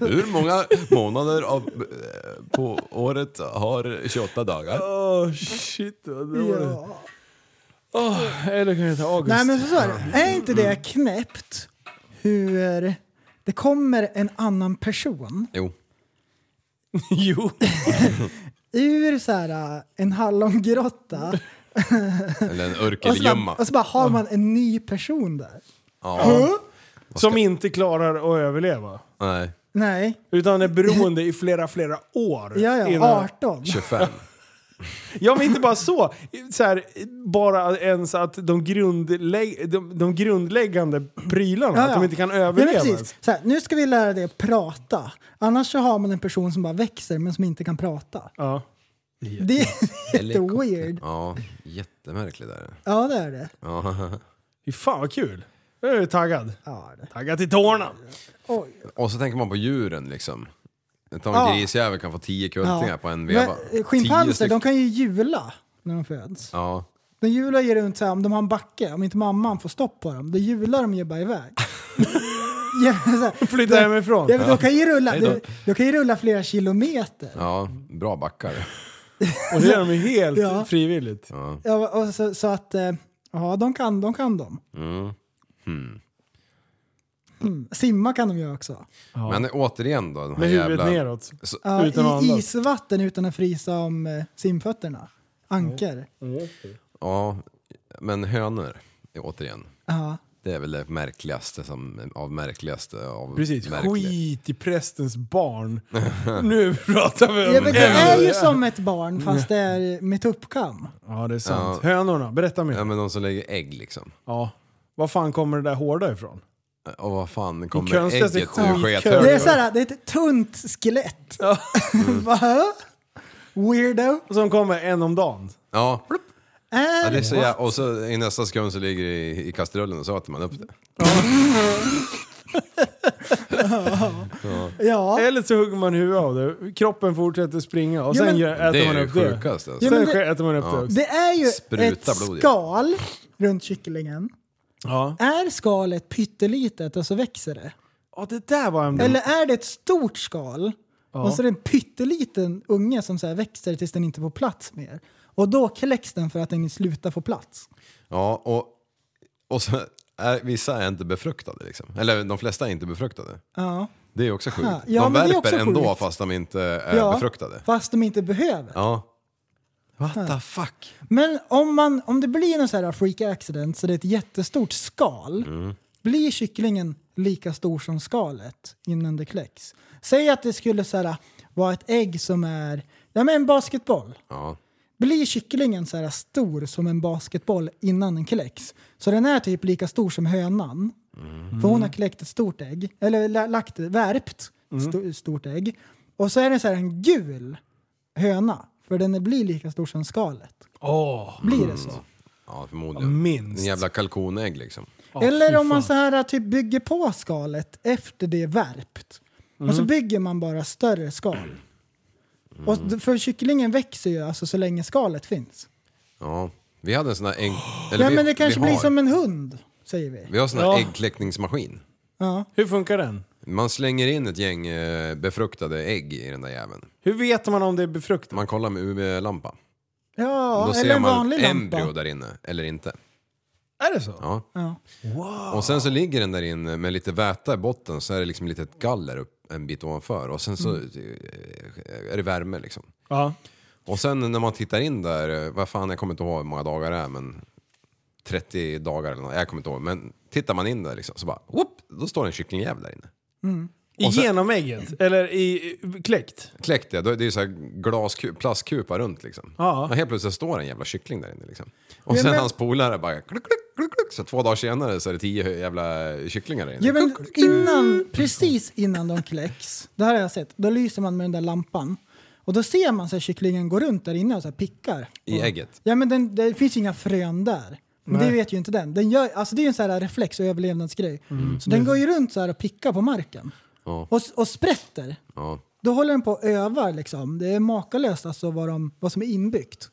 Speaker 4: Hur många månader av, eh, på året har 28 dagar?
Speaker 3: Åh, shit. Vad det var det.
Speaker 5: Ja.
Speaker 3: Åh, eller kan jag ta augusti?
Speaker 5: Nej men så så är det. Är inte det
Speaker 4: Mm.
Speaker 5: knäppt hur det kommer en annan person
Speaker 4: Jo.
Speaker 3: <laughs> Jo.
Speaker 5: ur så här, äh, en hallongrotta
Speaker 4: Eller en
Speaker 5: och så, bara,
Speaker 4: örkelgömma.
Speaker 5: och så bara har man en ny person där.
Speaker 4: Ja,
Speaker 3: Som inte klarar att överleva.
Speaker 4: nej.
Speaker 5: Nej,
Speaker 3: Utan är beroende i flera, flera år.
Speaker 5: ja, ja,
Speaker 3: innan-
Speaker 5: 18.
Speaker 4: 25.
Speaker 3: Ja men inte bara så. så här, bara ens att de, grundlägg, de, de grundläggande prylarna,
Speaker 5: Ja,
Speaker 3: att de
Speaker 5: ja.
Speaker 3: inte kan
Speaker 5: Nej,
Speaker 3: överleva.
Speaker 5: men precis.
Speaker 3: ens.
Speaker 5: Så här, nu ska vi lära dig att prata. Annars så har man en person som bara växer men som inte kan prata.
Speaker 3: Ja.
Speaker 5: Det är <laughs> jätteweird.
Speaker 4: Ja, jättemärkligt är det.
Speaker 5: Ja det är det.
Speaker 3: Fy fan vad kul. Jag är taggad.
Speaker 5: Ja, det.
Speaker 3: Taggad till tårna.
Speaker 5: Oj.
Speaker 4: Och så tänker man på djuren liksom. Ta en
Speaker 5: Ja.
Speaker 4: grisjävel kan få 10 kultingar på en
Speaker 5: Men,
Speaker 4: veva.
Speaker 5: eh,
Speaker 4: Tio
Speaker 5: Schimpanser
Speaker 4: stycken.
Speaker 5: de kan ju jula när de föds.
Speaker 4: Ja.
Speaker 5: De hjular ju runt så här, om de har en backe, om inte mamman får stopp på dem, då hjular de ju
Speaker 4: <laughs>
Speaker 5: bara iväg. <laughs> ja, så här,
Speaker 3: Flytta hemifrån.
Speaker 5: ja, men de, kan ju rulla,
Speaker 4: Hej då.
Speaker 5: de, de kan ju rulla flera kilometer.
Speaker 4: ja, bra backar.
Speaker 3: Och det gör de ju helt
Speaker 5: Ja.
Speaker 3: frivilligt.
Speaker 5: Ja, och så, så att, eh, ja de kan de. Kan de.
Speaker 4: Hmm.
Speaker 5: Mm, Simma kan de ju också.
Speaker 4: Men återigen då, de här
Speaker 3: Med huvudet
Speaker 4: jävla...
Speaker 3: neråt.
Speaker 4: Så,
Speaker 5: Ja,
Speaker 3: Utan att
Speaker 5: I
Speaker 3: andas.
Speaker 5: isvatten utan att frysa om eh, simfötterna. Anker.
Speaker 4: ja, men hönor, återigen.
Speaker 5: Ja.
Speaker 4: Det är väl det märkligaste som, av märkligaste av
Speaker 3: Precis,
Speaker 4: märkliga.
Speaker 3: skit i prästens barn. nu pratar vi om
Speaker 5: Ja, men det
Speaker 3: ämnet.
Speaker 5: är ju som ett barn fast det är med tuppkam.
Speaker 3: Ja det är sant. Hönorna, berätta mer.
Speaker 4: Ja men de som lägger ägg liksom.
Speaker 3: Ja. Var fan kommer det där hårda ifrån?
Speaker 4: Och vad fan kommer ägget
Speaker 3: konstigaste
Speaker 4: ur
Speaker 3: skit-
Speaker 4: skethögen?
Speaker 5: Det är, så här, det är ett tunt skelett. Mm. <laughs> Va? Weirdo.
Speaker 3: Som kommer en om dagen.
Speaker 4: Ja,
Speaker 5: Är
Speaker 4: ja det är så jä- och så i nästa sekund så ligger det i, i kastrullen och så äter man upp det.
Speaker 5: Ja.
Speaker 3: Eller så hugger man huvudet av det, kroppen fortsätter springa och
Speaker 5: Ja,
Speaker 3: sen
Speaker 5: men-
Speaker 3: gör- äter
Speaker 4: det är
Speaker 3: man
Speaker 4: ju
Speaker 3: upp det.
Speaker 4: sjukast alltså.
Speaker 5: Ja,
Speaker 3: Sen
Speaker 5: men det-
Speaker 3: äter man upp det också.
Speaker 5: Det är ju
Speaker 4: Spruta
Speaker 5: ett
Speaker 4: blod, ja.
Speaker 5: skal runt kycklingen.
Speaker 3: Ja.
Speaker 5: Är skalet pyttelitet och så växer det?
Speaker 4: Mm.
Speaker 3: ja, det där var en...
Speaker 5: Eller är det ett stort skal Och så är det en pytteliten unge som så här växer tills den inte får plats mer. Och då kläcks den för att den slutar få plats.
Speaker 4: Ja, och, och så är, vissa är inte befruktade liksom. Eller de flesta är inte befruktade.
Speaker 5: Ja.
Speaker 4: Det är också sjukt.
Speaker 5: Ah, <laughs> ja,
Speaker 4: de
Speaker 5: men det är
Speaker 4: värper
Speaker 5: också
Speaker 4: ändå
Speaker 5: sjukt.
Speaker 4: fast de inte är
Speaker 5: Ja,
Speaker 4: befruktade.
Speaker 5: Fast de inte behöver.
Speaker 4: Ja. What the fuck?
Speaker 5: Men om, man, om det blir en sån här freak accident så det är ett jättestort skal. Blir kycklingen lika stor som skalet innan det kläcks? Säg att det skulle så här, äh, vara ett ägg som är ja, men en basketboll.
Speaker 4: Ja.
Speaker 5: Blir kycklingen så här stor som en basketboll innan den kläcks? Så den är typ lika stor som hönan. För hon har kläckt ett stort ägg, eller la- lagt, värpt ett sto- stort ägg. Och så är det så här en gul höna, för den blir lika stor som skalet. Blir
Speaker 4: Mm.
Speaker 5: det så?
Speaker 4: Ja, förmodligen.
Speaker 3: Minst.
Speaker 4: En jävla kalkonägg liksom.
Speaker 5: Eller om man så här typ bygger på skalet efter det är värpt. Och
Speaker 4: Mm.
Speaker 5: så bygger man bara större skal. Och
Speaker 4: Mm.
Speaker 5: d- för kycklingen växer ju alltså så länge skalet finns.
Speaker 4: Ja. Vi hade en sån här
Speaker 5: <gasps>
Speaker 4: ägg... Eller
Speaker 5: Ja
Speaker 4: vi,
Speaker 5: men det kanske
Speaker 4: vi
Speaker 5: blir
Speaker 4: har,
Speaker 5: som en hund, säger vi.
Speaker 4: Vi har sån här
Speaker 3: Ja.
Speaker 4: äggkläckningsmaskin.
Speaker 3: Hur funkar den?
Speaker 4: Man slänger in ett gäng eh, befruktade ägg i den där jäveln.
Speaker 3: Hur vet man om det är befruktat?
Speaker 4: Man kollar med UV-lampa.
Speaker 5: Ja,
Speaker 4: Då
Speaker 5: eller
Speaker 4: ser
Speaker 5: en
Speaker 4: man
Speaker 5: vanlig
Speaker 4: ett embryo
Speaker 5: lampa.
Speaker 4: där inne, eller inte.
Speaker 3: Är det så?
Speaker 4: Ja. Och sen så ligger den där inne med lite väta i botten så är det liksom lite ett galler upp en bit ovanför och sen så eh, är det värme liksom.
Speaker 3: Ja.
Speaker 4: Och sen när man tittar in där, eh, vad fan jag kommer inte ihåg hur många dagar det är men 30 dagar eller något, jag kommer inte ihåg. Men tittar man in där liksom så bara, whoop, då står det en kycklingjävel där inne.
Speaker 3: I genomägget? Eller i i- kläckt?
Speaker 4: Kläckt det, då är det ju så här glas, plastkupa runt liksom.
Speaker 3: Ja.
Speaker 4: Och helt plötsligt står en jävla kyckling där inne liksom. Och
Speaker 5: Ja,
Speaker 4: sen
Speaker 5: men-
Speaker 4: hans polare bara kluck, kluck, kluck, kluck. Så två dagar senare så är det tio jävla kycklingar där inne.
Speaker 5: Ja, men innan, precis innan de kläcks, det här har jag sett, då lyser man med den där lampan. Och då ser man så här, kycklingen gå runt där inne och så här, pickar.
Speaker 4: I ägget.
Speaker 5: Ja men den, det finns ju inga frön där. Men det vet ju inte den. den gör, alltså det är ju en sån här reflex och överlevnadsgrej. Så den går ju runt så här och pickar på marken.
Speaker 4: Ja.
Speaker 5: Och, och sprätter.
Speaker 4: Ja.
Speaker 5: Då håller den på och övar liksom. Det är makalöst alltså vad, de, vad som är inbyggt.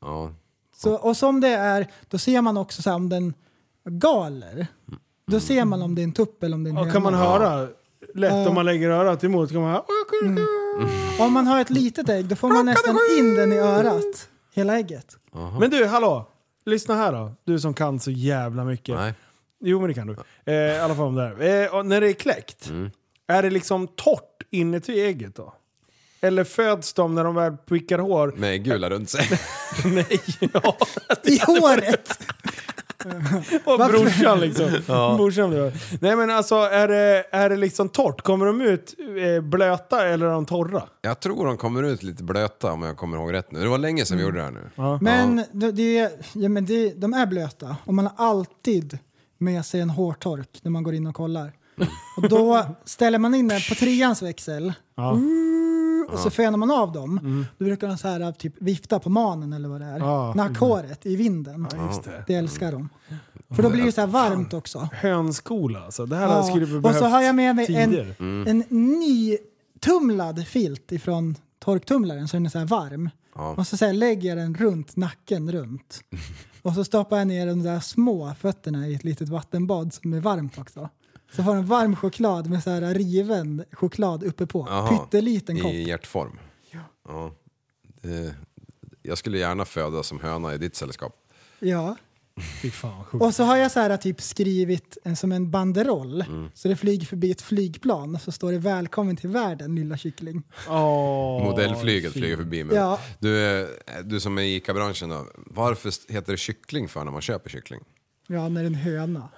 Speaker 4: Ja.
Speaker 5: Så, och som det är, då ser man också så här, om den galer. Då ser man om det är en tupp eller om det är en
Speaker 3: Och kan man
Speaker 5: höna.
Speaker 3: höra lätt om man lägger örat emot? Kan man höra,
Speaker 5: Mm. Om man har ett litet ägg då får man nästan in den i örat. Hela ägget.
Speaker 3: Men du, hallå! Lyssna här då. Du som kan så jävla mycket.
Speaker 4: Nej.
Speaker 3: Jo, men det kan du. Eh, I alla fall om det här. Eh, och när det är kläckt,
Speaker 5: Mm.
Speaker 3: är det liksom torrt inuti ägget då? Eller föds de när de väl prickar
Speaker 5: <laughs>
Speaker 3: hår?
Speaker 4: Med gula runt sig. <laughs>
Speaker 3: Nej, <laughs> ja.
Speaker 5: I håret!
Speaker 3: Och brorsan liksom. Brorsan blir Nej men alltså, är det, är det liksom torrt? Kommer de ut eh, blöta eller är de torra?
Speaker 4: Jag tror de kommer ut lite blöta om jag kommer ihåg rätt nu. Det var länge sedan vi
Speaker 5: Mm.
Speaker 4: gjorde det här nu.
Speaker 5: Men, det, det, ja, men det, de är blöta och man har alltid med sig en hårtork när man går in och kollar.
Speaker 3: <laughs>
Speaker 5: Och då ställer man in den på treans växel Mm, och så fönar man av dem. Då brukar de så här, typ, vifta på manen eller vad det är.
Speaker 3: Mm. Ja.
Speaker 5: Nackhåret i vinden.
Speaker 3: det. Mm.
Speaker 5: älskar de. För då blir det så här varmt också.
Speaker 3: Hönskola alltså. Det här
Speaker 5: Ja.
Speaker 3: skulle vi
Speaker 5: Och
Speaker 3: behövt
Speaker 5: så har jag med mig
Speaker 3: tidigare.
Speaker 5: en, en nytumlad filt ifrån torktumlaren så den är så här varm. Och så, så här lägger jag den runt nacken runt. Och så stoppar jag ner de där små fötterna i ett litet vattenbad som är varmt också. Så får den varm choklad med så här riven choklad uppe på.
Speaker 4: Jaha.
Speaker 5: Pytteliten kopp.
Speaker 4: I hjärtform. Ja. Det- Jag skulle gärna födas som höna i ditt sällskap.
Speaker 5: Ja.
Speaker 3: Fy fan vad sjukt.
Speaker 5: Och så har jag så här typ skrivit en, som en banderoll. Så det flyger förbi ett flygplan och så står det välkommen till världen lilla kyckling.
Speaker 3: Åh,
Speaker 4: Modellflyget
Speaker 3: fy.
Speaker 4: flyger förbi mig.
Speaker 5: Ja.
Speaker 4: Du, eh, du som är i ICA-branschen då, varför st- heter det kyckling för när man köper kyckling?
Speaker 5: Ja, när det är en höna.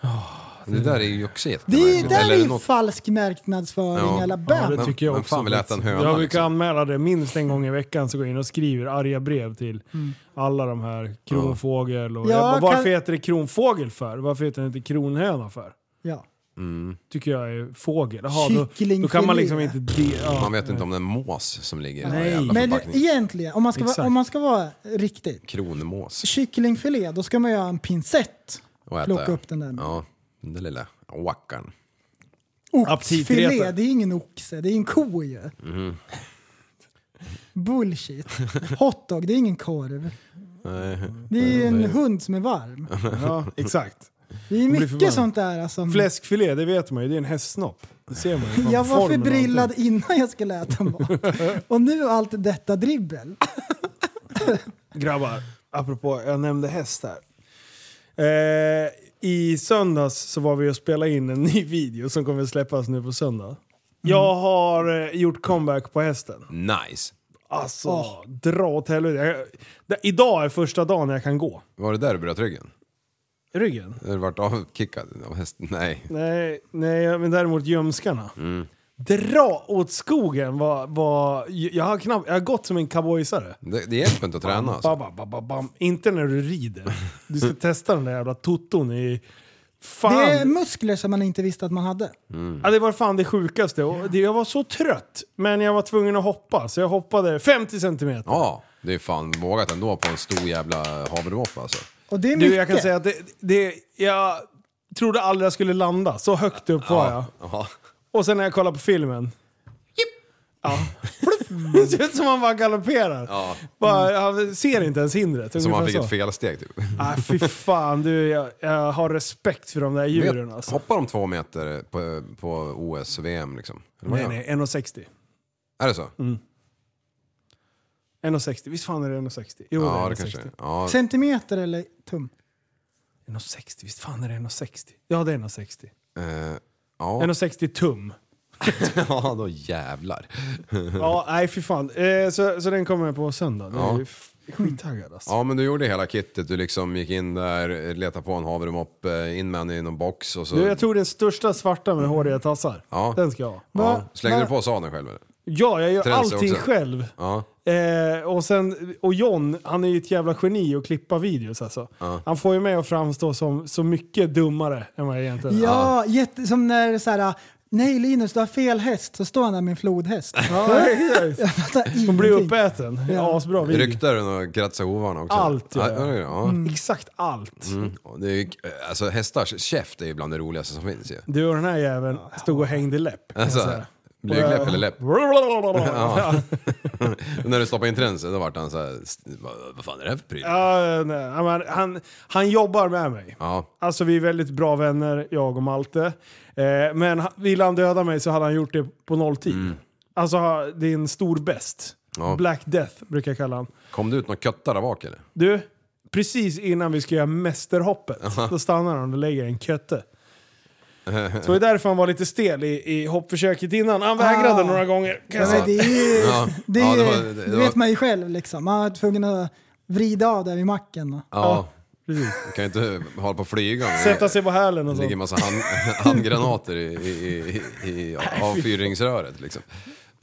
Speaker 4: Det där är ju också
Speaker 5: Mm. Det är ju
Speaker 4: jättemärkligt.
Speaker 5: där är
Speaker 4: Eller
Speaker 5: ju
Speaker 4: något-
Speaker 5: falsk marknadsföring
Speaker 4: Ja.
Speaker 5: alla
Speaker 3: Ja,
Speaker 5: bam.
Speaker 3: det tycker jag
Speaker 4: Vem
Speaker 3: också.
Speaker 4: fan vill äta en höna,
Speaker 3: jag brukar
Speaker 4: liksom?
Speaker 3: anmäla det minst en gång i veckan så går jag in och skriver arga brev till alla de här kronfågel och
Speaker 5: Mm. Ja,
Speaker 3: jag bara, varför
Speaker 5: kan-
Speaker 3: heter det kronfågel för? Varför heter det inte kronhöna för?
Speaker 5: Ja.
Speaker 3: Tycker jag är fågel. Jaha, då, då kan man
Speaker 5: Kycklingfilé.
Speaker 3: liksom inte... De, ja.
Speaker 4: Man vet inte om det är en mås som ligger i den här
Speaker 3: Nej.
Speaker 4: jävla
Speaker 5: Men
Speaker 4: förpackningen.
Speaker 5: egentligen, om man, ska
Speaker 3: Exakt.
Speaker 5: vara, om man ska vara riktigt.
Speaker 4: Kronmås.
Speaker 5: Kycklingfilé, då ska man göra en pinsett.
Speaker 4: Och äta.
Speaker 5: Plocka upp den där.
Speaker 4: Ja, den där lilla wackan.
Speaker 5: Oxfilé,
Speaker 3: Aptitretare.
Speaker 5: det är ingen oxe, det är en ko ju.
Speaker 4: Mhm.
Speaker 5: Bullshit. Hotdog, det är ingen korv. Det är ju en hund som är varm.
Speaker 3: Ja, exakt.
Speaker 5: Det är
Speaker 3: blir
Speaker 5: mycket
Speaker 3: förbannad.
Speaker 5: sånt där. Alltså.
Speaker 3: Fläskfilé, det vet man ju. Det är en hästsnopp. Det ser
Speaker 5: <laughs>
Speaker 3: man ju. Fan,
Speaker 5: Jag var
Speaker 3: formen och
Speaker 5: förbrillad
Speaker 3: allting.
Speaker 5: innan jag skulle äta mat. <laughs> Och nu allt detta dribbel.
Speaker 3: Grabbar, apropå, jag nämnde häst här. Eh, I söndags så var vi och spelade in en <laughs> ny video som kommer släppas nu på söndag. Jag har eh, gjort comeback på hästen.
Speaker 4: Nice.
Speaker 3: Alltså, dra åt helvete. Jag, det, idag är första dagen jag kan gå.
Speaker 4: Var det där du bröt ryggen?
Speaker 3: Ryggen?
Speaker 4: Eller vart avkickad av hästen? Nej.
Speaker 3: Nej, nej men däremot gömskarna. Dra åt skogen var... var jag, har knappt, jag har gått som en cowboysare.
Speaker 4: Det, det hjälper inte att träna alltså.
Speaker 3: Bam, bam, bam, bam, bam. Inte när du rider. Du
Speaker 4: <laughs>
Speaker 3: ska testa den där jävla tutton i... Fan! Mm.
Speaker 5: Det är muskler som man inte visste att man hade.
Speaker 3: Ja, det var fan det sjukaste. Och det, jag var så trött, men jag var tvungen att hoppa. Så jag hoppade 50 centimeter.
Speaker 4: Ja, det är fan vågat ändå på en stor jävla havremoppe alltså.
Speaker 5: Och det är mycket.
Speaker 3: Du, jag kan säga att det, det, jag trodde aldrig jag skulle landa. Så högt upp var jag.
Speaker 4: Ja.
Speaker 3: Och sen när jag kollar på filmen.
Speaker 4: <laughs>
Speaker 3: Ja. <laughs> det ser ut som man bara galopperar.
Speaker 4: Ja.
Speaker 3: Bara, jag ser inte ens hindret.
Speaker 4: Som han
Speaker 3: ungefär
Speaker 4: fick
Speaker 3: så.
Speaker 4: ett felsteg typ.
Speaker 3: Ah, fy fan, du, jag, jag har respekt för de där djuren
Speaker 4: Vet-
Speaker 3: alltså.
Speaker 4: Hoppar de två meter på, på OS, VM liksom? Eller vad
Speaker 3: Nej,
Speaker 4: gör de?
Speaker 3: nej, Mm. 1,60.
Speaker 4: Är det så?
Speaker 3: 1,60. Visst fan är det 1,60? Jo,
Speaker 4: Ja,
Speaker 3: det
Speaker 4: det
Speaker 3: är
Speaker 4: kanske
Speaker 3: 1,60.
Speaker 4: är. ja.
Speaker 5: Centimeter eller tum?
Speaker 3: 1,60. Visst fan är det 1,60? Ja, det är 1,60.
Speaker 4: eh, ja.
Speaker 3: 1,60 tum.
Speaker 4: <laughs> ja, då jävlar.
Speaker 3: Ja, nej fy fan. Eh, så, så den kommer på söndag. Nu är
Speaker 4: Ja.
Speaker 3: jag f- skittaggad alltså.
Speaker 4: Ja, men du gjorde hela kittet. Du liksom gick in där, letade på en havremoppe, in med henne i någon box och så...
Speaker 3: Du, jag tog den största svarta med håriga tassar.
Speaker 4: Ja.
Speaker 3: Den ska jag ha.
Speaker 4: ja.
Speaker 5: Va?
Speaker 4: Slängde
Speaker 5: Va?
Speaker 4: du på sadeln själv eller?
Speaker 3: Ja, jag gör
Speaker 4: Tränse
Speaker 3: allting
Speaker 4: också.
Speaker 3: själv.
Speaker 4: Ja.
Speaker 3: Eh, och, sen, och John, han är ju ett jävla geni att klippa videos alltså. Han får ju mig att framstå som så mycket dummare än vad jag egentligen är.
Speaker 5: Ja, jätte, som när så här, nej Linus du har fel häst, så står han där med
Speaker 3: <laughs>
Speaker 5: en flodhäst.
Speaker 3: Ja, exakt.
Speaker 5: Jag fattar
Speaker 3: Hon blir
Speaker 5: ingenting.
Speaker 3: uppäten.
Speaker 5: Ja.
Speaker 3: Asbra video.
Speaker 4: Ryktade du och kratsade hovarna också?
Speaker 3: Allt, ja.
Speaker 4: ja. ja, ja.
Speaker 3: Exakt allt.
Speaker 4: Ja, Det är, ju- alltså hästars käft är ju bland det roligaste som finns ju.
Speaker 3: Du och den här jäveln stod och hängde läpp. kan jag
Speaker 4: Alltså,
Speaker 3: säga.
Speaker 4: blygdläpp eller läpp?
Speaker 3: Ja.
Speaker 4: <laughs> När du stoppade in tränsen då vart han såhär, vad, vad fan är det här för pryl?
Speaker 3: Ja, nej, han, han, han jobbar med mig.
Speaker 4: Ja.
Speaker 3: Alltså vi är väldigt bra vänner, jag och Malte. Eh, men han- ville han döda mig så hade han gjort det på nolltid. Alltså ha- det är en stor best.
Speaker 4: Mm. Ja.
Speaker 3: Black Death brukar jag kalla han.
Speaker 4: Kom det ut någon kötta där bak eller?
Speaker 3: Du, precis innan vi ska göra mästerhoppet, då stannar han och lägger en
Speaker 4: <laughs>
Speaker 3: kötte. Så det är därför han var lite stel i, i hoppförsöket innan. Han vägrade
Speaker 5: Ah.
Speaker 3: några gånger. kan jag
Speaker 5: Ja,
Speaker 3: säga.
Speaker 5: men det är ju,
Speaker 4: Ja.
Speaker 5: det, är
Speaker 4: Ja,
Speaker 5: ju,
Speaker 4: det var-
Speaker 5: det,
Speaker 4: det var-
Speaker 5: vet man ju själv liksom. Man var tvungen att vrida av där vid macken. och-
Speaker 4: Ja.
Speaker 3: precis.
Speaker 4: Du kan ju inte hålla på och flyga. om
Speaker 3: Sätta
Speaker 4: det-
Speaker 3: sig på hälen och
Speaker 4: Det ligger en
Speaker 3: sånt.
Speaker 4: massa
Speaker 3: <laughs>
Speaker 4: hand, handgranater i, i, i, i avfyrningsröret liksom.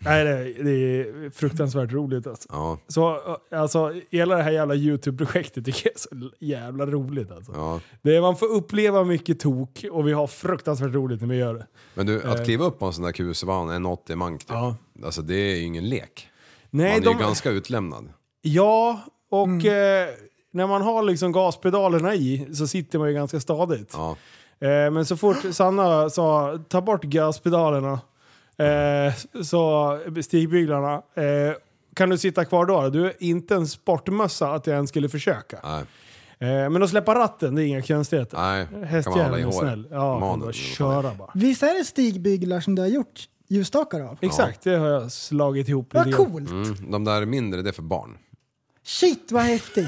Speaker 3: Nej, det, det är fruktansvärt roligt alltså.
Speaker 4: Ja,
Speaker 3: Så alltså, hela det här jävla YouTube-projektet tycker jag är så jävla roligt alltså.
Speaker 4: ja.
Speaker 3: Det är, man får uppleva mycket tok och vi har fruktansvärt roligt när vi gör det.
Speaker 4: Men du, att kliva upp på en sån där kusevan, en 80 mank typ.
Speaker 3: Eh. Ja.
Speaker 4: Alltså det är ju ingen lek. Man
Speaker 3: Nej,
Speaker 4: är
Speaker 3: de,
Speaker 4: ju ganska utlämnad.
Speaker 3: Ja, och eh, när man har liksom gaspedalerna i så sitter man ju ganska stadigt.
Speaker 4: Ja.
Speaker 3: Eh, men så fort Sanna sa ta bort gaspedalerna, eh, så stigbyglarna, eh, kan du sitta kvar då? Du är inte en sportmössa att jag ens skulle försöka.
Speaker 4: Nej,
Speaker 3: Eh, men att släppa ratten, det är inga konstigheter.
Speaker 4: nej. kan man hålla i
Speaker 3: Hästjäveln är
Speaker 4: håret.
Speaker 3: snäll. Ja,
Speaker 4: Manen.
Speaker 3: bara köra bara.
Speaker 5: Visst är det stigbyglar som du har gjort ljusstakar av?
Speaker 3: Exakt, det har jag slagit ihop
Speaker 5: Vad
Speaker 3: lite grann.
Speaker 5: coolt!
Speaker 4: Mm, de där mindre, det är för barn.
Speaker 5: Shit
Speaker 3: <laughs>
Speaker 5: vad häftigt!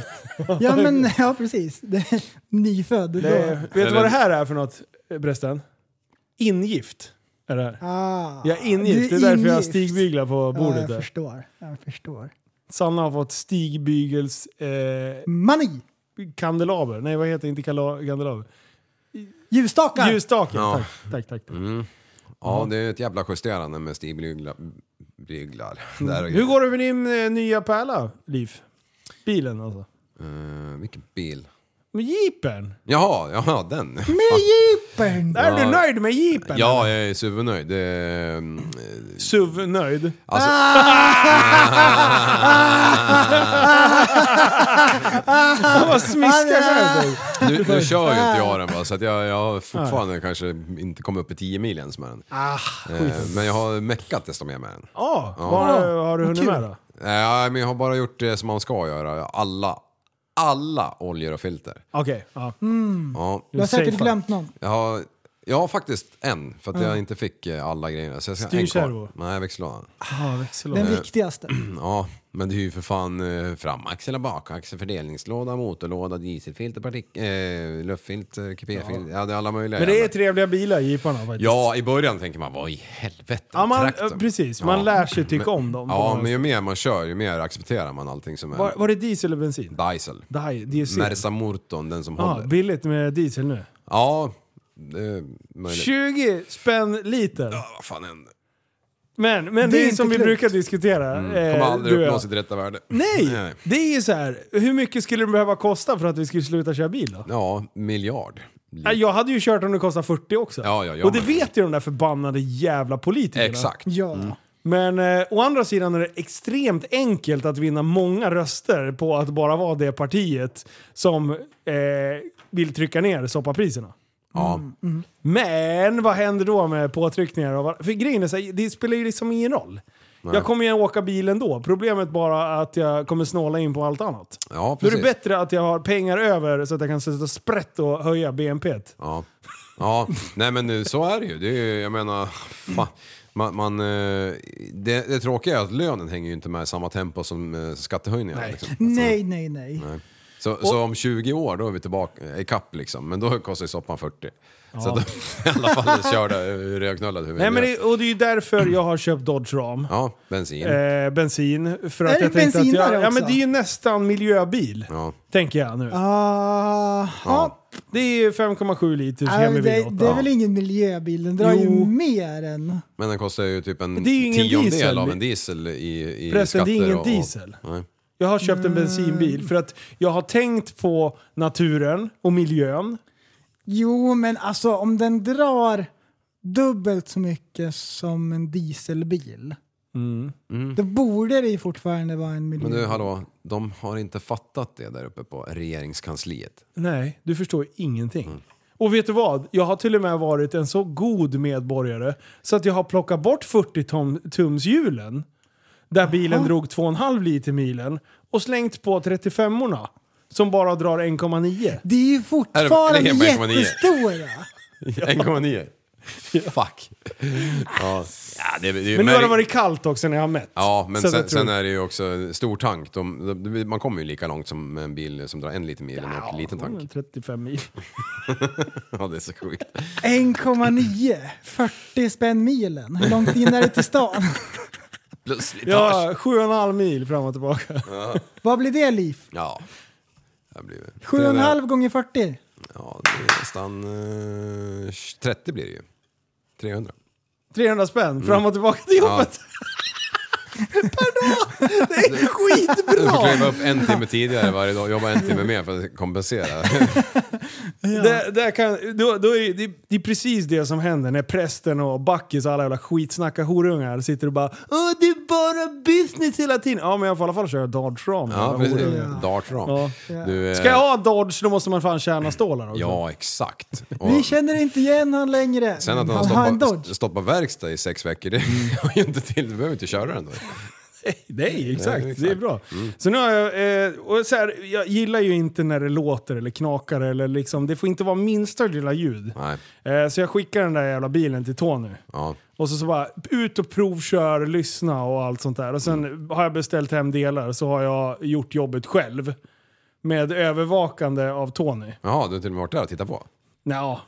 Speaker 5: Ja men <laughs> ja precis, det är nyfödd.
Speaker 3: Det är,
Speaker 5: Då.
Speaker 3: vet du vad det här är för något, eh, Bresten? Ingift är det här.
Speaker 5: Ah,
Speaker 3: Jag är ingift, det
Speaker 5: du
Speaker 3: är därför jag har
Speaker 5: ingift.
Speaker 3: stigbyglar på
Speaker 5: Ja, jag
Speaker 3: bordet där.
Speaker 5: förstår. Jag förstår.
Speaker 3: Sanna har fått stigbygels... Eh,
Speaker 5: Mani!
Speaker 3: kandelaber. Nej, vad heter det? Inte kala- kandelaber.
Speaker 5: Ljusstakar!
Speaker 3: Ljusstake.
Speaker 4: Ja. Mm.
Speaker 3: Tack, tack, tack. tack.
Speaker 4: Ja, det är ett jävla justerande med <laughs> stigbyglar.
Speaker 3: Hur går det med din eh, nya pärla, Liv? Bilen alltså.
Speaker 4: Uh, vilken bil?
Speaker 3: Med jeepen?
Speaker 4: Jaha, jaha den.
Speaker 5: Med jeepern!
Speaker 3: Är du nöjd med jeepen?
Speaker 4: Ja, jag är supernöjd. Det är, mm, eh, <laughs>
Speaker 3: SUV-nöjd?
Speaker 4: Alltså,
Speaker 3: Han bara smiskar sig.
Speaker 4: <laughs> nu, nu kör ju inte jag den bara, så att jag, jag har fortfarande kanske inte kommit upp i 10 mil ens med den. eh, men jag har meckat desto mer med den. Eh,
Speaker 3: Ja, vad har, du- har du hunnit
Speaker 5: kul.
Speaker 3: med då?
Speaker 4: Nej, men jag har bara gjort det som man ska göra. Alla, alla oljor och filter.
Speaker 3: Okej, ja. Mm,
Speaker 4: Ja,
Speaker 5: Mm, Du har säkert
Speaker 3: Safe.
Speaker 5: glömt någon.
Speaker 4: jag har, jag har faktiskt en, för att jag inte fick eh, alla grejerna. Så jag ska ha en
Speaker 3: Styrservo?
Speaker 4: kvar. Nej, växellådan.
Speaker 3: Ah, växellåda.
Speaker 5: Den <clears throat> viktigaste.
Speaker 4: <clears throat> Ja, men det är ju för fan eh, framaxel och bakaxel, fördelningslåda, motorlåda, dieselfilter, partik- eh, luftfilter, kupéfilter. Ja. det är alla möjliga.
Speaker 3: Men det är typ-
Speaker 4: jävla-
Speaker 3: trevliga bilar, jeeparna faktiskt.
Speaker 4: Ja, i början tänker man vad i helvete,
Speaker 3: Ja, man-
Speaker 4: traktorn.
Speaker 3: ja, precis. Man lär sig tycka
Speaker 4: Men-
Speaker 3: om dem.
Speaker 4: Ja, men ju mer man kör, ju mer accepterar man allting som är
Speaker 3: Var, var Ah, det diesel eller bensin?
Speaker 4: diesel.
Speaker 3: Dai, diesel.
Speaker 4: Merca Morton, den som
Speaker 3: Ja,
Speaker 4: håller.
Speaker 3: billigt med diesel nu.
Speaker 4: Ja, det är möjligt.
Speaker 3: 20 spänn liter.
Speaker 4: Ja, vad fan händer?
Speaker 3: Men, men det,
Speaker 5: Det
Speaker 3: är
Speaker 5: är
Speaker 3: som
Speaker 5: inte
Speaker 3: vi
Speaker 5: klokt.
Speaker 3: brukar diskutera. eh,
Speaker 4: Mm. Kommer
Speaker 3: du
Speaker 4: aldrig
Speaker 3: och jag.
Speaker 4: uppnå sitt rätta värde.
Speaker 3: Nej! Det är ju så här. hur mycket skulle det behöva kosta för att vi skulle sluta köra bil då?
Speaker 4: Ja, miljard.
Speaker 3: Ja, Jag hade ju kört om det kostade 40 också.
Speaker 4: Ja, ja, jag
Speaker 3: och det
Speaker 4: med.
Speaker 3: vet ju de där förbannade jävla politikerna.
Speaker 4: Exakt. Mm.
Speaker 5: Ja.
Speaker 3: Men eh, å andra sidan är det extremt enkelt att vinna många röster på att bara vara det partiet som eh, vill trycka ner soppapriserna.
Speaker 4: Ja.
Speaker 3: Mm, Men vad händer då med påtryckningar? Och vad- för grejen är så här, det spelar ju liksom ingen roll. Jag kommer ju åka bil ändå. Problemet bara att jag kommer snåla in på allt annat.
Speaker 4: Ja,
Speaker 3: Då är det
Speaker 4: precis.
Speaker 3: bättre att jag har pengar över så att jag kan sätta sprätt och höja BNP.
Speaker 4: Ja. ja, nej men nu, så är det ju. Det är, ju- jag menar, fan. Man, man, eh, det, det tråkiga är att lönen hänger ju inte med i samma tempo som eh, skattehöjningarna.
Speaker 3: Nej.
Speaker 4: Liksom.
Speaker 5: Nej, nej, nej.
Speaker 4: Så, så om 20 år då är vi tillbaka, i kapp liksom, men då kostar ju soppan 40. Så att, de- i alla fall körda, eh, rödknullad huvud.
Speaker 3: Nej, men det, och det är ju därför jag har köpt Dodge Ram.
Speaker 4: Ja, bensin.
Speaker 3: Eh, bensin. För att
Speaker 5: det
Speaker 3: jag tänkte att jag,
Speaker 5: bensinare
Speaker 3: Ja
Speaker 5: också?
Speaker 3: men det är ju nästan miljöbil.
Speaker 4: Ja.
Speaker 3: Tänker jag nu.
Speaker 5: Ah, ja.
Speaker 3: Det är ju 5,7 liters
Speaker 5: Ja, men
Speaker 3: Hemi
Speaker 5: det,
Speaker 3: V8.
Speaker 5: det är väl ingen miljöbil, den drar ju
Speaker 3: Jo.
Speaker 5: mer än...
Speaker 4: Men den kostar ju typ en
Speaker 3: Det är ju ingen
Speaker 4: tiondel
Speaker 3: diesel.
Speaker 4: av en diesel i, i
Speaker 3: Förresten,
Speaker 4: skatter.
Speaker 3: det är ingen
Speaker 4: och,
Speaker 3: diesel.
Speaker 4: Nej.
Speaker 3: Jag har köpt en
Speaker 5: Mm.
Speaker 3: bensinbil för att jag har tänkt på naturen och miljön.
Speaker 5: Jo, men alltså om den drar dubbelt så mycket som en dieselbil, Mm. då borde det ju fortfarande vara en miljö.
Speaker 4: Men
Speaker 3: Mm.
Speaker 4: du, hallå, de har inte fattat det där uppe på
Speaker 3: <laughs>
Speaker 4: regeringskansliet.
Speaker 3: Nej, du förstår ingenting.
Speaker 4: Mm.
Speaker 3: Och vet du vad? Jag har till och med varit en så god medborgare så att jag har plockat bort 40-tumshjulen där bilen drog 2,5 liter milen och slängt på 35orna som bara drar 1,9.
Speaker 5: Det är ju
Speaker 4: Är det-
Speaker 5: fortfarande
Speaker 4: är det på 1,9?
Speaker 5: jättestora.
Speaker 4: 1,9. Fuck. Ja. Ja, det, det,
Speaker 3: Men nu har det varit kallt också när jag har mätt.
Speaker 4: Ja, men
Speaker 3: Så
Speaker 4: sen,
Speaker 3: jag tror-
Speaker 4: sen är det ju också stor tank. De, de, man kommer ju lika långt som en bil som drar en liten mil och en liten
Speaker 3: Ja,
Speaker 4: tank.
Speaker 3: 35
Speaker 4: <laughs>
Speaker 3: mil.
Speaker 4: Ja, det är så sjukt.
Speaker 5: 1,9. 40 spänn milen. Hur långt in är det till <laughs> stan?
Speaker 4: Plötsligt.
Speaker 3: Ja, 7,5 mil fram och tillbaka.
Speaker 5: Vad blir det, Liv?
Speaker 4: Ja. Det blir det.
Speaker 5: 7,5 gånger 40?
Speaker 4: Ja, det är nästan... Eh, 30 blir det ju. 300.
Speaker 3: 300 spänn fram och tillbaka till
Speaker 4: Ja.
Speaker 3: jobbet. Per dag! Det är
Speaker 4: Du får
Speaker 3: skitbra!
Speaker 4: kliva upp en timme tidigare varje dag och jobba en timme mer för att kompensera.
Speaker 3: Det, det, kan, då, då är, det, det är precis det som händer när prästen och Backis och alla jävla skitsnacka horungar sitter och bara Åh, det är bara business hela tiden. Ja, men jag får i alla fall köra Dodge Ram.
Speaker 4: Ja,
Speaker 3: jävla
Speaker 4: precis.
Speaker 3: horungar.
Speaker 4: Dart ram.
Speaker 3: Ja.
Speaker 4: Du, eh,
Speaker 3: Ska jag ha Dodge då måste man fan tjäna stålar också.
Speaker 4: Ja, exakt.
Speaker 5: Vi
Speaker 4: Och
Speaker 5: känner inte igen honom längre.
Speaker 4: sen att
Speaker 3: Mm.
Speaker 5: han
Speaker 4: han
Speaker 5: har en
Speaker 4: stoppar,
Speaker 5: Dodge.
Speaker 4: st- stoppar verkstad i sex veckor, det <laughs> har ju inte till. Du behöver inte köra den då.
Speaker 3: <laughs> Nej, exakt.
Speaker 4: Nej, exakt. Mm.
Speaker 3: Det är bra. Så nu har jag, eh, och så här, jag gillar ju inte när det låter eller knakar eller liksom, det får inte vara minsta lilla ljud.
Speaker 4: Nej.
Speaker 3: Eh, så jag skickar den där jävla bilen till Tony.
Speaker 4: Ja.
Speaker 3: Och så, så bara ut och provkör, lyssna och allt sånt där. Och sen har jag beställt hem delar så har jag gjort jobbet själv. Med övervakande av Tony.
Speaker 4: Jaha, du har till och med varit där och tittat på?
Speaker 3: Nja,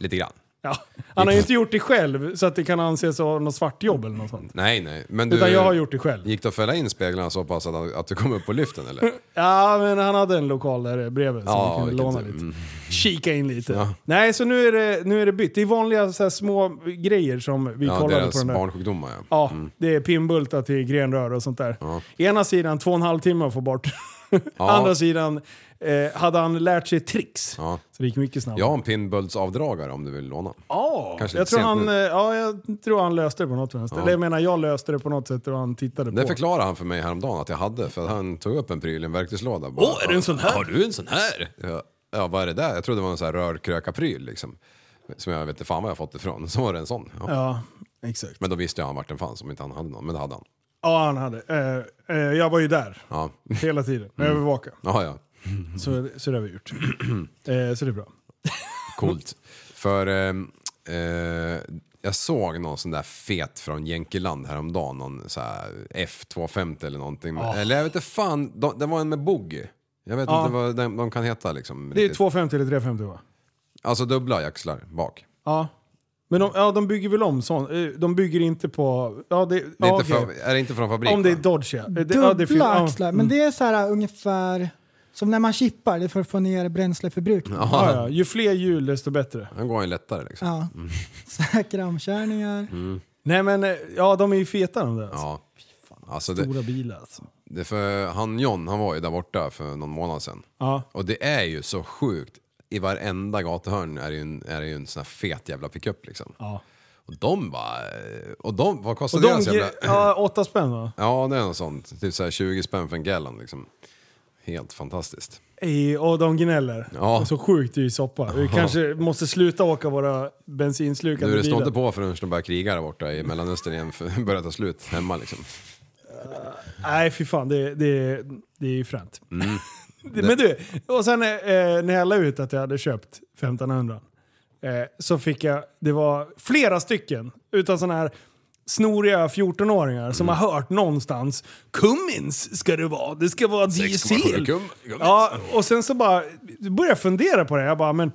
Speaker 4: Lite grann.
Speaker 3: <laughs> ja. Han har ju inte gjort det själv så att det kan anses vara något svartjobb eller något sånt.
Speaker 4: Nej, nej. Men du,
Speaker 3: Utan jag har gjort det själv.
Speaker 4: Gick det att fälla in speglarna så pass att, att du kom upp på lyften
Speaker 3: <laughs>
Speaker 4: eller?
Speaker 3: Ja, men han hade en lokal där bredvid som
Speaker 4: Ja,
Speaker 3: vi kunde
Speaker 4: vilket
Speaker 3: låna
Speaker 4: tur.
Speaker 3: lite.
Speaker 4: Mm.
Speaker 3: Kika in lite.
Speaker 4: Ja.
Speaker 3: Nej, så nu är, det, nu är det bytt. Det är vanliga så här, små grejer som vi
Speaker 4: Ja,
Speaker 3: kollade på
Speaker 4: deras
Speaker 3: den där.
Speaker 4: barnsjukdomar ja.
Speaker 3: Ja, det är pinnbultar till grenrör och sånt där.
Speaker 4: Mm. Ja.
Speaker 3: Ena sidan två och en halv timme att få bort.
Speaker 4: Ja.
Speaker 3: <laughs> Andra sidan eh, hade han lärt sig tricks.
Speaker 4: Ja.
Speaker 3: Så det gick mycket snabbare.
Speaker 4: Jag har en pinnbultsavdragare om du vill låna.
Speaker 3: Ja,
Speaker 4: Kanske
Speaker 3: jag
Speaker 4: lite
Speaker 3: tror,
Speaker 4: sent
Speaker 3: han,
Speaker 4: nu.
Speaker 3: eh, ja, jag tror han löste det på något vänster. Eller jag menar, jag löste det på något sätt och han tittade
Speaker 4: Det
Speaker 3: på.
Speaker 4: förklarade han för mig häromdagen att jag hade, för att han tog upp en pryl, en verktygslåda. Åh,
Speaker 3: är det en sån här?
Speaker 4: Har du en sån här? Ja, ja vad är det där? Jag trodde det var en sån här rörkrökarpryl liksom. Som jag vet inte fan var jag fått ifrån. <laughs> Så var det en sån. Ja.
Speaker 3: Ja, exakt.
Speaker 4: Men då visste jag han vart den fanns om inte han hade någon, men det hade han.
Speaker 3: Ja, han hade. Eh, eh, jag var ju där
Speaker 4: Ja, Mm.
Speaker 3: hela tiden. Jag övervakade.
Speaker 4: ja. ja.
Speaker 3: Så, så det har vi
Speaker 4: <clears throat>
Speaker 3: gjort. Eh, så det är bra. <laughs>
Speaker 4: Coolt. För ehm, eh, jag såg någon sån där fet från Jänkeland häromdagen. Någon så här F250 eller någonting.
Speaker 3: Ah.
Speaker 4: Eller jag vet inte fan, de, det var en med boogie. Jag vet
Speaker 3: Ja.
Speaker 4: inte vad de, de kan heta liksom.
Speaker 3: Ah. Det är
Speaker 4: riktigt.
Speaker 3: 250 eller 350 va?
Speaker 4: Alltså dubbla axlar bak.
Speaker 3: Ja. Men de, ja, de bygger väl om sånt. Eh, De bygger inte på... Ja, det,
Speaker 4: Det är,
Speaker 3: ja,
Speaker 4: inte
Speaker 3: okej.
Speaker 4: för, är det inte från fabrik?
Speaker 3: Om det är
Speaker 4: va?
Speaker 3: Dodge ja. Eh, det- ja, det finns-
Speaker 5: Dubbla
Speaker 3: ja. Mm.
Speaker 5: axlar, men det är så här uh, ungefär som när man chippar, det är för att få ner bränsleförbrukningen. Ja.
Speaker 3: Ja, ja. Ju fler hjul desto bättre.
Speaker 4: Den går ju lättare liksom.
Speaker 3: Ah.
Speaker 4: Ja.
Speaker 5: <laughs> Säkra omkärningar.
Speaker 3: Nej men eh, ja, de är ju feta de där. Alltså.
Speaker 4: Alltså
Speaker 3: Stora
Speaker 4: det,
Speaker 3: bilar alltså.
Speaker 4: det är för han John, han var ju där borta för någon månad sedan.
Speaker 3: Ja.
Speaker 4: Och det är ju så sjukt. I varenda gatuhörn är det ju en, är det ju en sån här fet jävla pickup liksom.
Speaker 3: Ja.
Speaker 4: Och de bara... eh, Och de, vad
Speaker 3: Och
Speaker 4: kostade
Speaker 3: de,
Speaker 4: deras alltså jävla...
Speaker 3: ge- ja, åtta spänn va?
Speaker 4: Ja, det är något sånt. Typ så här 20 spänn för en gallon liksom. Helt fantastiskt.
Speaker 3: Ej, Och de gnäller.
Speaker 4: Ja.
Speaker 3: Och Så sjukt det är ju soppa. Vi kanske måste sluta åka våra bensinslukande
Speaker 4: Du, det står
Speaker 3: bilar.
Speaker 4: inte på förrän de börjar kriga där borta i Mellanöstern igen, för det börjar ta slut hemma liksom.
Speaker 3: Nej fy fan, det, det, det är ju fränt.
Speaker 4: Mm.
Speaker 3: Det- <laughs> Men du, och sen eh, när jag la ut att jag hade köpt 1500 eh, så fick jag, det var flera stycken utan sådana här snoriga 14-åringar som
Speaker 4: Mm.
Speaker 3: har hört någonstans Cummins ska det vara, det ska vara diesel.
Speaker 4: kum- kum-
Speaker 3: Ja, och sen så bara började jag fundera på det. Jag bara, men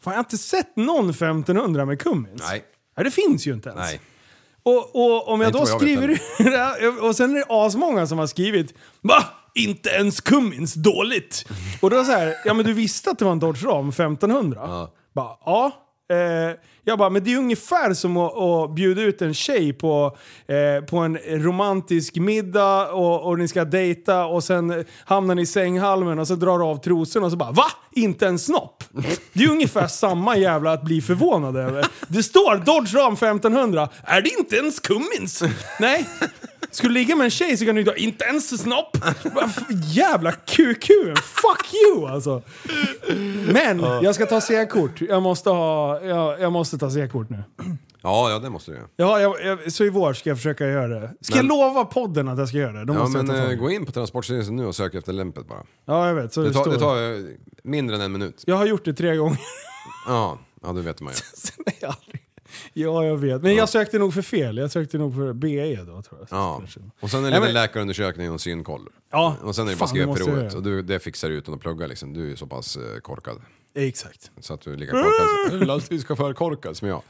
Speaker 3: fan jag har inte sett någon 1500 med Cummins.
Speaker 4: Nej.
Speaker 3: Nej, det finns ju inte ens.
Speaker 4: Nej.
Speaker 3: Och, och om jag
Speaker 4: Inte
Speaker 3: då
Speaker 4: vad jag
Speaker 3: skriver
Speaker 4: vet
Speaker 3: <laughs> ut... och sen är det asmånga som har skrivit Va? Inte ens Cummins dåligt! Och då så här, ja men du visste att det var en Dodge Ram 1500? Ja. Bara, ja. Eh, jag bara, men det är ungefär som att, att bjuda ut en tjej på, eh, på en romantisk middag och, och ni ska dejta och sen eh, hamnar ni i sänghalmen och så drar du av trosorna och så bara VA? Inte en snopp? Det är ungefär samma jävla att bli förvånad över. Det står Dodge Ram 1500, är det inte ens Cummins? Nej. Skulle ligga med en tjej så kan du inte ha inte ens snopp. Vad för Jävla QQ, fuck you alltså. Men jag ska ta C-kort. Jag måste, ha, jag, jag måste ta C-kort nu.
Speaker 4: Ja, ja det måste du ju.
Speaker 3: Ja, jag, jag, så i vår ska jag försöka göra det. Ska jag
Speaker 4: Men-
Speaker 3: lova podden att jag ska göra det? Då
Speaker 4: Ja,
Speaker 3: måste jag
Speaker 4: men
Speaker 3: ta tag
Speaker 4: eh,
Speaker 3: i det.
Speaker 4: gå in på Transportstyrelsen nu och sök efter lämpet bara.
Speaker 3: Ja, jag vet. Så det,
Speaker 4: Det tar,
Speaker 3: står.
Speaker 4: det tar eh, mindre än en minut.
Speaker 3: Jag har gjort det tre gånger. <laughs>
Speaker 4: Ja, ja det vet man ju.
Speaker 3: Sen är jag aldrig... Ja, jag vet. Men jag sökte nog för fel. Jag sökte nog för BE då, tror jag.
Speaker 4: Ja.
Speaker 3: Kanske.
Speaker 4: Och sen är det
Speaker 3: Nej,
Speaker 4: lite
Speaker 3: men-
Speaker 4: läkarundersökning och en synkoll.
Speaker 3: Ja,
Speaker 4: Och sen är det
Speaker 3: fan,
Speaker 4: bara
Speaker 3: det
Speaker 4: skriva
Speaker 3: måste jag
Speaker 4: provet.
Speaker 3: göra.
Speaker 4: Och du, det fixar du utan att plugga liksom. Du är ju så pass eh, korkad.
Speaker 3: Exakt.
Speaker 4: Så att du är lika korkad som...
Speaker 3: <laughs>
Speaker 4: Du är alltid ska förkorkad som jag.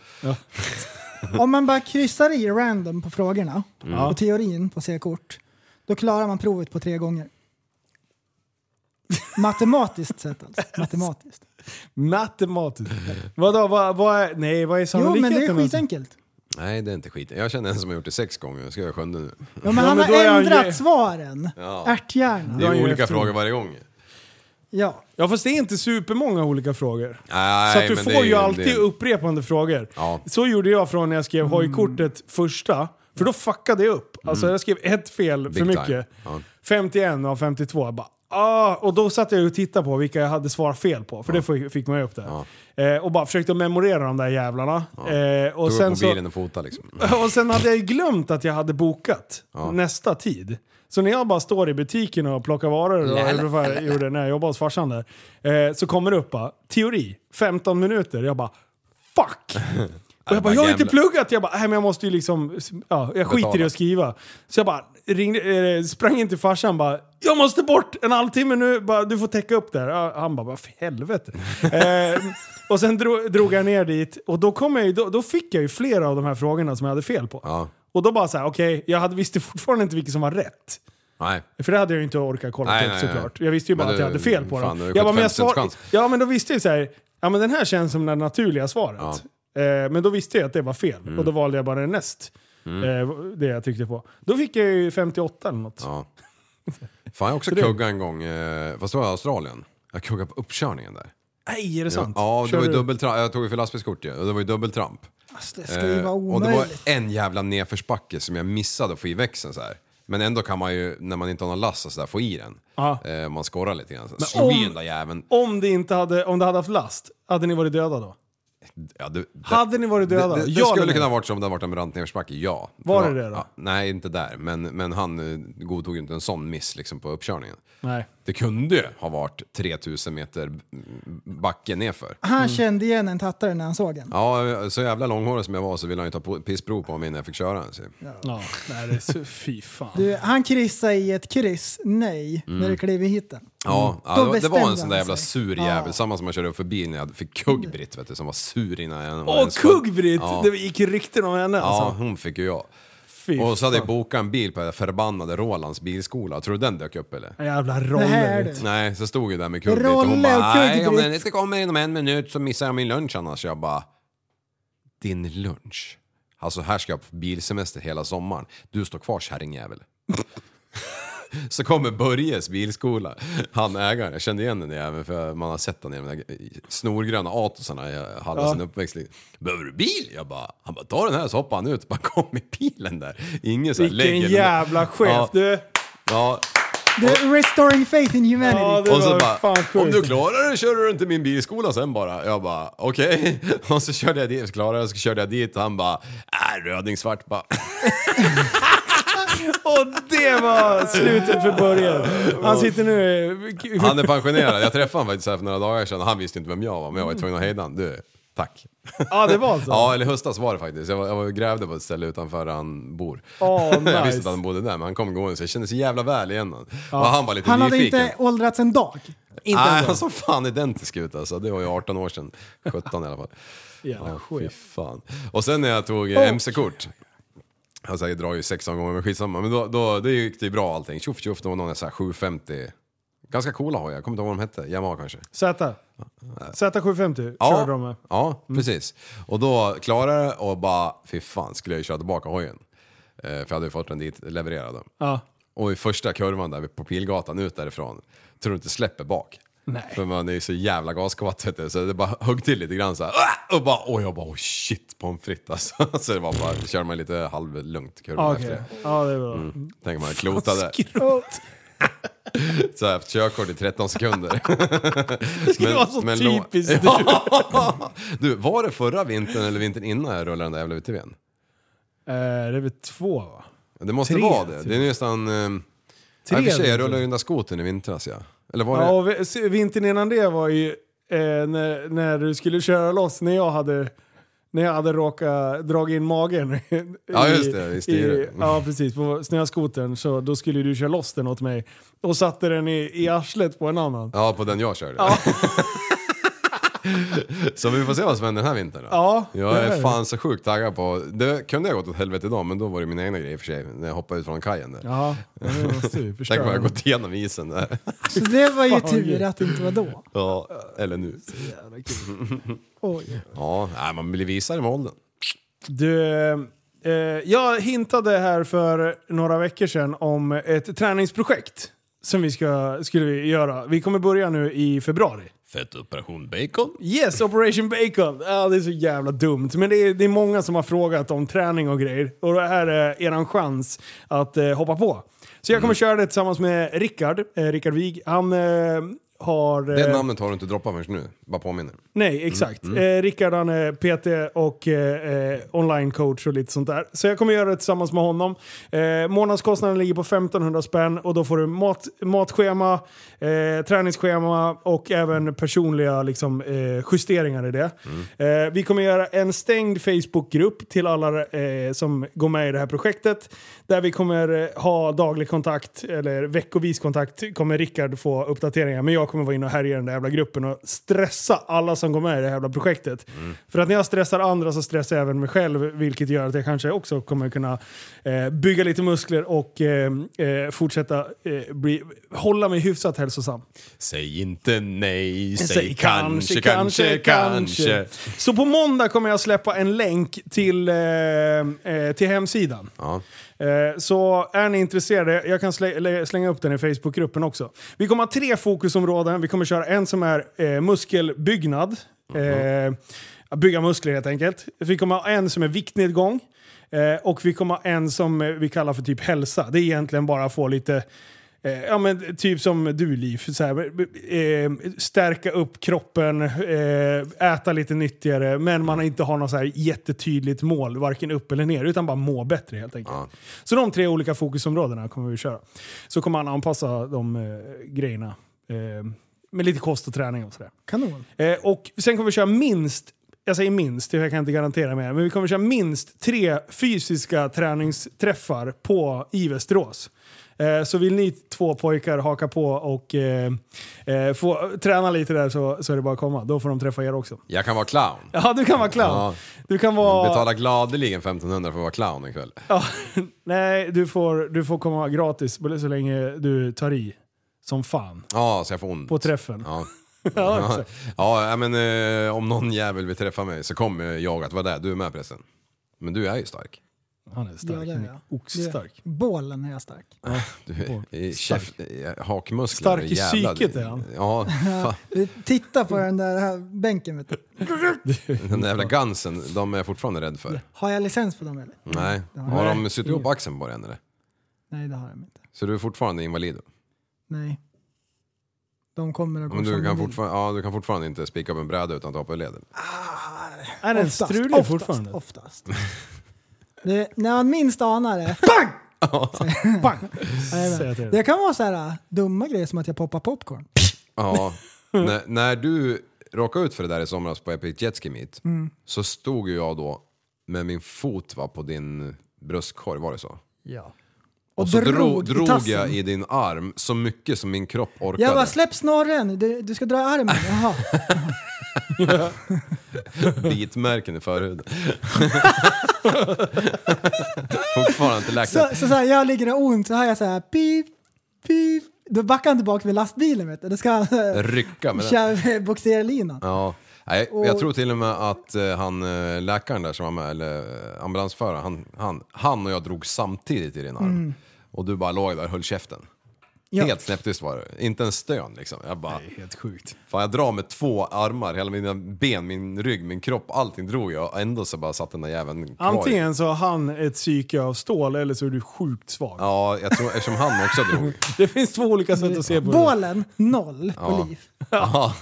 Speaker 5: Om man bara kryssar i random på frågorna
Speaker 4: Mm.
Speaker 5: och teorin på C-kort, då klarar man provet på tre
Speaker 3: <laughs>
Speaker 5: gånger. Matematiskt sett alltså. Matematiskt.
Speaker 3: Matematiskt. Vadå, vad, vad är... Nej, vad är
Speaker 5: Jo, men
Speaker 3: sannolikheten?
Speaker 5: det är
Speaker 3: alltså?
Speaker 5: skitenkelt.
Speaker 4: Nej, det är inte skit. Jag känner en som har gjort det sex gånger. Jag ska göra sjunde nu.
Speaker 5: Ja, men
Speaker 3: Ja,
Speaker 5: han
Speaker 3: men
Speaker 5: har
Speaker 3: då är han
Speaker 5: ändrat
Speaker 3: ju-
Speaker 5: svaren. Ärthjärna.
Speaker 4: Det är
Speaker 3: ju
Speaker 4: ju olika
Speaker 3: efteråt.
Speaker 4: frågor varje gång.
Speaker 5: Ja.
Speaker 3: Ja, fast det är inte supermånga olika frågor.
Speaker 4: Nej,
Speaker 3: Så att du
Speaker 4: men
Speaker 3: får
Speaker 4: det är
Speaker 3: ju, alltid
Speaker 4: det är-
Speaker 3: upprepande frågor.
Speaker 4: Ja. Mm.
Speaker 3: Så gjorde jag från när jag skrev hojkortet första. För då fuckade jag upp. Alltså jag skrev ett fel för
Speaker 4: Big
Speaker 3: mycket.
Speaker 4: time. Ja.
Speaker 3: 51 av 52. Jag bara, ah! Och då satt jag och tittade på vilka jag hade svar fel på. För det fick- fick man ju upp där. Eh, och bara försökte memorera de där jävlarna. Eh, och,
Speaker 4: Tog upp
Speaker 3: sen så,
Speaker 4: mobilen och fota liksom.
Speaker 3: <laughs> och sen hade jag ju glömt att jag hade bokat nästa tid. Så när jag bara står i butiken och plockar varor, och jag gjorde när jag jobbade hos farsan där, eh, så kommer det upp bara, teori, 15 minuter. Jag bara, fuck! Och jag bara, jag har inte pluggat! Jag bara, nej men jag måste ju liksom, ja, jag skiter i
Speaker 4: Betala.
Speaker 3: att skriva. Så jag bara ringde, eh, sprang in till farsan bara, jag måste bort en halvtimme nu, bara, du får täcka upp där. Ja, Han bara, vad för helvete. eh, och sen drog, drog jag ner dit och då, kom jag ju, då, då fick jag ju flera av de här frågorna som jag hade fel på.
Speaker 4: Ja.
Speaker 3: Och då bara så här, okej, jag hade, visste fortfarande inte vilken som var rätt.
Speaker 4: Nej.
Speaker 3: För det hade jag ju inte orkat kolla
Speaker 4: Nej,
Speaker 3: upp
Speaker 4: nej,
Speaker 3: såklart.
Speaker 4: nej.
Speaker 3: Jag visste ju bara
Speaker 4: Men
Speaker 3: att jag
Speaker 4: du-
Speaker 3: hade fel på
Speaker 4: fan,
Speaker 3: dem.
Speaker 4: du har ju
Speaker 3: Jag bara, men jag
Speaker 4: 75
Speaker 3: svar...
Speaker 4: chans.
Speaker 3: Ja, men då visste jag så här, ja men den här känns som det naturliga svaret. Eh, men då visste jag att det var fel
Speaker 4: Mm.
Speaker 3: och då valde jag bara det näst. Eh, det jag tyckte på. Då fick jag ju 58 eller något.
Speaker 4: Ja. Fan, jag också kuggade en gång. eh, Fast det var i Australien. Jag kuggade på uppkörningen där.
Speaker 3: Nej, är det sant?
Speaker 4: Ja, det
Speaker 3: Kör
Speaker 4: var ju
Speaker 3: du-
Speaker 4: dubbeltramp. Jag tog ju för lastbilskort ju. Och det var ju dubbeltramp.
Speaker 5: Alltså, det ska ju
Speaker 4: Eh,
Speaker 5: vara
Speaker 4: och det var
Speaker 5: omöjligt.
Speaker 4: en jävla nedförsbacke som jag missade att få i växeln så här. Men ändå kan man ju, när man inte har någon last och så där, få i den.
Speaker 3: Ja.
Speaker 4: Eh, man skorrar lite grann. så Slog
Speaker 3: om-
Speaker 4: i den där jäveln.
Speaker 3: Om, det inte hade, om det hade haft last, hade ni varit döda då?
Speaker 4: Ja, det, det,
Speaker 3: Hade ni varit döda?
Speaker 4: Det, det,
Speaker 3: Ja,
Speaker 4: det
Speaker 3: eller
Speaker 4: skulle kunna
Speaker 3: nej?
Speaker 4: ha varit som om det hade varit en brant nedförsbacke, ja.
Speaker 3: Var
Speaker 4: För
Speaker 3: det det då?
Speaker 4: Ja, nej, inte där. Men, men han eh, godtog ju inte en sån miss liksom, på uppkörningen.
Speaker 3: Nej.
Speaker 4: Det kunde ju ha varit 3000 meter mm, backe nerför.
Speaker 5: Han kände igen en tattare när han såg en.
Speaker 4: Mm. Ja, så jävla långhårig som jag var så ville han ju ta på- pissprov på mig innan jag fick köra. Så.
Speaker 3: Ja, nej, det är så, <laughs> fy fan.
Speaker 5: Du, han kryssade i ett kryss, nej, när du klev i hitten.
Speaker 4: Mm.
Speaker 3: Mm.
Speaker 4: Ja, ja, det var- det var en
Speaker 5: bestämde
Speaker 4: sån där
Speaker 5: han
Speaker 4: jävla
Speaker 5: sig.
Speaker 4: sur jävel. Samma som jag körde upp förbi när jag fick kugg-Britt vet du, som var sur innan jag
Speaker 3: Mm. Åh,
Speaker 4: ens född.
Speaker 3: Kugg-Britt!
Speaker 4: Ja.
Speaker 3: Det gick rykten om henne
Speaker 4: Ja,
Speaker 3: alltså.
Speaker 4: hon fick ju jag.
Speaker 3: Fy
Speaker 4: Och så hade jag
Speaker 3: fan.
Speaker 4: bokat en bil på den förbannade Rålands bilskola. Tror du den dök upp eller?
Speaker 3: Jävla
Speaker 5: Det här är
Speaker 3: roller.
Speaker 5: du.
Speaker 4: Nej, så stod jag där med kugg-Britt och
Speaker 5: Rolle
Speaker 4: hon
Speaker 5: och
Speaker 4: bara nej, om
Speaker 5: kugg-Britt."
Speaker 4: den inte kommer inom en minut så missar jag min lunch annars. Jag bara, din lunch? Alltså här ska jag på bilsemester hela sommaren. Du står kvar kärringjävel. <laughs> Så kommer Börjes bilskola, han ägaren, jag kände igen den där jäveln för man har sett den i de där snorgröna atosarna jag hade
Speaker 3: Ja.
Speaker 4: sin uppväxt i. Behöver du bil? Jag bara, han bara ta den här så hoppar han ut och bara kom med bilen där. Ingen så här
Speaker 3: Vilken
Speaker 4: lägger-
Speaker 3: jävla chef.
Speaker 4: Ja,
Speaker 3: Du,
Speaker 4: ja,
Speaker 5: Du, restoring faith in humanity.
Speaker 3: Ja, det-
Speaker 4: och så
Speaker 3: var fan
Speaker 4: bara,
Speaker 3: sjukt.
Speaker 4: om du klarar det kör du inte min bilskola sen bara. Jag bara, okej. <laughs> Och så körde jag dit, så klarade jag, så körde jag dit och han bara, äh, rödingsvart bara.
Speaker 3: och det var slutet för början. Han sitter nu...
Speaker 4: Han är pensionerad, jag träffade honom faktiskt här för några dagar sedan och han visste inte vem jag var, men jag var ju tvungen att hejda honom. Du, tack.
Speaker 3: Ja, det var alltså? så.
Speaker 4: <laughs> Ja, eller höstas var det faktiskt. Jag var, jag var och grävde på ett ställe utanför där han bor.
Speaker 3: Åh,
Speaker 4: <laughs> Jag
Speaker 3: nice.
Speaker 4: visste att han bodde där, men han kom gående så jag kände så jävla väl igen honom. Och han var lite
Speaker 5: han hade
Speaker 4: nyfiken.
Speaker 5: inte åldrats en dag.
Speaker 4: Nej, han såg fan identisk ut alltså. Det var ju 18 år sedan. 17 i alla fall.
Speaker 3: Jävla
Speaker 4: Fy
Speaker 3: chef.
Speaker 4: fan. Och sen när jag tog eh, MC-kort. Alltså jag drar ju 16 gånger men skitsamma. Men då, då det gick det ju bra allting. Tjoff tjoff, det var någon så här 750. Ganska coola har jag, jag kommer inte ihåg vad de hette. Yamaha kanske?
Speaker 3: Z. Z750
Speaker 4: Ja,
Speaker 3: körde de med. Mm.
Speaker 4: ja precis. Och då klarade jag och bara, fy fan skulle jag ju köra tillbaka hojen. Eh, för jag hade ju fått den dit levererad. då.
Speaker 3: Ja.
Speaker 4: Och i första kurvan där på Pilgatan ut därifrån, tror du inte släpper bak?
Speaker 3: Nej.
Speaker 4: För man är ju så jävla gaskåt vet du, så det bara högg till lite grann så här. "Ah!" Och bara, och jag bara, oh shit pommes frites alltså. <laughs> Så det var bara, körde man lite halvlugnt kurvan
Speaker 3: Ja,
Speaker 4: efter
Speaker 3: Ah, Okej.
Speaker 4: det. Mm.
Speaker 3: Ja, det var bra.
Speaker 4: Tänker man klotade,
Speaker 3: Skrot.
Speaker 4: så här, haft körkort i
Speaker 3: <laughs>
Speaker 4: 13 sekunder.
Speaker 3: Det skulle vara så
Speaker 4: lo-
Speaker 3: typiskt du.
Speaker 4: <laughs> Ja. Du, var det förra vintern eller vintern innan jag rullade den där jävla UTVn?
Speaker 3: Eh, Det är väl två va?
Speaker 4: Det måste
Speaker 3: Tre,
Speaker 4: vara det.
Speaker 3: typ.
Speaker 4: Det är nästan... Eh,
Speaker 3: Tre
Speaker 4: Tre, i och för sig,
Speaker 3: vintrar.
Speaker 4: jag rullade ju den där skotern i vintras ja. Eller var det...
Speaker 3: Ja, och vi- s- vintern innan det var ju eh, när, när du skulle köra loss, när jag hade, när jag hade råkat dra in magen. <laughs> i-
Speaker 4: Ja, just det, i styret.
Speaker 3: ja, precis. På snöskotern. Så då skulle du köra loss den åt mig. Och satte den i, i arslet på en annan.
Speaker 4: Ja, på den jag körde. <laughs> så vi får se vad som händer den här vintern då.
Speaker 3: Ja,
Speaker 4: jag
Speaker 3: det är
Speaker 4: är
Speaker 3: det.
Speaker 4: fan så sjukt taggad på... Det kunde jag gått åt helvete idag, men då var det mina egna grejer i och för sig. När jag hoppade ut från kajen där.
Speaker 3: Ja, det måste
Speaker 4: <laughs>
Speaker 3: ju
Speaker 4: Tänk vad
Speaker 3: förstöra.
Speaker 4: jag
Speaker 3: den.
Speaker 4: gått igenom isen där. <laughs>
Speaker 5: Så det var ju
Speaker 3: Fan,
Speaker 5: tur
Speaker 3: gud.
Speaker 5: att det inte var då.
Speaker 4: ja, eller nu.
Speaker 5: Oj.
Speaker 4: Ja, nej, man blir visare med åldern.
Speaker 3: Du, eh, jag hintade här för några veckor sedan om ett träningsprojekt som vi ska, skulle vi göra. Vi kommer börja nu i februari.
Speaker 4: Fett operation bacon.
Speaker 3: Yes, Operation Bacon! Ja, det är så jävla dumt. Men det är, det är många som har frågat om träning och grejer. Och det här är eh, eran chans att eh, hoppa på. Så jag kommer köra det tillsammans med Rickard, eh, Rickard Wig. Han eh, har...
Speaker 4: Det
Speaker 3: eh,
Speaker 4: namnet har du inte droppat förrän nu. Bara påminner.
Speaker 3: Nej, exakt. Eh, Rickard han är PT och eh, eh, online-coach och lite sånt där. Så jag kommer göra det tillsammans med honom. Eh, månadskostnaden ligger på 1500 spänn och då får du mat, matschema, eh, träningsschema och även personliga liksom, eh, justeringar i det. Eh, vi kommer göra en stängd Facebookgrupp till alla eh, som går med i det här projektet. Där vi kommer eh, ha daglig kontakt, eller veckovis kontakt, kommer Rickard få uppdateringar. Men jag kommer vara inne och härja i den där jävla gruppen och stressa alla som går med i det här jävla projektet.
Speaker 4: Mm.
Speaker 3: För att när jag stressar andra så stressar jag även mig själv, vilket gör att jag kanske också kommer kunna eh, bygga lite muskler och eh, eh, fortsätta eh, bli, hålla mig hyfsat hälsosam.
Speaker 4: Säg inte nej, säg,
Speaker 3: Säg
Speaker 4: kanske, kanske, kanske.
Speaker 3: Så på måndag kommer jag släppa en länk till, eh, eh, till hemsidan.
Speaker 4: Ja.
Speaker 3: Eh, Så är ni intresserade, jag kan slä- lä- slänga upp den i Facebookgruppen också. Vi kommer ha tre fokusområden. Vi kommer köra en som är eh, muskelbyggnad. Eh, att bygga muskler helt enkelt. Vi kommer ha en som är viktnedgång. Eh, och vi kommer ha en som eh, vi kallar för typ hälsa. Det är egentligen bara att få lite Eh, ja men typ som du Liv, så här, eh, stärka upp kroppen, eh, äta lite nyttigare, men man inte har något så här jättetydligt mål, varken upp eller ner, utan bara må bättre helt enkelt. Så de tre olika fokusområdena kommer vi köra. Så kommer han anpassa de eh, grejerna eh, med lite kost och träning och sådär.
Speaker 5: Kanon.
Speaker 3: Eh, och sen kommer vi köra minst, jag säger minst, jag kan inte garantera mer, men vi kommer köra minst tre fysiska träningsträffar på, i Västerås. Eh, Så vill ni två pojkar haka på och eh, eh, få träna lite där så, så är det bara att komma. Då får de träffa er också.
Speaker 4: Jag kan vara clown.
Speaker 3: Ja, du kan vara clown.
Speaker 4: Ja.
Speaker 3: Du kan vara...
Speaker 4: Betala gladeligen 1500 för att vara clown ikväll.
Speaker 3: Ja, <laughs> nej, du får, du får komma gratis så länge du tar i. Som fan.
Speaker 4: Ja, så jag får ont.
Speaker 3: På träffen.
Speaker 4: Ja.
Speaker 3: <laughs> Ja,
Speaker 4: Ja,
Speaker 3: exakt.
Speaker 4: ja, men eh, om någon jävel vill träffa mig så kommer jag att vara där. Du är med pressen. Men du är ju stark.
Speaker 3: Han är stark.
Speaker 5: Ja, det är jag.
Speaker 3: Oxstark.
Speaker 5: Bålen är jag stark.
Speaker 4: Du är, i käft, eh, hakmuskler.
Speaker 3: Stark i
Speaker 4: jävlar.
Speaker 3: psyket är han. <laughs>
Speaker 4: Ja, fan.
Speaker 5: Du, Titta på den där här bänken. Vet du.
Speaker 4: Den där jävla gansen, de är jag fortfarande rädd för.
Speaker 5: Har jag licens på dem eller?
Speaker 4: Nej. Har de suttit ihop axeln på dig än eller?
Speaker 5: Nej, det har jag inte.
Speaker 4: Så du är fortfarande invalid? då?
Speaker 5: Nej. De kommer att gå
Speaker 4: Men
Speaker 5: som
Speaker 4: du,
Speaker 5: de
Speaker 4: kan
Speaker 5: vill.
Speaker 4: fortfarande, ja, du kan fortfarande inte spika upp en bräda utan att hoppa ur
Speaker 5: <laughs>
Speaker 4: leden?
Speaker 3: Är den
Speaker 5: Oftast,
Speaker 3: strulig
Speaker 5: oftast,
Speaker 3: fortfarande?
Speaker 5: Oftast. Det, när man minst anar det. BANG!
Speaker 3: <laughs> Bang! Säger jag till dig.
Speaker 5: Jajamän. Det kan vara så här äh, dumma grejer som att jag poppar popcorn.
Speaker 4: Ja. <laughs> när, när du råkade ut för det där i somras på Epic Jetski Meet
Speaker 5: Mm.
Speaker 4: så stod ju jag då med min fot va, på din bröstkorg, var det så?
Speaker 5: Ja.
Speaker 4: Och,
Speaker 5: Och
Speaker 4: så
Speaker 5: drog
Speaker 4: drog,
Speaker 5: i
Speaker 4: drog
Speaker 5: tassen.
Speaker 4: jag i din arm så mycket som min kropp orkade.
Speaker 5: Jag bara släpp snorren, du, du ska dra i armen. Jaha.
Speaker 4: Bitmärken i
Speaker 5: <laughs>
Speaker 4: förhuden. <laughs> Fortfarande inte läkt.
Speaker 5: Så, så, så här, jag ligger och ont, så hör jag så här pip, pip. Då backar han tillbaka med lastbilen vet du. Då ska han äh,
Speaker 4: <laughs> Rycka med den.
Speaker 5: köra äh, bogserlinan.
Speaker 4: Ja. Nej,
Speaker 5: Och-
Speaker 4: jag tror till och med att eh, han, eh, läkaren där som var med, eller eh, ambulansföraren, han, han, han och jag drog samtidigt i din arm. Och du bara låg där och höll käften.
Speaker 5: Mm. Ja.
Speaker 4: Helt snäpptyst var det. Inte en stön liksom. Jag bara,
Speaker 3: Helt sjukt.
Speaker 4: fan jag drar med två armar, hela mina ben, min rygg, min kropp, allting drog jag. Och Ändå så bara satt den där jäveln kvar. i-
Speaker 3: Antingen så har han ett psyke av stål eller så är du sjukt svag.
Speaker 4: Ja, jag tror, eftersom han
Speaker 5: <laughs>
Speaker 4: också drog.
Speaker 3: Det finns två olika sätt att se på det.
Speaker 5: Bålen, noll på liv.
Speaker 4: Ja.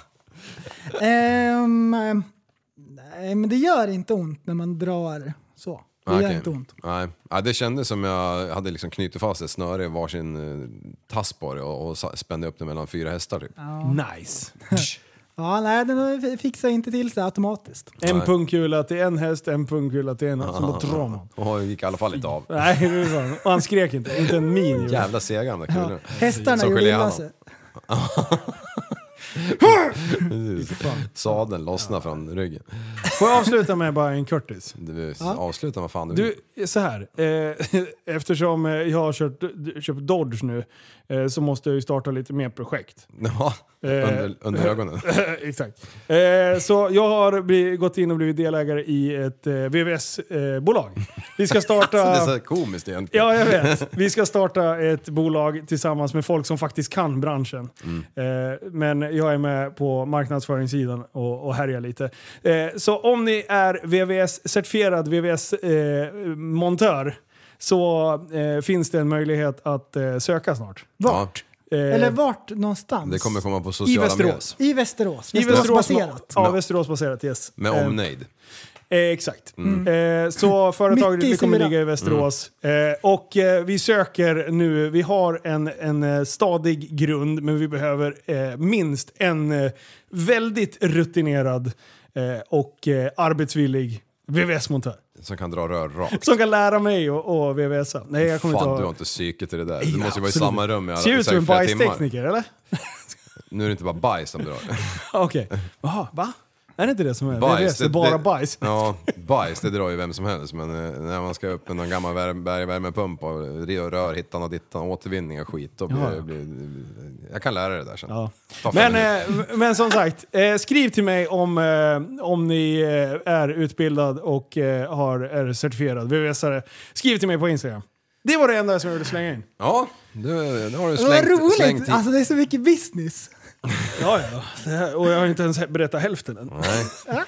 Speaker 5: Ehm, ehm, nej, men det gör inte ont när man drar så. Det gör
Speaker 4: Okej.
Speaker 5: inte ont.
Speaker 4: Nej. Ja, det kändes som jag hade liksom knutit fast ett snöre i varsin eh, tass på det och, och sa- spände upp det mellan fyra hästar typ.
Speaker 3: Nice.
Speaker 5: Ja, nej, den f- fixar inte till sig automatiskt.
Speaker 3: En pungkula till en häst, en pungkula till en. Sen bara drar man.
Speaker 4: <laughs> Och gick i alla fall inte av.
Speaker 3: Nej, det är fan. Och han skrek inte. Inte en min. gjorde.
Speaker 4: Jävla sega de där kulorna.
Speaker 5: Hästarna
Speaker 4: Som
Speaker 5: gjorde illa
Speaker 4: geléhallon.
Speaker 5: sig.
Speaker 4: Precis. Sadeln lossnade från ryggen.
Speaker 3: Får jag avsluta med bara en Curtis?
Speaker 4: Du, Avsluta vad fan du,
Speaker 3: Du, så här. Eh, <laughs> eftersom eh, jag har kört, köpt Dodge nu eh, så måste jag ju starta lite mer projekt. <laughs>
Speaker 4: Ja, under, under ögonen.
Speaker 3: Exakt. Eh, så jag har bli, gått in och blivit delägare i ett eh, VVS-bolag. Vi
Speaker 4: <laughs>
Speaker 3: ska starta...
Speaker 4: Det är så här komiskt egentligen.
Speaker 3: Ja, jag vet. Vi ska starta ett bolag tillsammans med folk som faktiskt kan branschen. Eh, men jag är med på marknadsföringssidan och, och härjar lite. Eh, så om ni är VVS, certifierad VVS-montör eh, så eh, finns det en möjlighet att eh, söka snart.
Speaker 4: Vart?
Speaker 3: Eh,
Speaker 5: Eller vart någonstans?
Speaker 4: Det kommer komma på
Speaker 3: I
Speaker 4: sociala medier.
Speaker 3: Västerås.
Speaker 5: I Västerås.
Speaker 3: I Västerås-
Speaker 5: Västeråsbaserat.
Speaker 3: Ja, Västeråsbaserat. Yes.
Speaker 4: Med
Speaker 3: Eh,
Speaker 4: omnejd.
Speaker 3: Eh, exakt.
Speaker 4: Mm.
Speaker 3: Eh,
Speaker 4: <laughs>
Speaker 3: så företaget
Speaker 5: Mitt i
Speaker 3: det kommer
Speaker 5: Sibirien.
Speaker 3: ligga i Västerås.
Speaker 4: Mm.
Speaker 3: Eh, och eh, vi söker nu, vi har en, en eh, stadig grund men vi behöver eh, minst en eh, väldigt rutinerad eh, och eh, arbetsvillig VVS-montör.
Speaker 4: Som kan dra rör rakt.
Speaker 3: Som kan lära mig och, och VVSa. Nej, jag kommer
Speaker 4: Fan
Speaker 3: inte
Speaker 4: du har
Speaker 3: ha...
Speaker 4: inte psyket i det där. Du
Speaker 3: Ja,
Speaker 4: måste ju vara i
Speaker 3: absolut.
Speaker 4: samma rum i alla,
Speaker 3: Ser
Speaker 4: i
Speaker 3: ut som en
Speaker 4: säkert flera timmar.
Speaker 3: bajstekniker eller? <laughs>
Speaker 4: Nu är det inte bara bajs som drar.
Speaker 3: Okej. Jaha, va? Är det inte det som är
Speaker 4: Bajs,
Speaker 3: VVS? Det är
Speaker 4: det-
Speaker 3: bara
Speaker 4: det-
Speaker 3: bajs?
Speaker 4: <laughs> Ja, bajs det drar ju vem som helst men eh, när man ska upp med någon gammal värme, berg- värmepump och rö- rör hittan och dittan, återvinning och skit. Då blir,
Speaker 3: Ja.
Speaker 4: blir, jag kan lära dig det där sen.
Speaker 3: Ja.
Speaker 4: Ta fem
Speaker 3: Men,
Speaker 4: minuter.
Speaker 3: eh, men som sagt, eh, skriv till mig om, eh, om ni eh, är utbildad och eh, har, är certifierad VVS-are. Skriv till mig på Instagram. Det var det enda som jag ville slänga in.
Speaker 4: ja, du, nu har du
Speaker 5: Det var
Speaker 4: slängt, slängt
Speaker 5: roligt!
Speaker 4: i-
Speaker 5: Alltså det är så mycket business.
Speaker 3: Ja, ja. Det här- Och jag har inte ens berättat hälften än.
Speaker 4: Nej.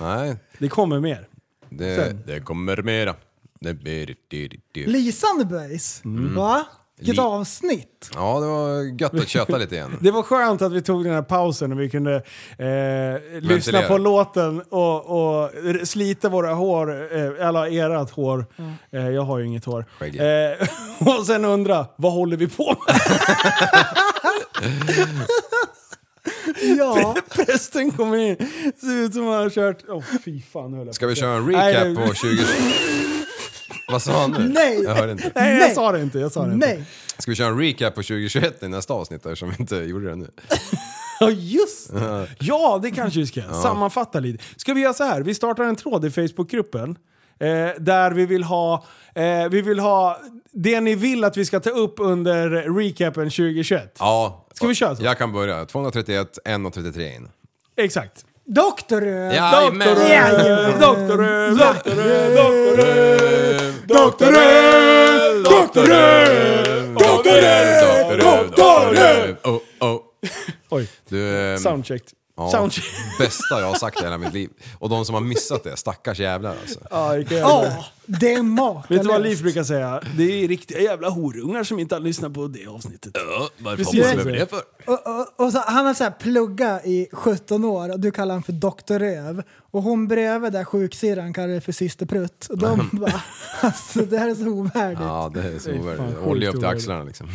Speaker 4: Nej,
Speaker 3: Det kommer mer.
Speaker 4: det, det kommer mera. Det blir... Mm.
Speaker 5: Lysande böjs. Va? Vilket avsnitt!
Speaker 4: Ja, det var gött att köta lite igen.
Speaker 3: Det var skönt att vi tog den här pausen och vi kunde eh, lyssna på låten och, och r- slita våra hår, eh, eller ert hår. Eh, jag har ju inget hår.
Speaker 4: Skägg.
Speaker 3: Eh, <laughs> och sen undra, vad håller vi på med?
Speaker 4: <laughs>
Speaker 5: Ja,
Speaker 3: <laughs> Prästen kommer in, ser ut som han har kört... Åh fy fan nu höll jag
Speaker 4: Ska
Speaker 3: på
Speaker 4: vi
Speaker 3: att-
Speaker 4: köra en
Speaker 3: Nej,
Speaker 4: recap
Speaker 3: det-
Speaker 4: på 20... Vad sa han nu?
Speaker 5: Nej.
Speaker 4: Jag hörde inte.
Speaker 3: Nej, jag
Speaker 5: Nej.
Speaker 3: sa det inte. Jag sa det inte.
Speaker 5: nej.
Speaker 4: Ska vi köra en recap på 2021 i nästa avsnitt då, eftersom vi inte gjorde det nu?
Speaker 3: Ja, just det. Ja, det kanske vi ska. Sammanfatta lite. Ska vi göra så här? Vi startar en tråd i Facebookgruppen. Eh, där vi vill, ha, eh, vi vill ha det ni vill att vi ska ta upp under recapen 2021.
Speaker 4: Ja.
Speaker 3: Ska vi köra så?
Speaker 4: Jag kan börja. 231, 1.33 in.
Speaker 3: Exakt.
Speaker 5: Doktor!
Speaker 4: Jajamän!
Speaker 3: Doktor Röv, Doktor Röv, Doktor Röv, Doktor Röv, Doktor Röv, Doktor Röv, Doktor Röv, Doktor Röv.
Speaker 4: Oh, oh.
Speaker 3: Oj,
Speaker 4: Du, ehm,
Speaker 3: soundcheck.
Speaker 4: ja,
Speaker 3: Soundcheck.
Speaker 4: Bästa jag har sagt i hela mitt liv. Och de som har missat det, stackars jävlar alltså.
Speaker 3: Ja, jag kan göra det.
Speaker 5: Ja, det är makalöst.
Speaker 3: Vet du vad Liv brukar säga? Det är riktiga jävla horungar som inte har lyssnat på det avsnittet.
Speaker 4: Varför
Speaker 3: Precis. hoppar de över det
Speaker 4: för?
Speaker 5: Och, och, och så, han har så här plugga i 17 år och du kallar honom för Doktor Röv. Och hon bredvid där sjuksyrran kallar det för Syster Prutt.
Speaker 4: <laughs>
Speaker 5: Och de bara, alltså det här är så ovärdigt.
Speaker 4: Ja, det är så
Speaker 3: Det är fan
Speaker 4: overkligt.
Speaker 3: sjukt
Speaker 4: Olja upp
Speaker 3: overkligt.
Speaker 4: till axlarna liksom.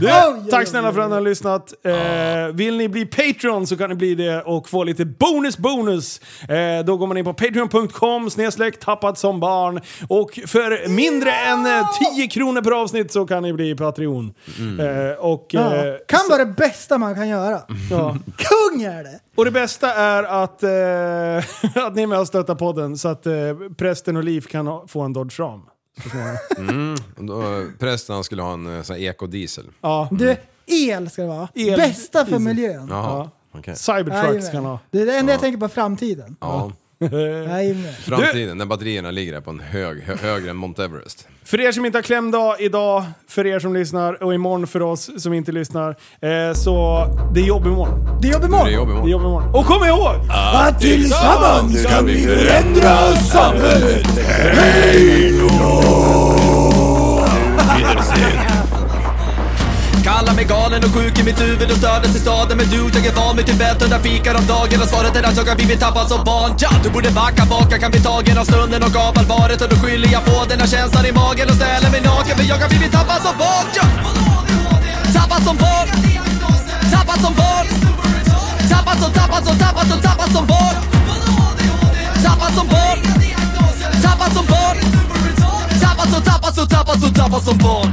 Speaker 3: Du,
Speaker 5: Oj, oj,
Speaker 3: tack
Speaker 5: oj,
Speaker 3: snälla för att ni har lyssnat. Eh, vill ni bli Patreon så kan ni bli det och få lite bonus bonus. Eh, då går man in på patreon.com snedstreck tappad som barn. Och för mindre än eh, 10 kronor per avsnitt så kan ni bli Patreon. Eh, och,
Speaker 5: Ja.
Speaker 3: eh,
Speaker 5: Kan vara det bästa man kan göra.
Speaker 3: ja.
Speaker 5: Kung är det!
Speaker 3: och det bästa är att, eh, <laughs> att ni är med och stöttar podden så att eh, prästen och Liv kan ha, få en Dodge Ram.
Speaker 4: Och Då, eh, prästen han skulle ha en eh, sån här ekodiesel.
Speaker 3: Ja.
Speaker 5: Du, el ska det vara.
Speaker 3: El.
Speaker 5: Bästa för miljön.
Speaker 4: Jaha, okej.
Speaker 3: Cybertrucks
Speaker 5: Jajamän.
Speaker 3: kan ha.
Speaker 5: Det är det enda jag tänker på framtiden.
Speaker 4: Ja.
Speaker 5: Jajamän.
Speaker 4: Framtiden, när batterierna ligger där på en hög, hö, högre än Mount Everest.
Speaker 3: För er som inte har klämdag idag, för er som lyssnar och imorgon för oss som inte lyssnar. Eh, så det är jobb imorgon.
Speaker 5: Det är jobb
Speaker 4: Det är
Speaker 5: imorgon.
Speaker 4: jobb
Speaker 3: Det är
Speaker 4: imorgon.
Speaker 3: jobb imorgon. Och kom ihåg!
Speaker 6: Att tillsammans kan vi förändra samhället
Speaker 2: Kallar mig galen och sjuk i mitt huvud och stördes i staden Men du, jag är van vid Tibet och där fikar om dagen Och svaret är att jag har blivit tappad som barn ja! Du borde backa bak, jag kan bli tagen av stunden och av allvaret Och då skyller jag på den här känslan i magen och ställer mig naken För jag har blivit tappad som barn ja! Tappad som barn Tappad som barn Tappad som, tappad som, tappad som, tappad som barn Tappad som barn Tappad som barn Tappad som, tappad som, tappad som, tappad som barn